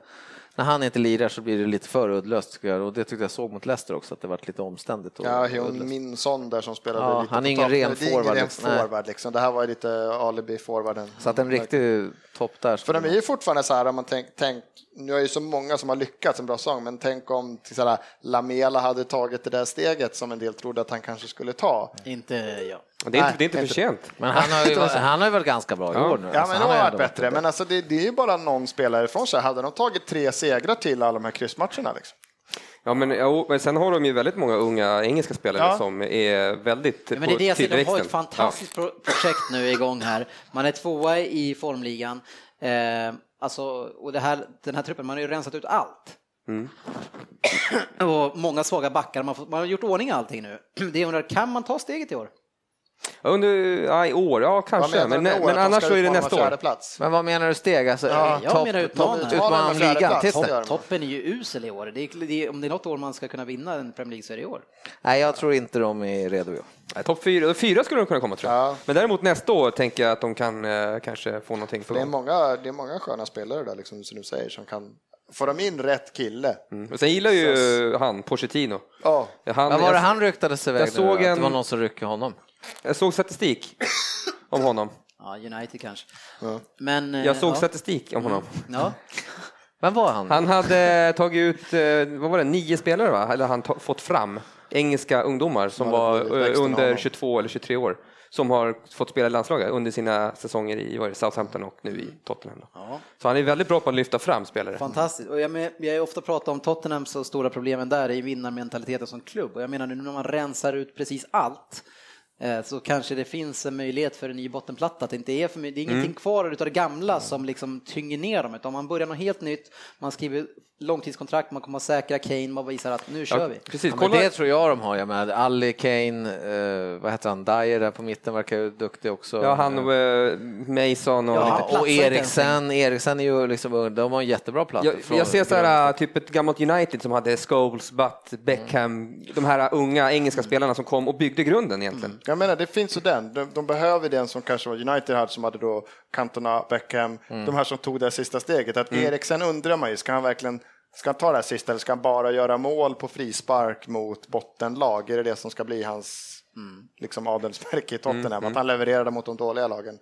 Speaker 3: när han inte lirar så blir det lite för uddlöst tycker jag. Och det tyckte jag såg mot Leicester också, att det varit lite omständigt. Och
Speaker 2: Ja, Hyun
Speaker 3: uddlöst.
Speaker 2: Min Son där som spelade
Speaker 3: Ja,
Speaker 2: lite
Speaker 3: han
Speaker 2: på
Speaker 3: är ingen
Speaker 2: topp.
Speaker 3: ren
Speaker 2: Det är ingen
Speaker 3: forward
Speaker 2: ren
Speaker 3: liksom. Nej.
Speaker 2: forward liksom. Det här var ju lite alibi-forwarden.
Speaker 3: Så att en riktig topp där.
Speaker 2: För de är ju fortfarande så här, om man tänk, tänk, nu är ju så många som har lyckats en bra säsong, men tänk om till så här, Lamela hade tagit det där steget som en del trodde att han kanske skulle ta.
Speaker 1: Inte jag.
Speaker 4: Det är
Speaker 2: Nej,
Speaker 4: inte, det är inte för sent.
Speaker 3: Men han har, ju, varit- han har ju varit ganska bra i år nu.
Speaker 2: Ja, men
Speaker 3: Alltså,
Speaker 2: det
Speaker 3: han
Speaker 2: har varit
Speaker 3: ändå
Speaker 2: bättre, men alltså, det, det är ju bara någon spelare ifrån sig. Hade de tagit tre segrar till alla de här kryssmatcherna? Liksom?
Speaker 4: Ja, men, ja, men sen har de ju väldigt många unga engelska spelare
Speaker 2: Ja.
Speaker 4: som är väldigt
Speaker 1: Ja, men det är det jag säger, de har
Speaker 4: tillväxten.
Speaker 1: ett fantastiskt pro- projekt nu igång här. Man är tvåa i formligan. Eh, alltså, och det här, den här truppen, man har ju rensat ut allt.
Speaker 4: Mm.
Speaker 1: Och många svaga backar, man, får, man har gjort ordning allting nu. Det jag undrar, kan man ta steget i år?
Speaker 4: Jag undrar, ja, i år, ja
Speaker 2: Vad
Speaker 4: kanske,
Speaker 2: menar
Speaker 4: men,
Speaker 2: du med
Speaker 4: men,
Speaker 2: år? Att de
Speaker 4: annars
Speaker 2: ska
Speaker 4: så är det
Speaker 2: utmana
Speaker 4: nästa
Speaker 2: fjärde
Speaker 4: år.
Speaker 2: Plats.
Speaker 3: Men vad menar du steg? Alltså,
Speaker 2: Ja,
Speaker 3: topp-
Speaker 1: jag menar utmana.
Speaker 3: topp-
Speaker 2: Utmana
Speaker 3: Utmana
Speaker 2: med fjärde
Speaker 3: ligan,
Speaker 2: plats.
Speaker 3: tills
Speaker 2: Topp.
Speaker 3: det.
Speaker 2: gör man.
Speaker 1: Toppen är ju usel i år. Det är, det är, om det är något år man ska kunna vinna en Premier League så är det i år.
Speaker 3: Nej, jag tror inte de är redo. Jag.
Speaker 4: Nej, Topp fyra, eh, fyra skulle de kunna komma tror jag.
Speaker 2: Ja.
Speaker 4: Men däremot nästa år tänker jag att de kan eh, kanske få någonting för
Speaker 2: Det är,
Speaker 4: gång.
Speaker 2: många, det är många sköna spelare där, liksom, som du säger, som kan... Får de in rätt kille?
Speaker 4: Mm. Och sen gillar ju eh, han Pochettino.
Speaker 2: Ja.
Speaker 4: Han,
Speaker 3: Vad var det
Speaker 4: jag,
Speaker 3: han ryktades iväg
Speaker 4: jag
Speaker 3: nu?
Speaker 4: såg
Speaker 3: Att
Speaker 4: en-
Speaker 3: Det var någon som ryckte honom.
Speaker 4: jag såg statistik om honom.
Speaker 1: Ja, United kanske.
Speaker 2: Ja.
Speaker 1: Men, eh,
Speaker 4: Jag såg
Speaker 1: ja.
Speaker 4: statistik om honom.
Speaker 1: Ja.
Speaker 3: Vem var han?
Speaker 4: Han hade tagit ut, eh, vad var det, nio spelare va? Eller han ta- fått fram engelska ungdomar som
Speaker 2: Ja, det
Speaker 4: var
Speaker 2: var
Speaker 4: eh,
Speaker 2: växten av
Speaker 4: under
Speaker 2: honom.
Speaker 4: 22 eller 23 år. Som har fått spela i landslaget under sina säsonger i vad är det, Southampton och nu i Tottenham. Då.
Speaker 1: Ja.
Speaker 4: Så han är väldigt bra på att lyfta fram spelare.
Speaker 1: Fantastiskt. Och jag, men, vi har ju ofta pratat om Tottenhams och stora problemen där är ju vinnarmentaliteten som klubb. Och jag menar nu när man rensar ut precis allt eh, så kanske det finns en möjlighet för en ny bottenplatta. Att det, inte är för, mycket- det är ingenting
Speaker 2: Mm.
Speaker 1: kvar utav det gamla som liksom tynger ner dem. Utan man börjar något helt nytt, man skriver långtidskontrakt, man kommer att säkra Kane, man visar att nu kör vi.
Speaker 4: Precis,
Speaker 3: Ja, men
Speaker 4: kolla.
Speaker 3: det tror jag de har. Jag menar, Ali Kane, eh, vad heter han, Dyer där på mitten verkar ju duktig också.
Speaker 4: Ja, han och eh, Mason och...
Speaker 1: Ja, han
Speaker 3: Ja,
Speaker 1: platsar
Speaker 3: och
Speaker 1: inte ens.
Speaker 3: Eriksen, Eriksen är ju liksom, ung. de har en jättebra plats.
Speaker 4: Jag, jag ser så här, äh, typ ett gammalt United som hade Scholes, Butt, Beckham,
Speaker 1: Mm.
Speaker 4: de här äh, unga engelska spelarna som kom och byggde grunden egentligen.
Speaker 2: Jag menar, det finns ju den. De, de behöver den som kanske var United hade, som hade då Cantona, Beckham, de här som tog det här sista steget. Att Eriksen undrar man ju, ska han verkligen ska han ta det här sista eller ska han bara göra mål på frispark mot bottenlag? Är det det som ska bli hans liksom, adelsmärke i Tottenham? Att han levererar mot de dåliga lagen?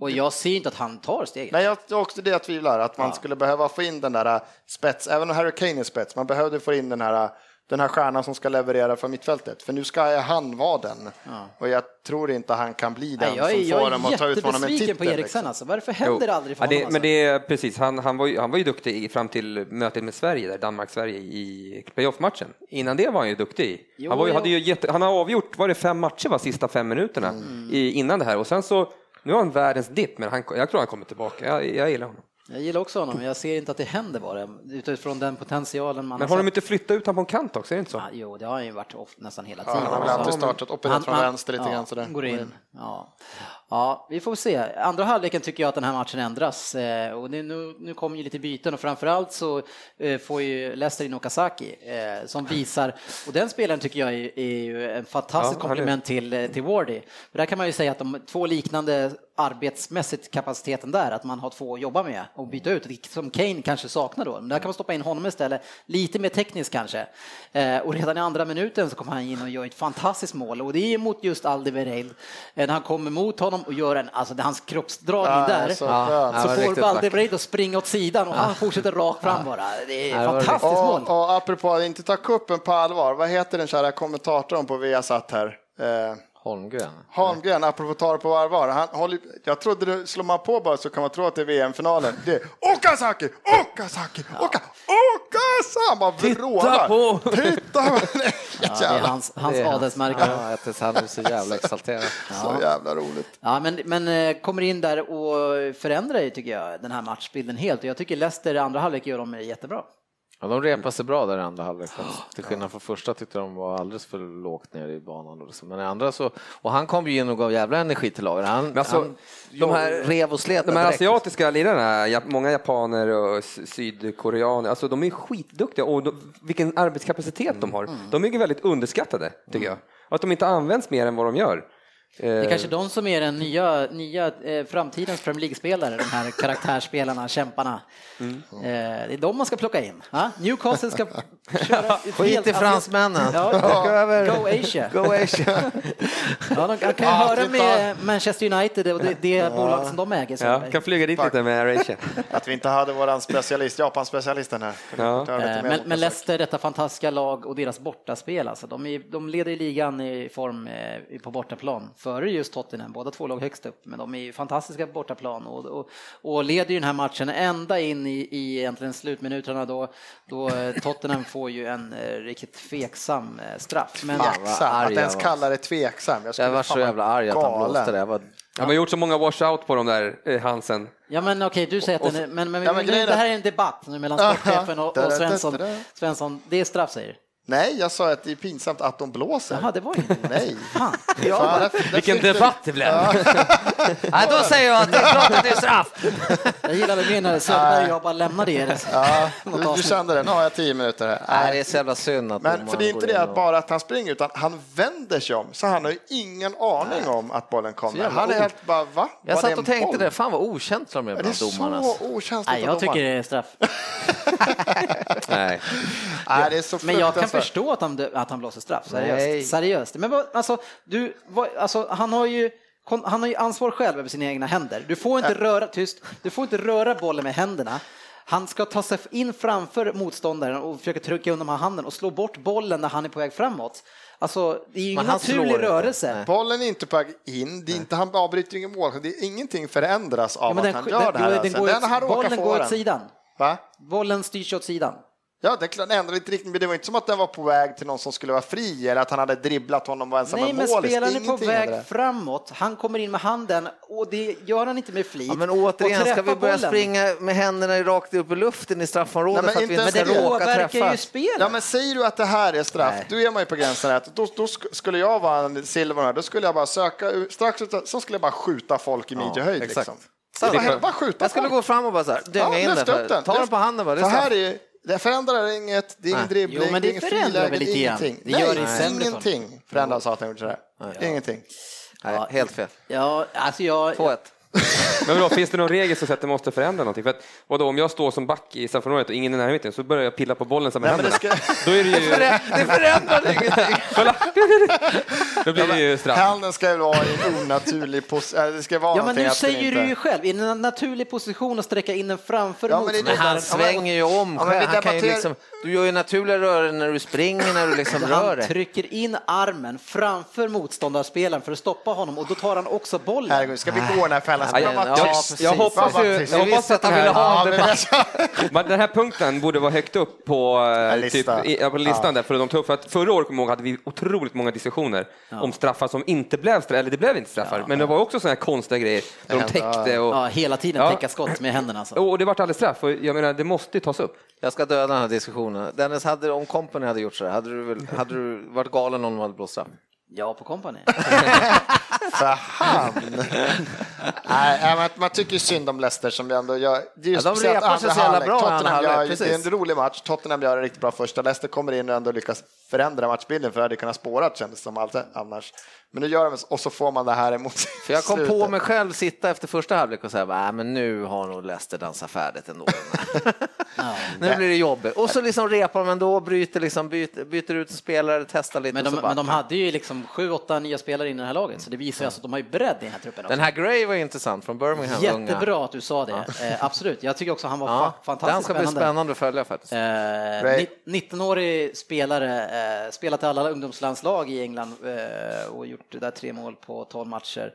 Speaker 1: Och jag ser inte att han tar steget.
Speaker 2: Nej, jag, det är också det jag tvivlar, att man skulle behöva få in den där äh, spets, även om Harry Kane är spets, man behövde få in den här, äh, den här stjärnan som ska leverera från mittfältet. För nu ska ju han vara den. Och jag tror inte han kan bli den
Speaker 1: Nej, jag är,
Speaker 2: som får
Speaker 1: jag
Speaker 2: dem
Speaker 1: är
Speaker 2: att ta ut honom en
Speaker 1: jättebesviken
Speaker 2: titel.
Speaker 1: på Eriksen
Speaker 2: liksom.
Speaker 1: alltså. Varför händer det aldrig för
Speaker 4: ja, det,
Speaker 1: honom? Alltså?
Speaker 4: Men det är precis, han, han, var ju, han var ju duktig i- fram till mötet med Sverige, där Danmark-Sverige i playoff-matchen. Innan det var han ju duktig.
Speaker 1: Jo,
Speaker 4: han, var ju,
Speaker 1: jo.
Speaker 4: hade ju jätte, han har avgjort, var det fem matcher va, sista fem minuterna
Speaker 1: Mm.
Speaker 4: i, innan det här och sen så, nu har han världens dipp, men han, jag tror han kommer tillbaka. Jag, jag gillar honom.
Speaker 1: Jag gillar också honom, men jag ser inte att det händer bara utifrån den potentialen man
Speaker 4: Men
Speaker 1: har
Speaker 4: har
Speaker 1: sett.
Speaker 4: de inte flyttat ut honom på en kant också, är det inte så?
Speaker 1: Ja, jo, det har han ju varit ofta, nästan hela
Speaker 2: Ja,
Speaker 1: tiden.
Speaker 2: han har väl alltid
Speaker 1: Så-
Speaker 2: startat opererat från vänster lite
Speaker 1: ja,
Speaker 2: grann sådär.
Speaker 1: Går in. Ja. ja, vi får se. Andra halvleken tycker jag att den här matchen ändras eh, och det, nu, nu kommer ju lite byten och framförallt så eh, får ju Leicester in Okazaki eh, som visar, och den spelaren tycker jag är, är ju en fantastisk
Speaker 4: Ja, han är-
Speaker 1: komplement till, eh, till Wardy. För där kan man ju säga att de två liknande arbetsmässigt kapaciteten där, att man har två att jobba med och byta ut, vilket som Kane kanske saknar då. Men där kan man stoppa in honom istället, lite mer tekniskt kanske. Eh, och redan i andra minuten så kommer han in och gör ett fantastiskt mål och det är mot just Aldi Vereil. Eh, när han kommer mot honom och gör en, alltså det är hans kroppsdragning
Speaker 2: Ja,
Speaker 1: där,
Speaker 2: så
Speaker 1: så,
Speaker 2: skönt. Ja,
Speaker 3: det var
Speaker 1: får
Speaker 3: riktigt
Speaker 1: Aldi
Speaker 3: vackert.
Speaker 1: Vereil att springa åt sidan och han fortsätter rakt fram bara. Det är
Speaker 3: det
Speaker 1: ett
Speaker 3: var
Speaker 1: fantastiskt mål.
Speaker 2: liksom. Och, och apropå att inte ta kuppen på allvar, vad heter den kära kommentatorn på Viasat här? Eh,
Speaker 3: Holmgren.
Speaker 2: Holmgren, apropå ta det på allvar, han håller, jag trodde det, slår man på bara så kan man tro att det är VM-finalen. Det är Okazaki, Okazaki, Oka, Okazaki! Han bara vrålar.
Speaker 4: på!
Speaker 2: Titta på!
Speaker 1: Ja, det är hans, hans
Speaker 3: Det är hans-
Speaker 1: adelsmärke.
Speaker 3: Ja, jag tycker han är så jävla exalterad.
Speaker 2: Så jävla roligt.
Speaker 1: Ja, men, men eh, kommer in där och förändrar ju, tycker jag, den här matchbilden helt. Och jag tycker Leicester i andra halvlek gör dem eh, jättebra.
Speaker 3: Ja, de repade sig bra där i andra halvlek. faktiskt. Till skillnad från första tyckte de var alldeles för lågt ner i banan. och liksom. Men i andra så, och han kom ju in och gav jävla energi till laget. Han,
Speaker 4: alltså,
Speaker 3: han
Speaker 4: de här-
Speaker 3: rev och slet
Speaker 4: De här
Speaker 3: direkt.
Speaker 4: asiatiska lirarna, jap- många japaner och s- sydkoreaner, alltså de är skitduktiga och de, vilken arbetskapacitet de har. De är ju väldigt underskattade, tycker jag. Och att de inte används mer än vad de gör. Eh,
Speaker 1: Det är kanske de som är den nya, nya eh, framtidens Premier League-spelare, de här karaktärsspelarna, kämparna. Eh, det är de man ska plocka in. Va? Newcastle ska köra ett
Speaker 3: Skit i
Speaker 1: helt-
Speaker 3: fransmännen.
Speaker 1: Ja,
Speaker 3: Gå över.
Speaker 1: Go Asia.
Speaker 3: Go Asia.
Speaker 1: Ja, de kan ju
Speaker 2: Ja,
Speaker 1: höra
Speaker 2: titta.
Speaker 1: med Manchester United och det, det bolag som de äger. Så.
Speaker 4: Ja, kan flyga dit lite med Air Asia.
Speaker 2: Att vi inte hade våran specialist, Japan-specialisten här. Kunde
Speaker 4: Ja.
Speaker 2: fått höra lite
Speaker 1: Eh,
Speaker 2: mer
Speaker 1: Men,
Speaker 2: om
Speaker 1: men
Speaker 2: Okazaki.
Speaker 1: Leicester, detta fantastiska lag och deras bortaspel, alltså, de, är, de leder ju ligan i form eh, på bortaplan före just Tottenham, båda två låg högst upp, men de är ju fantastiska på bortaplan och, och, och leder ju den här matchen ända in i, i egentligen slutminuterna då, då eh, Tottenham får ju en eh, riktigt feksam eh, straff. Men,
Speaker 3: Fan, vad
Speaker 2: Tveksam,
Speaker 3: arg
Speaker 2: att
Speaker 3: jag
Speaker 2: ens
Speaker 3: var.
Speaker 2: kalla det tveksam. Jag, skulle
Speaker 3: Jag var
Speaker 2: fan
Speaker 3: så
Speaker 2: vara
Speaker 3: jävla arg att han
Speaker 2: galen.
Speaker 3: blåste det. Jag var
Speaker 4: De har gjort så många washout på de där eh, Hansen.
Speaker 1: Ja men okej, du säger att den är, men, men,
Speaker 2: Ja, men
Speaker 1: men
Speaker 2: grejen är-
Speaker 1: det här är en debatt nu mellan
Speaker 2: Aha.
Speaker 1: sportchefen och, och Svensson. Svensson, det är straff säger du?
Speaker 2: Nej, jag sa att det är pinsamt att de blåser.
Speaker 1: Jaha, det var ju inte
Speaker 2: Nej.
Speaker 1: Fan.
Speaker 2: Fan, där- där
Speaker 4: Vilken
Speaker 2: fick du-
Speaker 4: debatt det blev!
Speaker 3: Nej, då säger jag att det är klart att det är straff.
Speaker 1: Jag gillade mer när Söderberg och jag bara lämnade er.
Speaker 2: Ja,
Speaker 1: Något
Speaker 2: du, du
Speaker 1: avsnitt.
Speaker 2: kände det, nu har jag tio minuter här.
Speaker 3: Nej, det är så jävla synd att
Speaker 2: Men
Speaker 3: domaren
Speaker 2: för det är inte
Speaker 3: går
Speaker 2: det
Speaker 3: in
Speaker 2: att bara att han springer, utan han vänder sig om, så han har ju ingen aning om att bollen kommer.
Speaker 3: jävla
Speaker 2: Han är
Speaker 3: ord.
Speaker 2: helt bara, va? Var
Speaker 3: Jag
Speaker 2: det
Speaker 3: satt
Speaker 2: en
Speaker 3: och tänkte
Speaker 2: boll?
Speaker 3: det, fan vad okänslan de är
Speaker 2: Ja, Det är
Speaker 3: bland domarna.
Speaker 2: så
Speaker 3: alltså.
Speaker 2: okänsligt
Speaker 1: Nej, jag
Speaker 2: av
Speaker 1: tycker
Speaker 2: domaren.
Speaker 1: det är straff.
Speaker 4: Nej.
Speaker 2: Nej, det är så
Speaker 1: Men jag kan
Speaker 2: fruktansvärt.
Speaker 1: förstå att han, dö- att han blåser straff,
Speaker 3: Nej.
Speaker 1: seriöst. seriöst. Men vad- alltså, du, vad- alltså, han har ju kon- han har ju ansvar själv över sina egna händer. Du får inte röra, tyst, du får inte röra bollen med händerna. Han ska ta sig in framför motståndaren och försöka trycka undan med handen och slå bort bollen när han är på väg framåt. Alltså, det är ju ingen
Speaker 3: han slår
Speaker 1: naturlig
Speaker 3: inte.
Speaker 1: rörelse.
Speaker 2: Bollen är inte på väg in, det är inte, han avbryter ingen mål, det är ingenting förändras
Speaker 1: Ja,
Speaker 2: av
Speaker 1: men
Speaker 2: att han gör det här.
Speaker 1: den
Speaker 2: alltså.
Speaker 1: går
Speaker 2: Den,
Speaker 1: åt-
Speaker 2: han råkar
Speaker 1: bollen
Speaker 2: få
Speaker 1: går åt
Speaker 2: den.
Speaker 1: sidan.
Speaker 2: Va?
Speaker 1: Bollen styrs åt sidan.
Speaker 2: Ja, det är klart, den ändrade inte riktning, men det var inte som att den var på väg till någon som skulle vara fri eller att han hade dribblat honom och var ensam
Speaker 1: Nej,
Speaker 2: med
Speaker 1: men
Speaker 2: målis.
Speaker 1: spelaren är på
Speaker 2: Ingenting hände där.
Speaker 1: väg framåt. Han kommer in med handen och det gör han inte med flit.
Speaker 3: Ja, men
Speaker 1: Och
Speaker 3: återigen, ska
Speaker 1: träffa
Speaker 3: vi börja
Speaker 1: bollen.
Speaker 3: springa med händerna rakt upp i luften i
Speaker 2: Nej,
Speaker 3: straffområdet
Speaker 2: men
Speaker 3: för att vi
Speaker 2: inte
Speaker 3: inte ska
Speaker 2: ens det.
Speaker 3: råka
Speaker 1: påverkar ju
Speaker 3: träffas?
Speaker 1: spelet.
Speaker 2: Ja, men säger du att det här är straff,
Speaker 3: Nej.
Speaker 2: då är man ju på gränsen rätt. Då, då sk- skulle jag vara en silver här, då skulle jag bara söka, ur- strax ut- så skulle jag bara skjuta folk i midjehöjd.
Speaker 3: exakt.
Speaker 2: liksom. Så bara, bara skjuta
Speaker 3: Jag skulle
Speaker 2: folk.
Speaker 3: gå fram och bara så här, dynga in
Speaker 2: lyft upp
Speaker 3: den. Ta den
Speaker 2: Lyft-
Speaker 3: på handen bara. Det
Speaker 2: Så
Speaker 3: är
Speaker 2: här
Speaker 3: straff.
Speaker 2: är, det förändrar inget, det är ingen
Speaker 3: Nej.
Speaker 2: dribbling,
Speaker 1: Jo, men
Speaker 2: det
Speaker 1: det
Speaker 2: är inget
Speaker 1: förändrar
Speaker 2: friläge,
Speaker 1: väl
Speaker 2: det är
Speaker 1: lite grann.
Speaker 2: ingenting.
Speaker 1: Det gör det
Speaker 2: Nej,
Speaker 1: sämre
Speaker 2: ingenting förändras av att han gjort sådär. Ingenting.
Speaker 3: Nej, helt fel.
Speaker 1: Ja, alltså jag...
Speaker 3: 2-1.
Speaker 4: Men vadå, finns det någon regel som säger att det måste förändra någonting? För att, vadå, om jag står som back i straffområdet och ingen är i närheten så börjar jag pilla på bollen så här med
Speaker 2: Nej, men
Speaker 4: händerna.
Speaker 2: det ska-
Speaker 4: Då är det ju...
Speaker 3: Det förändrar ingenting.
Speaker 4: Kolla! Då blir det ju straff.
Speaker 2: Handen ska ju vara i en onaturlig position, det ska
Speaker 1: Ja,
Speaker 2: vara
Speaker 1: men
Speaker 2: någonting
Speaker 1: nu
Speaker 2: att den
Speaker 1: säger
Speaker 2: inte-
Speaker 1: du ju själv, i en naturlig position att sträcka in den framför
Speaker 2: Ja, men det är
Speaker 1: motståndaren.
Speaker 3: Men han
Speaker 2: Ja, men-
Speaker 3: svänger ju om.
Speaker 2: Ja, men vi
Speaker 3: han kan ju
Speaker 2: debatterar-
Speaker 3: liksom, du gör ju naturliga rörelser när du springer, när du liksom rör
Speaker 1: Han
Speaker 3: dig.
Speaker 1: trycker in armen framför motståndarspelaren för att stoppa honom och då tar han också bollen.
Speaker 2: Herregud, ska vi gå den här fällan? Ska
Speaker 3: Nej,
Speaker 2: jag vara
Speaker 3: ja,
Speaker 2: tyst?
Speaker 3: precis.
Speaker 4: Jag
Speaker 2: Fan,
Speaker 4: hoppas
Speaker 2: vad
Speaker 4: ju...
Speaker 2: tyst.
Speaker 4: Jag
Speaker 3: Vi
Speaker 4: hoppas
Speaker 3: visste
Speaker 4: att
Speaker 3: att han
Speaker 4: den
Speaker 3: ville ha
Speaker 4: här,
Speaker 2: Ja, men
Speaker 4: men den här punkten borde vara högt upp på, eh,
Speaker 2: En
Speaker 4: typ,
Speaker 2: lista.
Speaker 4: i- ja, på listan där för de tog upp. För att förra året kommer jag ihåg, hade vi otroligt många diskussioner om straffar som inte blev straffar, eller det blev inte straffar. men det var också sådana här konstiga grejer där de täckte och...
Speaker 1: Ja, hela tiden
Speaker 4: Ja. Oh.
Speaker 1: täcka skott med händerna alltså.
Speaker 4: Och det vart aldrig straff. Och jag menar, det måste ju tas upp.
Speaker 3: Jag ska döda den här diskussionen. Dennis, hade, om Company hade gjort så här, hade du, väl, hade du varit galen om de hade blåst straff?
Speaker 1: Ja, på kompani.
Speaker 2: För han! Nej, äh, man, man tycker ju synd om Leicester som vi ändå gör. Det är ju
Speaker 3: Ja, de
Speaker 2: speciellt
Speaker 3: repar sig
Speaker 2: andra
Speaker 3: så jävla
Speaker 2: halvlek.
Speaker 3: bra i andra
Speaker 2: Tottenham gör,
Speaker 3: halvlek,
Speaker 2: ju- det är en
Speaker 3: precis.
Speaker 2: rolig match. Tottenham gör en riktigt bra första. Leicester kommer in och ändå lyckas förändra matchbilden för det hade kunnat spåra kändes som allt annars. Men nu gör de så- och så får man det här emot sig
Speaker 3: För jag kom
Speaker 2: i slutet.
Speaker 3: på mig själv sitta efter första halvlek och säga, nej men nu har nog Leicester dansat färdigt ändå. nu blir det jobbigt. Och så liksom repar de ändå, bryter, liksom, byter, byter ut spelare, testar lite.
Speaker 1: Men
Speaker 3: och
Speaker 1: de,
Speaker 3: så bara,
Speaker 1: men de hade ju liksom sju, åtta nya spelare in i det här laget, så det visar ju alltså att de har ju bredd i den här truppen. Också.
Speaker 3: Den här Gray var ju intressant från Birmingham. unga.
Speaker 1: Jättebra att du sa det, eh, absolut. Jag tycker också han var
Speaker 3: Ja,
Speaker 1: fa-
Speaker 3: den
Speaker 1: fantastiskt
Speaker 3: ska bli spännande att följa faktiskt.
Speaker 1: Eh,
Speaker 2: Right.
Speaker 1: ni- 19-årig spelare, eh, spelat i alla ungdomslandslag i England eh, och gjort där tre mål på 12 matcher.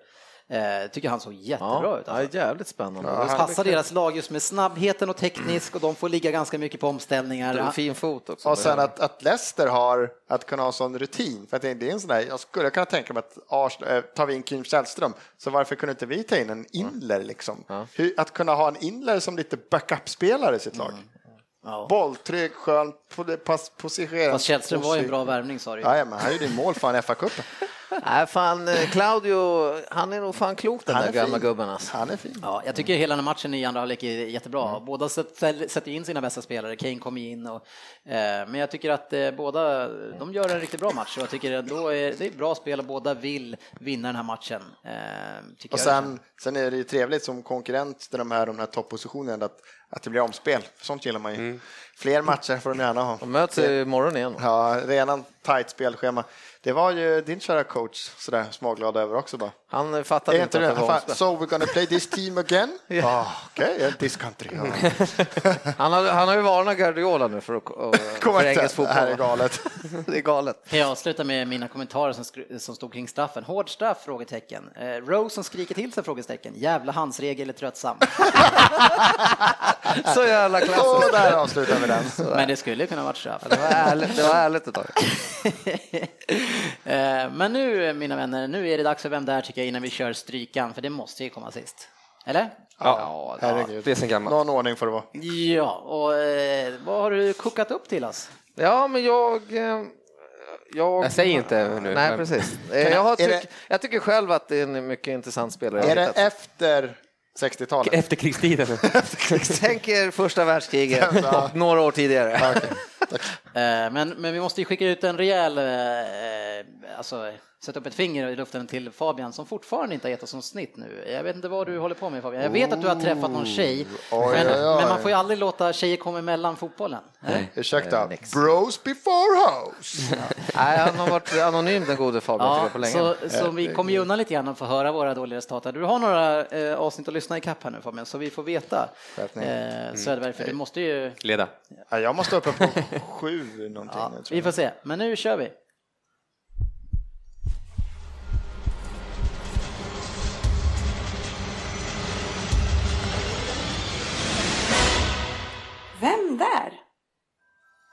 Speaker 1: Eh, tycker han såg jättebra
Speaker 3: Ja,
Speaker 1: ut.
Speaker 3: ja,
Speaker 1: Alltså.
Speaker 3: jävligt spännande. Det ska
Speaker 1: Passar deras lag just med snabbheten och teknisk och de får ligga ganska mycket på omställningar.
Speaker 3: bli en
Speaker 1: Ja,
Speaker 3: Fin fot också.
Speaker 2: Och sen att, att Leicester har, att kunna ha sån rutin. För att det det är en sån där, jag skulle kunna tänka mig att Arsenal, eh, tar vi in Kim Källström, så varför kunde inte vi ta in en Inler liksom? Hur, att kunna ha en Inler som lite backup-spelare i sitt lag.
Speaker 1: Ja.
Speaker 2: Bolltrygg, skön, po- pass, positionerad.
Speaker 1: Fast Källström var ju en bra värvning sa du ju.
Speaker 2: Ja, men han gjorde ju mål fan i FA-cupen.
Speaker 3: Nej, fan, eh, Claudio, han är nog fan klok den
Speaker 2: Han
Speaker 3: där
Speaker 2: är
Speaker 3: gamla
Speaker 2: fin.
Speaker 3: gubben. Alltså.
Speaker 2: Han är fin.
Speaker 1: Ja, jag tycker hela den här matchen i andra halvlek är jättebra.
Speaker 2: Mm.
Speaker 1: Båda sätt- säl- sätter in sina bästa spelare, Kane kom ju in och, eh, men jag tycker att eh, båda, de gör en riktigt bra match och jag tycker ändå är, det är bra spel och båda vill vinna den här matchen. Eh, tycker
Speaker 2: Och
Speaker 1: jag.
Speaker 2: sen, sen är det ju trevligt som konkurrent till de här, de här toppositionerna att, att det blir omspel. Sånt gillar man ju. Fler matcher får de gärna ha.
Speaker 3: De möts ju imorgon igen. va?
Speaker 2: Ja, redan tajt spelschema. Det var ju din kära coach sådär småglad över också bara.
Speaker 3: Han eh,
Speaker 2: Är
Speaker 3: fattade
Speaker 2: inte
Speaker 3: inte
Speaker 2: det,
Speaker 3: att det var
Speaker 2: fan,
Speaker 3: omspel.
Speaker 2: so we're gonna play this team again?
Speaker 3: Ja.
Speaker 2: Ah, Okej, okay, this country. Ja.
Speaker 3: han, har, han har ju varnat Guardiola nu för, att- och, eh,
Speaker 2: Kom
Speaker 3: för
Speaker 2: inte, det
Speaker 3: engelsk fotboll.
Speaker 2: här är galet.
Speaker 3: det är galet.
Speaker 1: Kan jag avsluta med mina kommentarer som, skru- som stod kring straffen? Hård straff? Frågetecken. Eh, Rose som skriker till sig? Frågetecken. Jävla handsregel är tröttsam.
Speaker 3: Så jävla klassiskt.
Speaker 2: Och där avslutar vi den.
Speaker 1: Men det skulle ju kunna varit straff.
Speaker 3: Det var ärligt, det var ärligt ett tag.
Speaker 1: Eh, Men nu mina vänner, nu är det dags för Vem där tycker stryka innan vi kör strykan, för det måste ju komma sist. Eller?
Speaker 3: Ja,
Speaker 2: Herregud.
Speaker 4: det är sen gammalt.
Speaker 2: Någon ordning får det vara.
Speaker 1: Ja, och eh, vad har du kokat upp till oss?
Speaker 3: Ja, men jag... eh, Jag,
Speaker 4: Jag säger inte nu,
Speaker 3: Nej,
Speaker 4: men-
Speaker 3: precis. Eh, Jag, har
Speaker 2: Är
Speaker 3: tyck,
Speaker 2: det-
Speaker 3: jag tycker själv att det är en mycket intressant spelare. jag har
Speaker 2: Är det
Speaker 3: hittat.
Speaker 2: efter 60-talet?
Speaker 4: Efterkrigstiden.
Speaker 3: Tänk er första världskriget
Speaker 2: Ja.
Speaker 3: och några år tidigare.
Speaker 2: Ja, okej.
Speaker 1: Eh, Men, men vi måste ju skicka ut en rejäl, eh, alltså sätta upp ett finger i luften till Fabian som fortfarande inte har gett oss något snitt nu. Jag vet inte vad du håller på med Fabian. Jag vet att du har träffat någon tjej,
Speaker 2: Oj,
Speaker 1: men,
Speaker 2: oj, oj.
Speaker 1: men man får ju aldrig låta tjejer komma emellan fotbollen.
Speaker 2: Ursäkta,
Speaker 3: Eh, next.
Speaker 2: bros before house.
Speaker 3: Nej, han har varit anonym den gode Fabian tycker
Speaker 1: Ja,
Speaker 3: jag, på länge.
Speaker 1: så, så vi kommer ju undan lite grann och får höra våra dåliga resultat. här. Du har några eh, avsnitt att lyssna ikapp här nu Fabian, så vi får veta eh,
Speaker 2: Skärpning.
Speaker 1: Söderberg, för du måste ju...
Speaker 4: Leda.
Speaker 2: Ja, Jag måste uppe på sju någonting.
Speaker 1: Ja,
Speaker 2: jag tror
Speaker 1: vi får se, men nu kör vi.
Speaker 5: Vem där?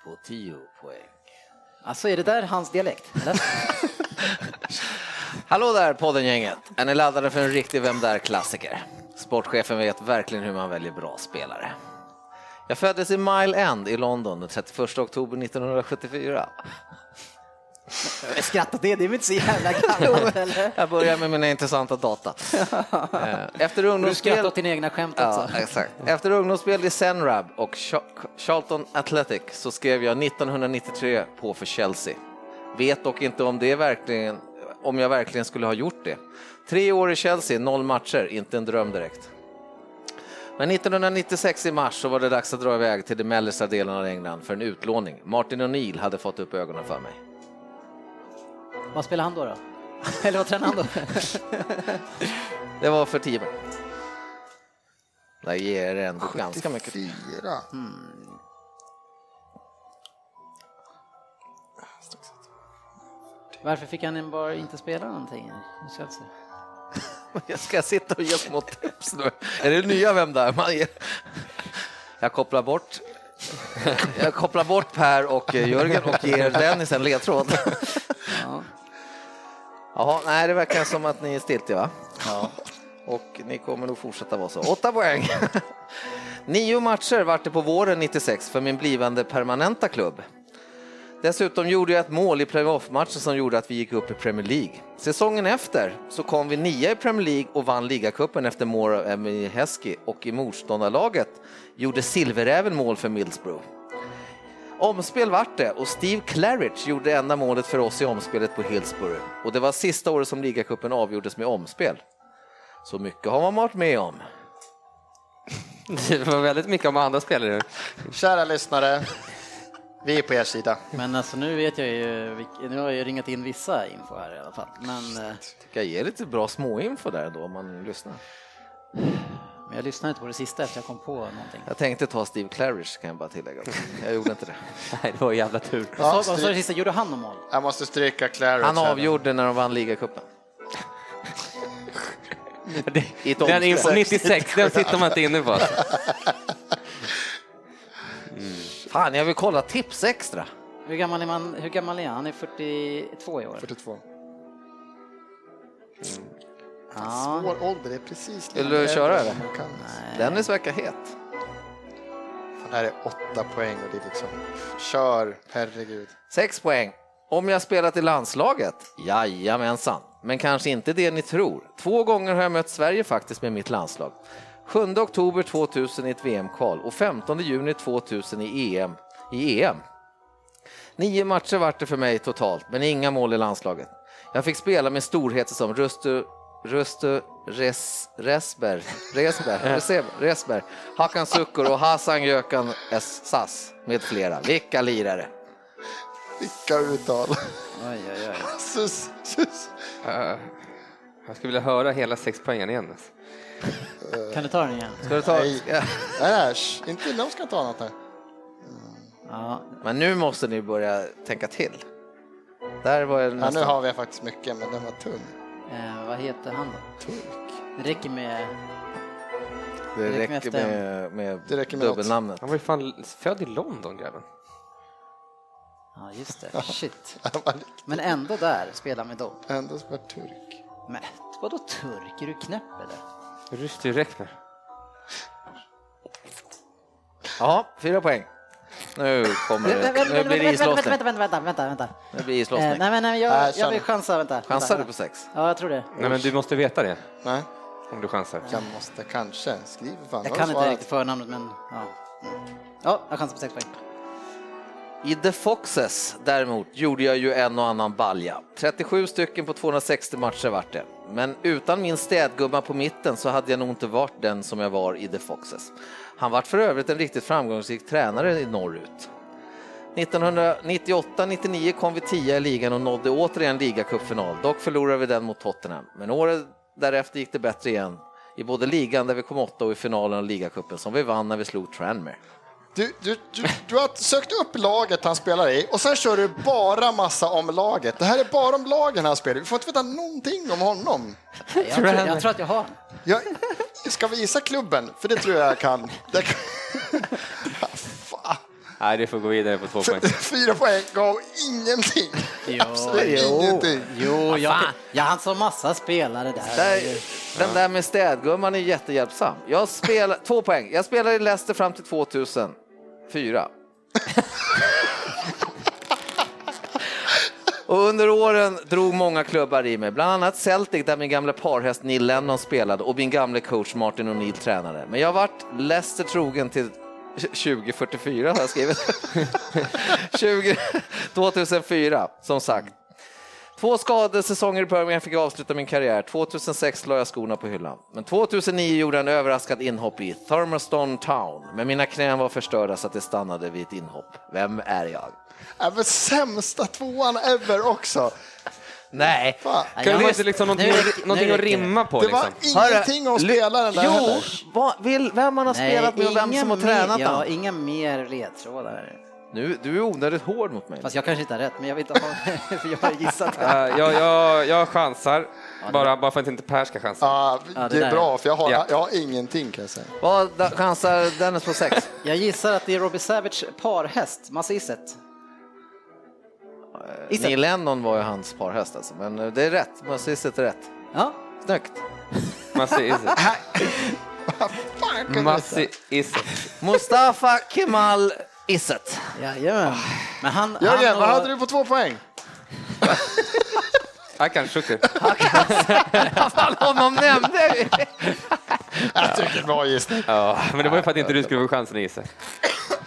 Speaker 1: På 10 poäng. Alltså är det där hans dialekt? Eller?
Speaker 3: Hallå där poddengänget! Är ni laddade för en riktig Vem Där-klassiker? Sportchefen vet verkligen hur man väljer bra spelare. Jag föddes i Mile End i London den 31 oktober 1974.
Speaker 1: Skrattat det, det är väl inte så jävla gammalt eller?
Speaker 3: Jag börjar med mina intressanta data. Eh, Efter
Speaker 1: Du skrattar
Speaker 3: ungdomsspel...
Speaker 1: åt dina egna skämt
Speaker 3: Ja,
Speaker 1: också.
Speaker 3: exakt. Efter ungdomsspel i Senrab och Cha- Charlton Athletic så skrev jag 1993 på för Chelsea. Vet dock inte om, det verkligen, om jag verkligen skulle ha gjort det. Tre år i Chelsea, noll matcher, inte en dröm direkt. Men 1996 i mars så var det dags att dra iväg till de mellersta delarna av England för en utlåning. Martin O'Neill hade fått upp ögonen för mig.
Speaker 1: Vad spelar han då? då? Eller vad tränar han då?
Speaker 3: Det var för tio minuter. Det ger ändå ganska mycket.
Speaker 2: Fyra.
Speaker 1: Varför fick han en bara inte spela någonting? Nu ska jag se.
Speaker 3: Jag ska sitta och ge små tips nu. Är det nya Vem där? Man ger... Jag kopplar bort. Jag kopplar bort Per och eh, Jörgen och ger Dennis en ledtråd.
Speaker 1: Ja.
Speaker 3: Jaha, nej, det verkar som att ni är stiltiga va? Ja. Och ni kommer nog fortsätta vara så. Åtta poäng. Nio matcher vart det på våren 96 för min blivande permanenta klubb. Dessutom gjorde jag ett mål i playoff-matchen som gjorde att vi gick upp i Premier League. Säsongen efter så kom vi nia i Premier League och vann ligacupen efter mål av Emmy Heskey och i motståndarlaget gjorde Silveräven mål för Middlesbrough. Omspel vart det och Steve Claridge gjorde enda målet för oss i omspelet på Hillsborough och det var sista året som ligacupen avgjordes med omspel. Så mycket har man varit med om.
Speaker 4: Det var väldigt mycket om andra spelare.
Speaker 2: Kära lyssnare, vi är på er sida.
Speaker 1: Men alltså nu vet jag ju, vilk- nu har jag ju ringat in vissa info här i alla fall. Men, eh,
Speaker 3: Tycker jag ger lite bra småinfo där då om man lyssnar.
Speaker 1: men jag lyssnade inte på det sista efter jag kom på någonting.
Speaker 3: Jag tänkte ta Steve Claridge kan jag bara tillägga. Jag gjorde inte det.
Speaker 4: Nej, det var jävla tur.
Speaker 1: Vad sa-
Speaker 2: Ja,
Speaker 1: Vad sa du
Speaker 2: stryk,
Speaker 1: sista? Gjorde han någon mål?
Speaker 2: jag måste stryka Clary.
Speaker 3: Han avgjorde när de vann ligacupen. I ett
Speaker 4: Den
Speaker 3: omspel.
Speaker 4: info 96, den sitter man inte inne på.
Speaker 3: Fan, jag vill kolla tips extra.
Speaker 1: Hur gammal är, man, hur gammal är han? Han är 42 i år.
Speaker 2: 42.
Speaker 3: Mm.
Speaker 1: Ja.
Speaker 2: Svår ålder, det är precis
Speaker 3: Vill du
Speaker 2: äldre
Speaker 3: köra, eller?
Speaker 2: som man kan.
Speaker 3: Dennis verkar het.
Speaker 2: Fan, det här är åtta poäng och det är liksom, kör, herregud.
Speaker 3: Sex poäng. Om jag spelat i landslaget? Jajamensan. Men kanske inte det ni tror. Två gånger har jag mött Sverige faktiskt med mitt landslag. 7 oktober 2000 i ett VM-kval och 15 juni 2000 i EM. I EM. Nio matcher vart det för mig totalt, men inga mål i landslaget. Jag fick spela med storheter som Rustu, Rustu Res, Resber, Resber, Resber, Resber, Hakan Sukur och Hasan Gökan S. Sass med flera. Vilka lirare!
Speaker 2: Vilka uttal.
Speaker 1: Oj, oj,
Speaker 3: Eh.
Speaker 1: oj.
Speaker 2: Sus, sus.
Speaker 4: Jag skulle vilja höra hela sexpoängaren igen. alltså.
Speaker 1: Kan du ta den igen?
Speaker 3: Ska du ta?
Speaker 2: Nej.
Speaker 3: Ja.
Speaker 2: Nej, äsch, inte de ska ta något här.
Speaker 1: Ja,
Speaker 3: Men nu måste ni börja tänka till. Där var jag
Speaker 2: Ja, nu
Speaker 3: nästan...
Speaker 2: har vi faktiskt mycket, men den var tunn.
Speaker 1: eh, vad heter han då? Det räcker med...
Speaker 3: det
Speaker 1: räcker
Speaker 3: räcker
Speaker 1: med
Speaker 3: med, med,
Speaker 2: Det räcker med något.
Speaker 3: dubbelnamnet.
Speaker 4: Han var ju fan född i London, grabben.
Speaker 1: Ja, just det. Shit.
Speaker 2: Han var
Speaker 1: Men ändå där, spela med dem.
Speaker 2: ändå som var turk.
Speaker 1: Men Vadå turk? Är du knäpp eller?
Speaker 4: Rysch direkt nu.
Speaker 3: Ja, fyra poäng. Nu kommer det. Nu blir det
Speaker 1: vänta,
Speaker 3: islossning.
Speaker 1: vänta, vänta, vänta, vänta, vänta.
Speaker 3: Nu blir det
Speaker 1: Eh,
Speaker 3: islossning.
Speaker 1: nej, men, nej, men
Speaker 2: Nej,
Speaker 1: jag,
Speaker 2: kör
Speaker 1: jag
Speaker 2: nu.
Speaker 1: vill chansa, vänta. vänta,
Speaker 3: Chansar du
Speaker 1: vänta.
Speaker 3: på sex?
Speaker 1: Ja, jag tror det.
Speaker 4: Nej, men du måste veta det
Speaker 2: Nej,
Speaker 4: om du chansar.
Speaker 2: jag måste kanske. Skriv fan.
Speaker 1: Jag
Speaker 2: Har
Speaker 1: kan
Speaker 2: du
Speaker 1: inte
Speaker 2: svarat?
Speaker 1: riktigt förnamnet, men ja. Mm. Ja, jag chansar på sex poäng.
Speaker 3: I The Foxes däremot gjorde jag ju en och annan balja. 37 stycken på 260 matcher vart det. Men utan min städgumma på mitten så hade jag nog inte varit den som jag var i The Foxes. Han vart för övrigt en riktigt framgångsrik tränare i norrut. 1998-99 kom vi 10 i ligan och nådde återigen ligacupfinal. Dock förlorade vi den mot Tottenham. Men året därefter gick det bättre igen. I både ligan där vi kom åtta och i finalen av ligacupen som vi vann när vi slog Tranmere.
Speaker 2: Du, du, du, du har sökt upp laget han spelar i och sen kör du bara massa om laget. Det här är bara om lagen han spelar i. Vi får inte veta någonting om honom.
Speaker 1: Jag tror, jag tror att jag har den.
Speaker 2: Jag ska visa klubben, för det tror jag jag kan. Det kan... Ah, Fan.
Speaker 4: Nej, du får gå vidare på två poäng.
Speaker 2: Fyra poäng gav ingenting. Absolut ingenting.
Speaker 1: Jo, jag, jag hann så massa spelare där.
Speaker 3: Där, den där med städgumman är jättehjälpsam. Jag spelar, två poäng. Jag spelade i Leicester fram till 2004. Och under åren drog många klubbar i mig, bland annat Celtic där min gamla parhäst Neil Lennon spelade och min gamla coach Martin O'Neill tränade. Men jag vart Leicester trogen till 2044 har jag skrivit. 20, 2004, som sagt. Två skadesäsonger i Birmingham fick jag avsluta min karriär. 2006 la jag skorna på hyllan. Men 2009 gjorde jag en överraskad inhopp i Thurmaston Town. Men mina knän var förstörda så att det stannade vid ett inhopp. Vem är jag?
Speaker 2: Även Äh, sämsta tvåan ever också.
Speaker 3: Nej.
Speaker 2: Fan.
Speaker 1: Nej,
Speaker 4: Kan
Speaker 1: jag
Speaker 4: du
Speaker 1: måste-
Speaker 4: inte liksom
Speaker 1: nu
Speaker 4: någonting,
Speaker 1: räcker- nu
Speaker 4: någonting att
Speaker 1: räcker det.
Speaker 4: rimma på?
Speaker 2: Det var
Speaker 4: Liksom?
Speaker 2: ingenting om spelaren där
Speaker 3: Jo,
Speaker 2: heller.
Speaker 3: vad, vill, vem man har spelat med och vem
Speaker 1: inga
Speaker 3: som har
Speaker 1: mer-
Speaker 3: tränat
Speaker 1: ja,
Speaker 3: honom.
Speaker 1: Inga mer ledtrådar.
Speaker 3: Nu, du är onödigt hård mot mig.
Speaker 1: Fast jag kanske inte har rätt, men jag vill inte ha för jag har gissat.
Speaker 4: Eh, jag, jag, jag chansar, bara, bara för att inte Per ska chansa.
Speaker 2: Ja,
Speaker 1: Ja, det
Speaker 2: Ah, det
Speaker 1: där.
Speaker 2: är bra, för jag har,
Speaker 4: Ja.
Speaker 2: jag har ingenting kan jag säga.
Speaker 3: Vad da- chansar Dennis på sex?
Speaker 1: Jag gissar att det är Robbie Savage parhäst, Massisset. Isak.
Speaker 3: Neil Lennon var ju hans parhäst alltså, men eh, det är rätt. Massisset är rätt.
Speaker 1: Ja,
Speaker 3: Snyggt.
Speaker 4: Massi Isak.
Speaker 2: Fan, kan du veta?
Speaker 4: Massi Isak.
Speaker 3: Mustafa Kemal Isset. Ah.
Speaker 1: jajamän. Men han,
Speaker 2: Jörgen,
Speaker 1: han
Speaker 2: vad
Speaker 1: och-
Speaker 2: hade du på två poäng?
Speaker 4: Akan Shukri.
Speaker 3: Fan, honom nämnde jag ju.
Speaker 2: Jag tycker bra gissning.
Speaker 4: Ja, men det var ju för att inte du skulle få chansen att gissa.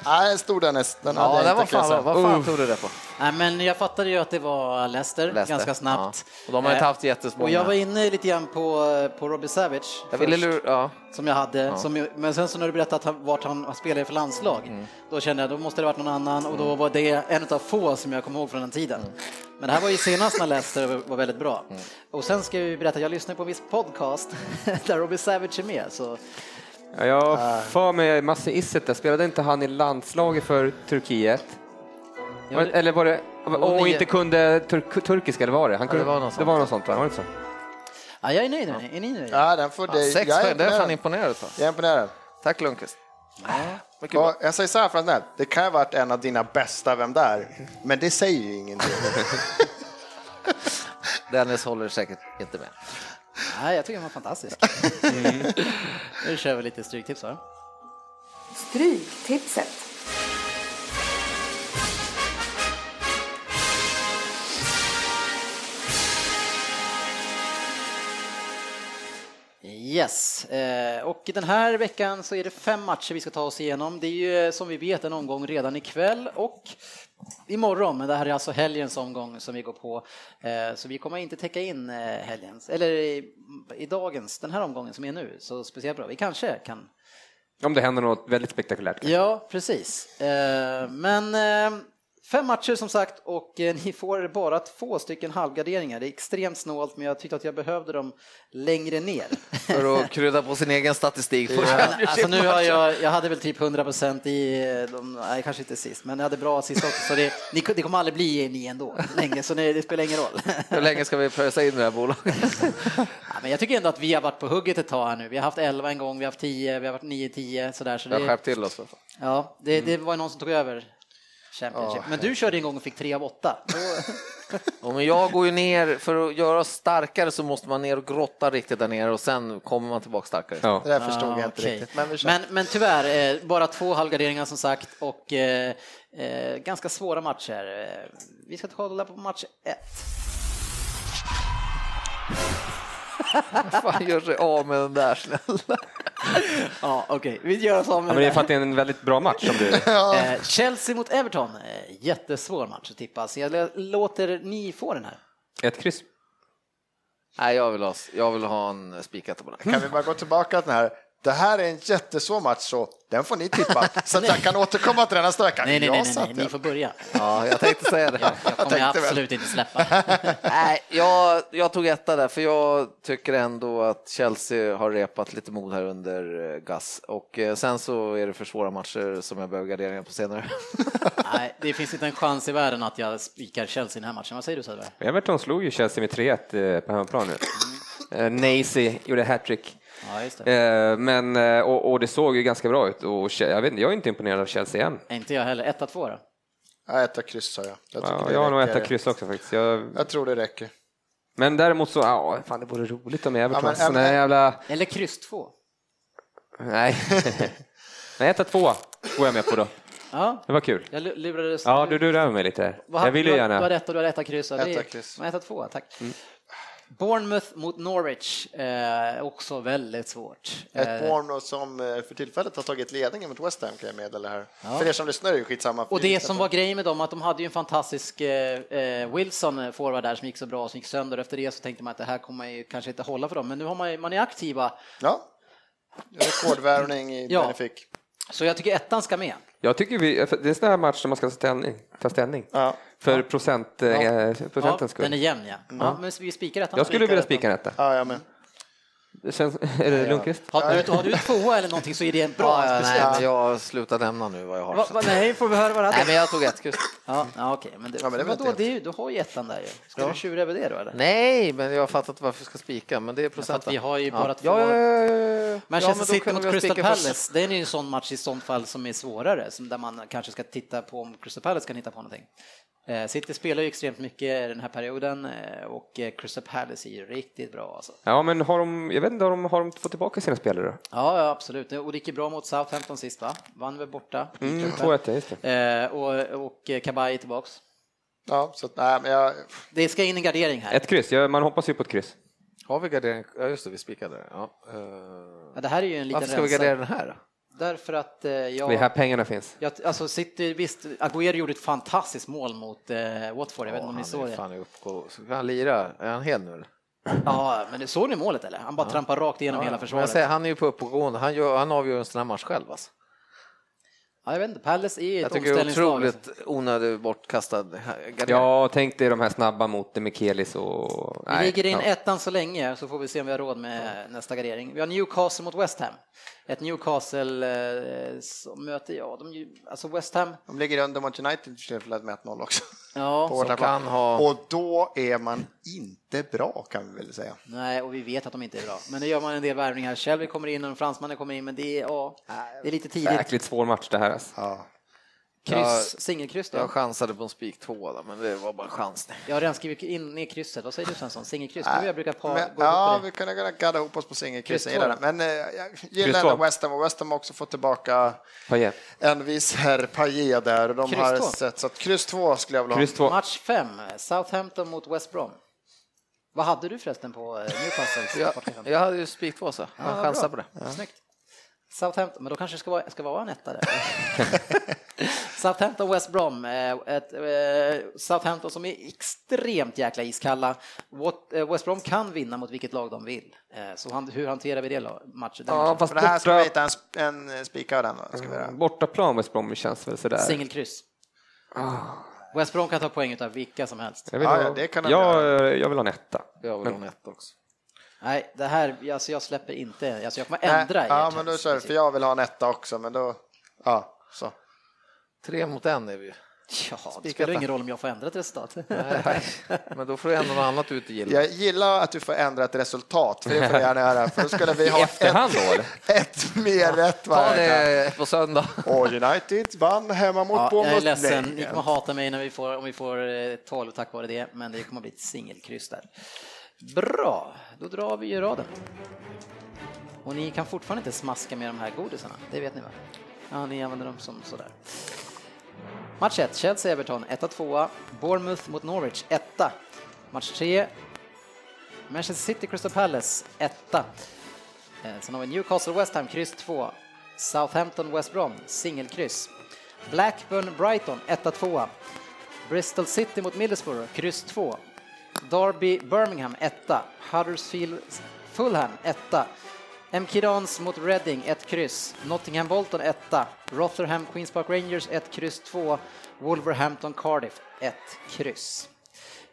Speaker 2: Nej, den stod Dennis. Den hade
Speaker 3: Ja,
Speaker 2: jag
Speaker 3: det var
Speaker 2: inte kan jag
Speaker 3: fan,
Speaker 2: säga.
Speaker 3: vad fan tog du det på?
Speaker 1: Nej, men jag fattade ju att det var Leicester,
Speaker 3: Leicester.
Speaker 1: ganska snabbt.
Speaker 3: Ja. Och de har ju inte
Speaker 1: Eh,
Speaker 3: haft jättemånga.
Speaker 1: Och jag var inne lite grann på, eh, på Robbie Savage.
Speaker 3: Jag ville
Speaker 1: först.
Speaker 3: lura, ja.
Speaker 1: som jag hade. Som, men sen så när du berättade att han, vart han spelade för landslag, då kände jag då måste det varit någon annan och då var det en av få som jag kommer ihåg från den tiden. Men det här var ju senast när Leicester var väldigt bra. Och sen ska jag ju berätta, jag lyssnar på en viss podcast där Robbie Savage är med. Så
Speaker 4: Ja, Jag har för mig Massi Isak, där. spelade inte han i landslaget för Turkiet?
Speaker 1: Ja,
Speaker 4: Var-
Speaker 1: det-
Speaker 4: Eller var det, och
Speaker 3: nio.
Speaker 4: inte kunde turk, turkiska, eller var det? Han kunde,
Speaker 3: det var något
Speaker 4: det var något sånt, va? Var det inte så?
Speaker 1: ja, jag är nöjd nu. Är ni nöjda?
Speaker 2: Ja, den får dig.
Speaker 3: Sex
Speaker 2: jag är
Speaker 3: poäng, det är jag fan
Speaker 2: imponerad.
Speaker 3: imponerad utav.
Speaker 2: Jag är imponerad.
Speaker 3: Tack Lundqvist.
Speaker 2: Ja, jag säger så här Franzell, det kan ha varit en av dina bästa Vem där? Men det säger ju ingenting.
Speaker 3: Dennis håller säkert inte med.
Speaker 1: Nej, jag tycker den var fantastisk. Nu kör vi lite stryktips va?
Speaker 5: Stryktipset.
Speaker 1: Yes, eh, och den här veckan så är det fem matcher vi ska ta oss igenom. Det är ju eh, som vi vet en omgång redan ikväll och imorgon, men det här är alltså helgens omgång som vi går på. Eh, Så vi kommer inte täcka in eh, helgens, eller i, i dagens, den här omgången som är nu, så speciellt bra. Vi kanske kan
Speaker 4: Om det händer något väldigt spektakulärt.
Speaker 1: Ja, precis. Eh, Men eh, fem matcher som sagt och eh, ni får bara två stycken halvgarderingar. Det är extremt snålt men jag tyckte att jag behövde dem längre ner.
Speaker 3: För att krydda på sin egen statistik.
Speaker 1: Men, alltså, nu har jag, jag hade väl typ 100% i, eh, de, nej kanske inte sist, men jag hade bra sist också. Så det, ni, det kommer aldrig bli ni ändå länge, så det, det spelar ingen roll.
Speaker 3: Hur länge ska vi pröjsa in det här bolaget?
Speaker 1: Ja, men jag tycker ändå att vi har varit på hugget ett tag här nu. Vi har haft 11 en gång, vi har haft 10, vi har varit 9-10 sådär. Så
Speaker 3: Vi har
Speaker 1: det,
Speaker 3: skärpt till oss. för fan.
Speaker 2: Mm.
Speaker 1: ja, det, det var ju någon som tog över Championship. Men du körde en gång och fick tre av åtta.
Speaker 3: Ja, men jag går ju ner, för att göra oss starkare så måste man ner och grotta riktigt där nere och sen kommer man tillbaka starkare.
Speaker 4: Ja.
Speaker 2: Det där förstod
Speaker 1: Ah,
Speaker 2: jag inte
Speaker 1: okej.
Speaker 2: riktigt. Men vi kör.
Speaker 1: men, men tyvärr, eh, bara två halvgarderingar som sagt och eh, eh, ganska svåra matcher. Eh, Vi ska kolla på match ett.
Speaker 3: Fan, gör sig av med den där snälla.
Speaker 1: Ja, okej, vi gör oss av
Speaker 4: Ja,
Speaker 1: med
Speaker 4: men det är
Speaker 1: det
Speaker 4: för att det är en väldigt bra match som du...
Speaker 1: där. Eh, Chelsea mot Everton, eh, jättesvår match att tippa, så jag lä- låter ni få den här.
Speaker 4: Ett kryss.
Speaker 3: Nej, jag vill ha, jag vill ha en spikat på den.
Speaker 2: Kan vi bara gå tillbaka till den här? Det här är en jättesvår match, så den får ni tippa. Så att jag kan återkomma till den nästa vecka.
Speaker 1: Nej, nej,
Speaker 2: Jag
Speaker 1: nej, nej,
Speaker 2: satt
Speaker 1: nej
Speaker 2: den.
Speaker 1: ni får börja.
Speaker 3: Ja, jag tänkte säga det.
Speaker 1: Jag kommer jag
Speaker 2: tänkte väl.
Speaker 1: absolut inte släppa.
Speaker 3: Nej, jag, jag tog etta där, för jag tycker ändå att Chelsea har repat lite mod här under eh, Gas. Och eh, sen så är det för svåra matcher som jag behöver garderingar på senare.
Speaker 1: Nej, det finns inte en chans i världen att jag spikar Chelsea i den här matchen. Vad säger du Söderberg?
Speaker 4: Everton slog ju Chelsea med 3-1 eh, på hemmaplan nu. Eh, Nacy gjorde hattrick.
Speaker 1: Ja, just det.
Speaker 4: Eh, Men, eh, och, och det såg ju ganska bra ut. Och Che- jag, vet, inte, jag är inte imponerad av Chelsea än.
Speaker 1: Inte jag heller. 1-2 då?
Speaker 2: Ja, etta kryss sa jag. Jag, tycker
Speaker 4: Ja,
Speaker 2: det
Speaker 4: jag har nog
Speaker 2: räcker.
Speaker 4: ett kryss också faktiskt. Jag,
Speaker 2: Jag tror det räcker.
Speaker 4: men däremot så, ja, fan det vore roligt om Everton
Speaker 2: Ja, men-
Speaker 4: såna här jävla...
Speaker 1: Eller kryss 2?
Speaker 4: Nej. Nej, etta tvåa går jag med på då.
Speaker 1: Ja,
Speaker 4: Det var kul.
Speaker 1: jag lu- lurades.
Speaker 4: Ja, du lurade mig lite här.
Speaker 1: Vad hade-
Speaker 4: Jag ville ju
Speaker 1: du har- Du har
Speaker 4: gärna.
Speaker 1: rätt och du har rätta kryss. och det är-
Speaker 2: Etta kryss.
Speaker 1: Men etta tvåa, tack. Bournemouth mot Norwich, eh, också väldigt svårt.
Speaker 2: Ett
Speaker 1: Eh,
Speaker 2: Bournemouth som eh, för tillfället har tagit ledningen mot West Ham kan jag meddela här. För er som lyssnar är det ju skitsamma.
Speaker 1: och det som var grejen med dem, att de hade ju en fantastisk eh, eh, Wilson, eh, forward där, som gick så bra, som gick sönder. Efter det så tänkte man att det här kommer ju kanske inte hålla för dem, men nu har man, ju- man är aktiva.
Speaker 2: Ja. Rekordvärvning i
Speaker 1: Ja.
Speaker 2: ja. fick.
Speaker 1: Så jag tycker ettan ska med.
Speaker 4: Jag tycker vi, för det är en sån här match som man ska ta ställning, ta ställning.
Speaker 2: Ja.
Speaker 4: för procent, eh, för
Speaker 1: Ja,
Speaker 4: procentens
Speaker 1: den är
Speaker 4: skull.
Speaker 1: jämn ja. ja men vi spikar ettan.
Speaker 4: Jag skulle vilja spika en etta.
Speaker 2: Ja, jag med.
Speaker 4: Sen, är det Lundqvist?
Speaker 1: Har du, har du tvåa eller någonting så är det en bra
Speaker 3: Ja,
Speaker 1: speciell.
Speaker 3: nej, men jag slutar nämna nu vad jag har.
Speaker 1: Va, va, nej, får vi höra vad det
Speaker 3: Nej,
Speaker 1: hade?
Speaker 3: men jag tog ett kryss.
Speaker 1: Ja, ja okej, men, det,
Speaker 2: Ja, men det
Speaker 1: men
Speaker 2: vet
Speaker 1: då,
Speaker 2: jag
Speaker 1: det är ju, du har ju ettan där ju. Ska du tjura över det då eller?
Speaker 3: Nej, men jag har fattat varför jag ska spika, men det är
Speaker 1: För att
Speaker 3: procenten.
Speaker 1: vi har ju bara
Speaker 3: ja.
Speaker 1: två.
Speaker 3: Ja, ja, ja, ja.
Speaker 1: Manchester
Speaker 3: men då
Speaker 1: City
Speaker 3: kunde
Speaker 1: mot
Speaker 3: vi ha
Speaker 1: Crystal
Speaker 3: spikat först.
Speaker 1: Palace, det är ju en sån match i sånt fall som är svårare, som där man kanske ska titta på om Crystal Palace kan hitta på någonting. Eh, City spelar ju extremt mycket den här perioden eh, och eh, Crystal Palace är ju riktigt bra alltså.
Speaker 4: Ja, men har de, jag vet inte, har de, har de fått tillbaka sina spelare då?
Speaker 1: Ja, ja absolut. Och det gick ju bra mot Southampton sist va? Vann väl borta?
Speaker 4: Mm, 2-1, ja, just det.
Speaker 1: Eh, och, och Kabay är tillbaks.
Speaker 2: Ja, så att, nej, men jag,
Speaker 1: Det ska in en gardering här.
Speaker 4: Ett kryss, ja, man hoppas ju på ett kryss.
Speaker 3: Har vi gardering? Ja, just det, vi spikade det. Ja. eh,
Speaker 1: Ja, det här är ju en liten
Speaker 3: Varför ska vi
Speaker 1: rensare.
Speaker 3: gardera den här? då?
Speaker 1: Därför att eh,
Speaker 4: Det är här
Speaker 1: jag,
Speaker 4: pengarna finns.
Speaker 1: jag... Alltså City, visst, Agüero gjorde ett fantastiskt mål mot eh, Watford, jag vet inte om
Speaker 3: han
Speaker 1: ni såg
Speaker 3: är
Speaker 1: det.
Speaker 3: fan i uppgå... Ska han lira? Är han hel nu eller?
Speaker 1: Ja, men det såg ni målet eller? Han bara trampar rakt igenom hela
Speaker 3: Men jag
Speaker 1: försvaret.
Speaker 3: säger, han är ju på uppåtgående, han, gör, han avgör en sån här match själv. Alltså.
Speaker 1: Ja, jag vet inte, Palace är ju
Speaker 3: Jag
Speaker 1: ett
Speaker 3: tycker det är
Speaker 1: omställningslag.
Speaker 3: otroligt
Speaker 1: liksom.
Speaker 3: onödigt bortkastad gardering.
Speaker 4: Ja, tänk dig de här snabba mot Mikelis och...
Speaker 1: Vi ligger in
Speaker 4: ja.
Speaker 1: ettan så länge så får vi se om vi har råd med nästa gardering. Vi har Newcastle mot West Ham. Ett Newcastle eh, som möter, ja, de, är ju- alltså West Ham,
Speaker 2: de ligger under mot United till med 1-0 också.
Speaker 1: ja,
Speaker 2: På bortaplan.
Speaker 3: kan ha-
Speaker 2: Och då är man inte bra kan vi väl säga.
Speaker 1: Nej, och vi vet att de inte är bra. Men nu gör man en del värvningar. Shelby kommer in och fransmannen kommer in, men det är, ja, det är lite tidigt.
Speaker 4: Jäkligt svår match det här alltså.
Speaker 2: Ja.
Speaker 1: Kryss, singelkryss då.
Speaker 3: Jag chansade på en spik två, där, men det var bara en chansning.
Speaker 1: Jag har redan skrivit in ner krysset. Vad säger du Svensson? Singelkryss?
Speaker 2: Nej,
Speaker 1: Du jag brukar pa,
Speaker 2: men,
Speaker 1: gå
Speaker 2: ja,
Speaker 1: ihop på
Speaker 2: vi kunde kunna gadda ihop oss på
Speaker 1: Kryss
Speaker 2: singelkryssen.
Speaker 1: två.
Speaker 2: gillar det. Men eh, jag
Speaker 4: Kryss
Speaker 2: gillar
Speaker 4: två.
Speaker 2: ändå West Ham och West Ham har också fått tillbaka
Speaker 4: Paille.
Speaker 2: en viss herr Payet där. och De
Speaker 1: Kryss
Speaker 2: har
Speaker 1: två.
Speaker 2: sett, så att kryss två skulle jag vilja ha.
Speaker 4: Kryss
Speaker 1: det.
Speaker 4: 2.
Speaker 1: Match 5, Southampton mot West Brom. Vad hade du förresten på eh, Newcastle?
Speaker 3: Jag,
Speaker 1: Sportchefen?
Speaker 3: jag hade ju spik två, så jag chansade på det.
Speaker 1: Snyggt. Southampton, men då kanske det ska vara, ska vara en etta där. Southampton West Brom, eh, ett, eh, Southampton som är extremt jäkla iskalla. What, eh, West Brom kan vinna mot vilket lag de vill. Eh, Så han, hur hanterar vi det la- matchen? Den
Speaker 4: Ja,
Speaker 1: matchen?
Speaker 4: fast
Speaker 2: För det här ska vi hitta
Speaker 4: borta,
Speaker 2: en, sp- en spika av den. då, Ska vi göra.
Speaker 4: bortaplan West Bromwich känns väl sådär.
Speaker 1: Singelkryss.
Speaker 2: Ah.
Speaker 1: West Brom kan ta poäng utav vilka som helst.
Speaker 4: Jag vill,
Speaker 2: Ja,
Speaker 4: ha,
Speaker 2: ja, det kan han
Speaker 4: jag, eh, jag vill ha en etta.
Speaker 3: Jag vill ha en etta också.
Speaker 1: Nej, det här, alltså jag släpper inte, alltså jag kommer
Speaker 2: Nej,
Speaker 1: ändra i
Speaker 2: Ja,
Speaker 1: ert
Speaker 2: men då
Speaker 1: tips.
Speaker 2: kör vi, för jag vill ha en etta också, men då... Ja, så.
Speaker 3: Tre mot en är vi ju.
Speaker 1: Ja, det
Speaker 3: Spikat
Speaker 1: spelar
Speaker 3: där.
Speaker 1: ingen roll om jag får ändra ett resultat.
Speaker 3: Men då får du ändå något annat du inte gillar.
Speaker 2: Jag gillar att du får ändra ett resultat, för det får du gärna göra. För då skulle vi
Speaker 4: I
Speaker 2: ha
Speaker 4: efterhand
Speaker 2: ett,
Speaker 4: då, eller?
Speaker 2: ett mer rätt
Speaker 3: Ta
Speaker 2: varje
Speaker 3: det på söndag.
Speaker 2: gång. Och United vann hemma
Speaker 1: Ja,
Speaker 2: mot
Speaker 1: jag är
Speaker 2: Bournemouth.
Speaker 1: ledsen, ni
Speaker 2: Nej.
Speaker 1: kommer hata mig när vi får, om vi får eh, 12 tack vare det, men det kommer bli ett singelkryss där. Bra, då drar vi ju raden. Och ni kan fortfarande inte smaska med de här godisarna, det vet ni va? Ja, ni använder dem som sådär. Match 1, Chelsea-Everton 1-2, Bournemouth mot Norwich 1. Match 3, Manchester City Crystal Palace 1. Eh, Sen har vi Newcastle West Ham, kryss 2. Southampton West Brom, singelkryss. Blackburn Brighton, 1-2. Bristol City mot Middlesbrough, kryss 2. Derby Birmingham, 1. Huddersfield Fulham, 1. MK Dons mot Reading, 1 kryss. Nottingham Bolton, 1. Rotherham Queens Park Rangers, 1 kryss 2. Wolverhampton Cardiff, 1 kryss.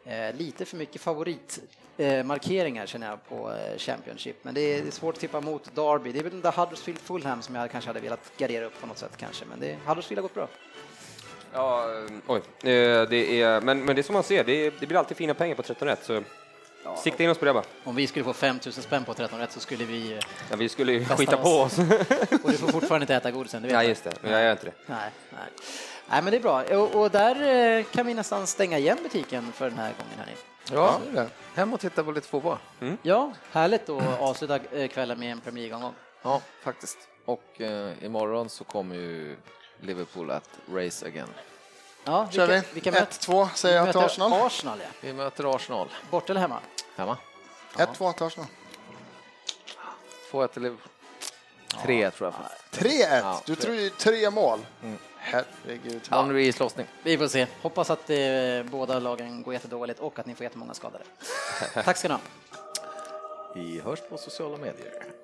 Speaker 1: Eh, lite för mycket favoritmarkeringar eh, markeringar känner jag på eh, Championship. Men det är, det är svårt att tippa mot Derby. Det är väl den där Huddersfield Fulham som jag kanske hade velat gardera upp på något sätt kanske. Men det, Huddersfield har gått bra.
Speaker 4: Ja, eh, oj. Eh, Det är, men, men det är som man ser, det, är, det blir alltid fina pengar på 13 rätt. Så sikta in oss på det bara.
Speaker 1: Om vi skulle få 5000 spänn på 13 rätt så skulle vi... eh,
Speaker 4: Ja, vi skulle ju
Speaker 1: Kastar
Speaker 4: skita på oss.
Speaker 1: Och du får fortfarande inte äta godisen, det vet
Speaker 4: ja,
Speaker 1: jag.
Speaker 4: just det. Men jag gör inte det.
Speaker 1: Nej, nej. nej, men det är bra. Och, och där eh, kan vi nästan stänga igen butiken för den här gången. Här nu.
Speaker 3: Ja, hem och titta på lite fotboll.
Speaker 1: Ja, härligt att avsluta eh, kvällen med en Premier League-omgång.
Speaker 3: Ja, faktiskt. Och eh, imorgon så kommer ju Liverpool att race again.
Speaker 1: Ja,
Speaker 2: Kör vi.
Speaker 1: vilka möter-
Speaker 2: 1-2 säger jag till
Speaker 1: möter
Speaker 2: Arsenal.
Speaker 1: Arsenal, ja.
Speaker 3: Vi möter Arsenal
Speaker 1: Bort eller hemma?
Speaker 3: hemma.
Speaker 2: 1-2 till Arsenal.
Speaker 3: 2-1 till Liverpool. 3 tror jag faktiskt.
Speaker 2: 3-1.
Speaker 3: Ja,
Speaker 2: Du
Speaker 3: tre.
Speaker 2: tror ju tre mål.
Speaker 1: Mm.
Speaker 2: Herregud.
Speaker 3: Ja. Nu blir det slåssning.
Speaker 1: Vi får se. Hoppas att eh, båda lagen går jättedåligt och att ni får jättemånga skadade. Tack ska ni ha.
Speaker 3: Vi hörs på sociala medier.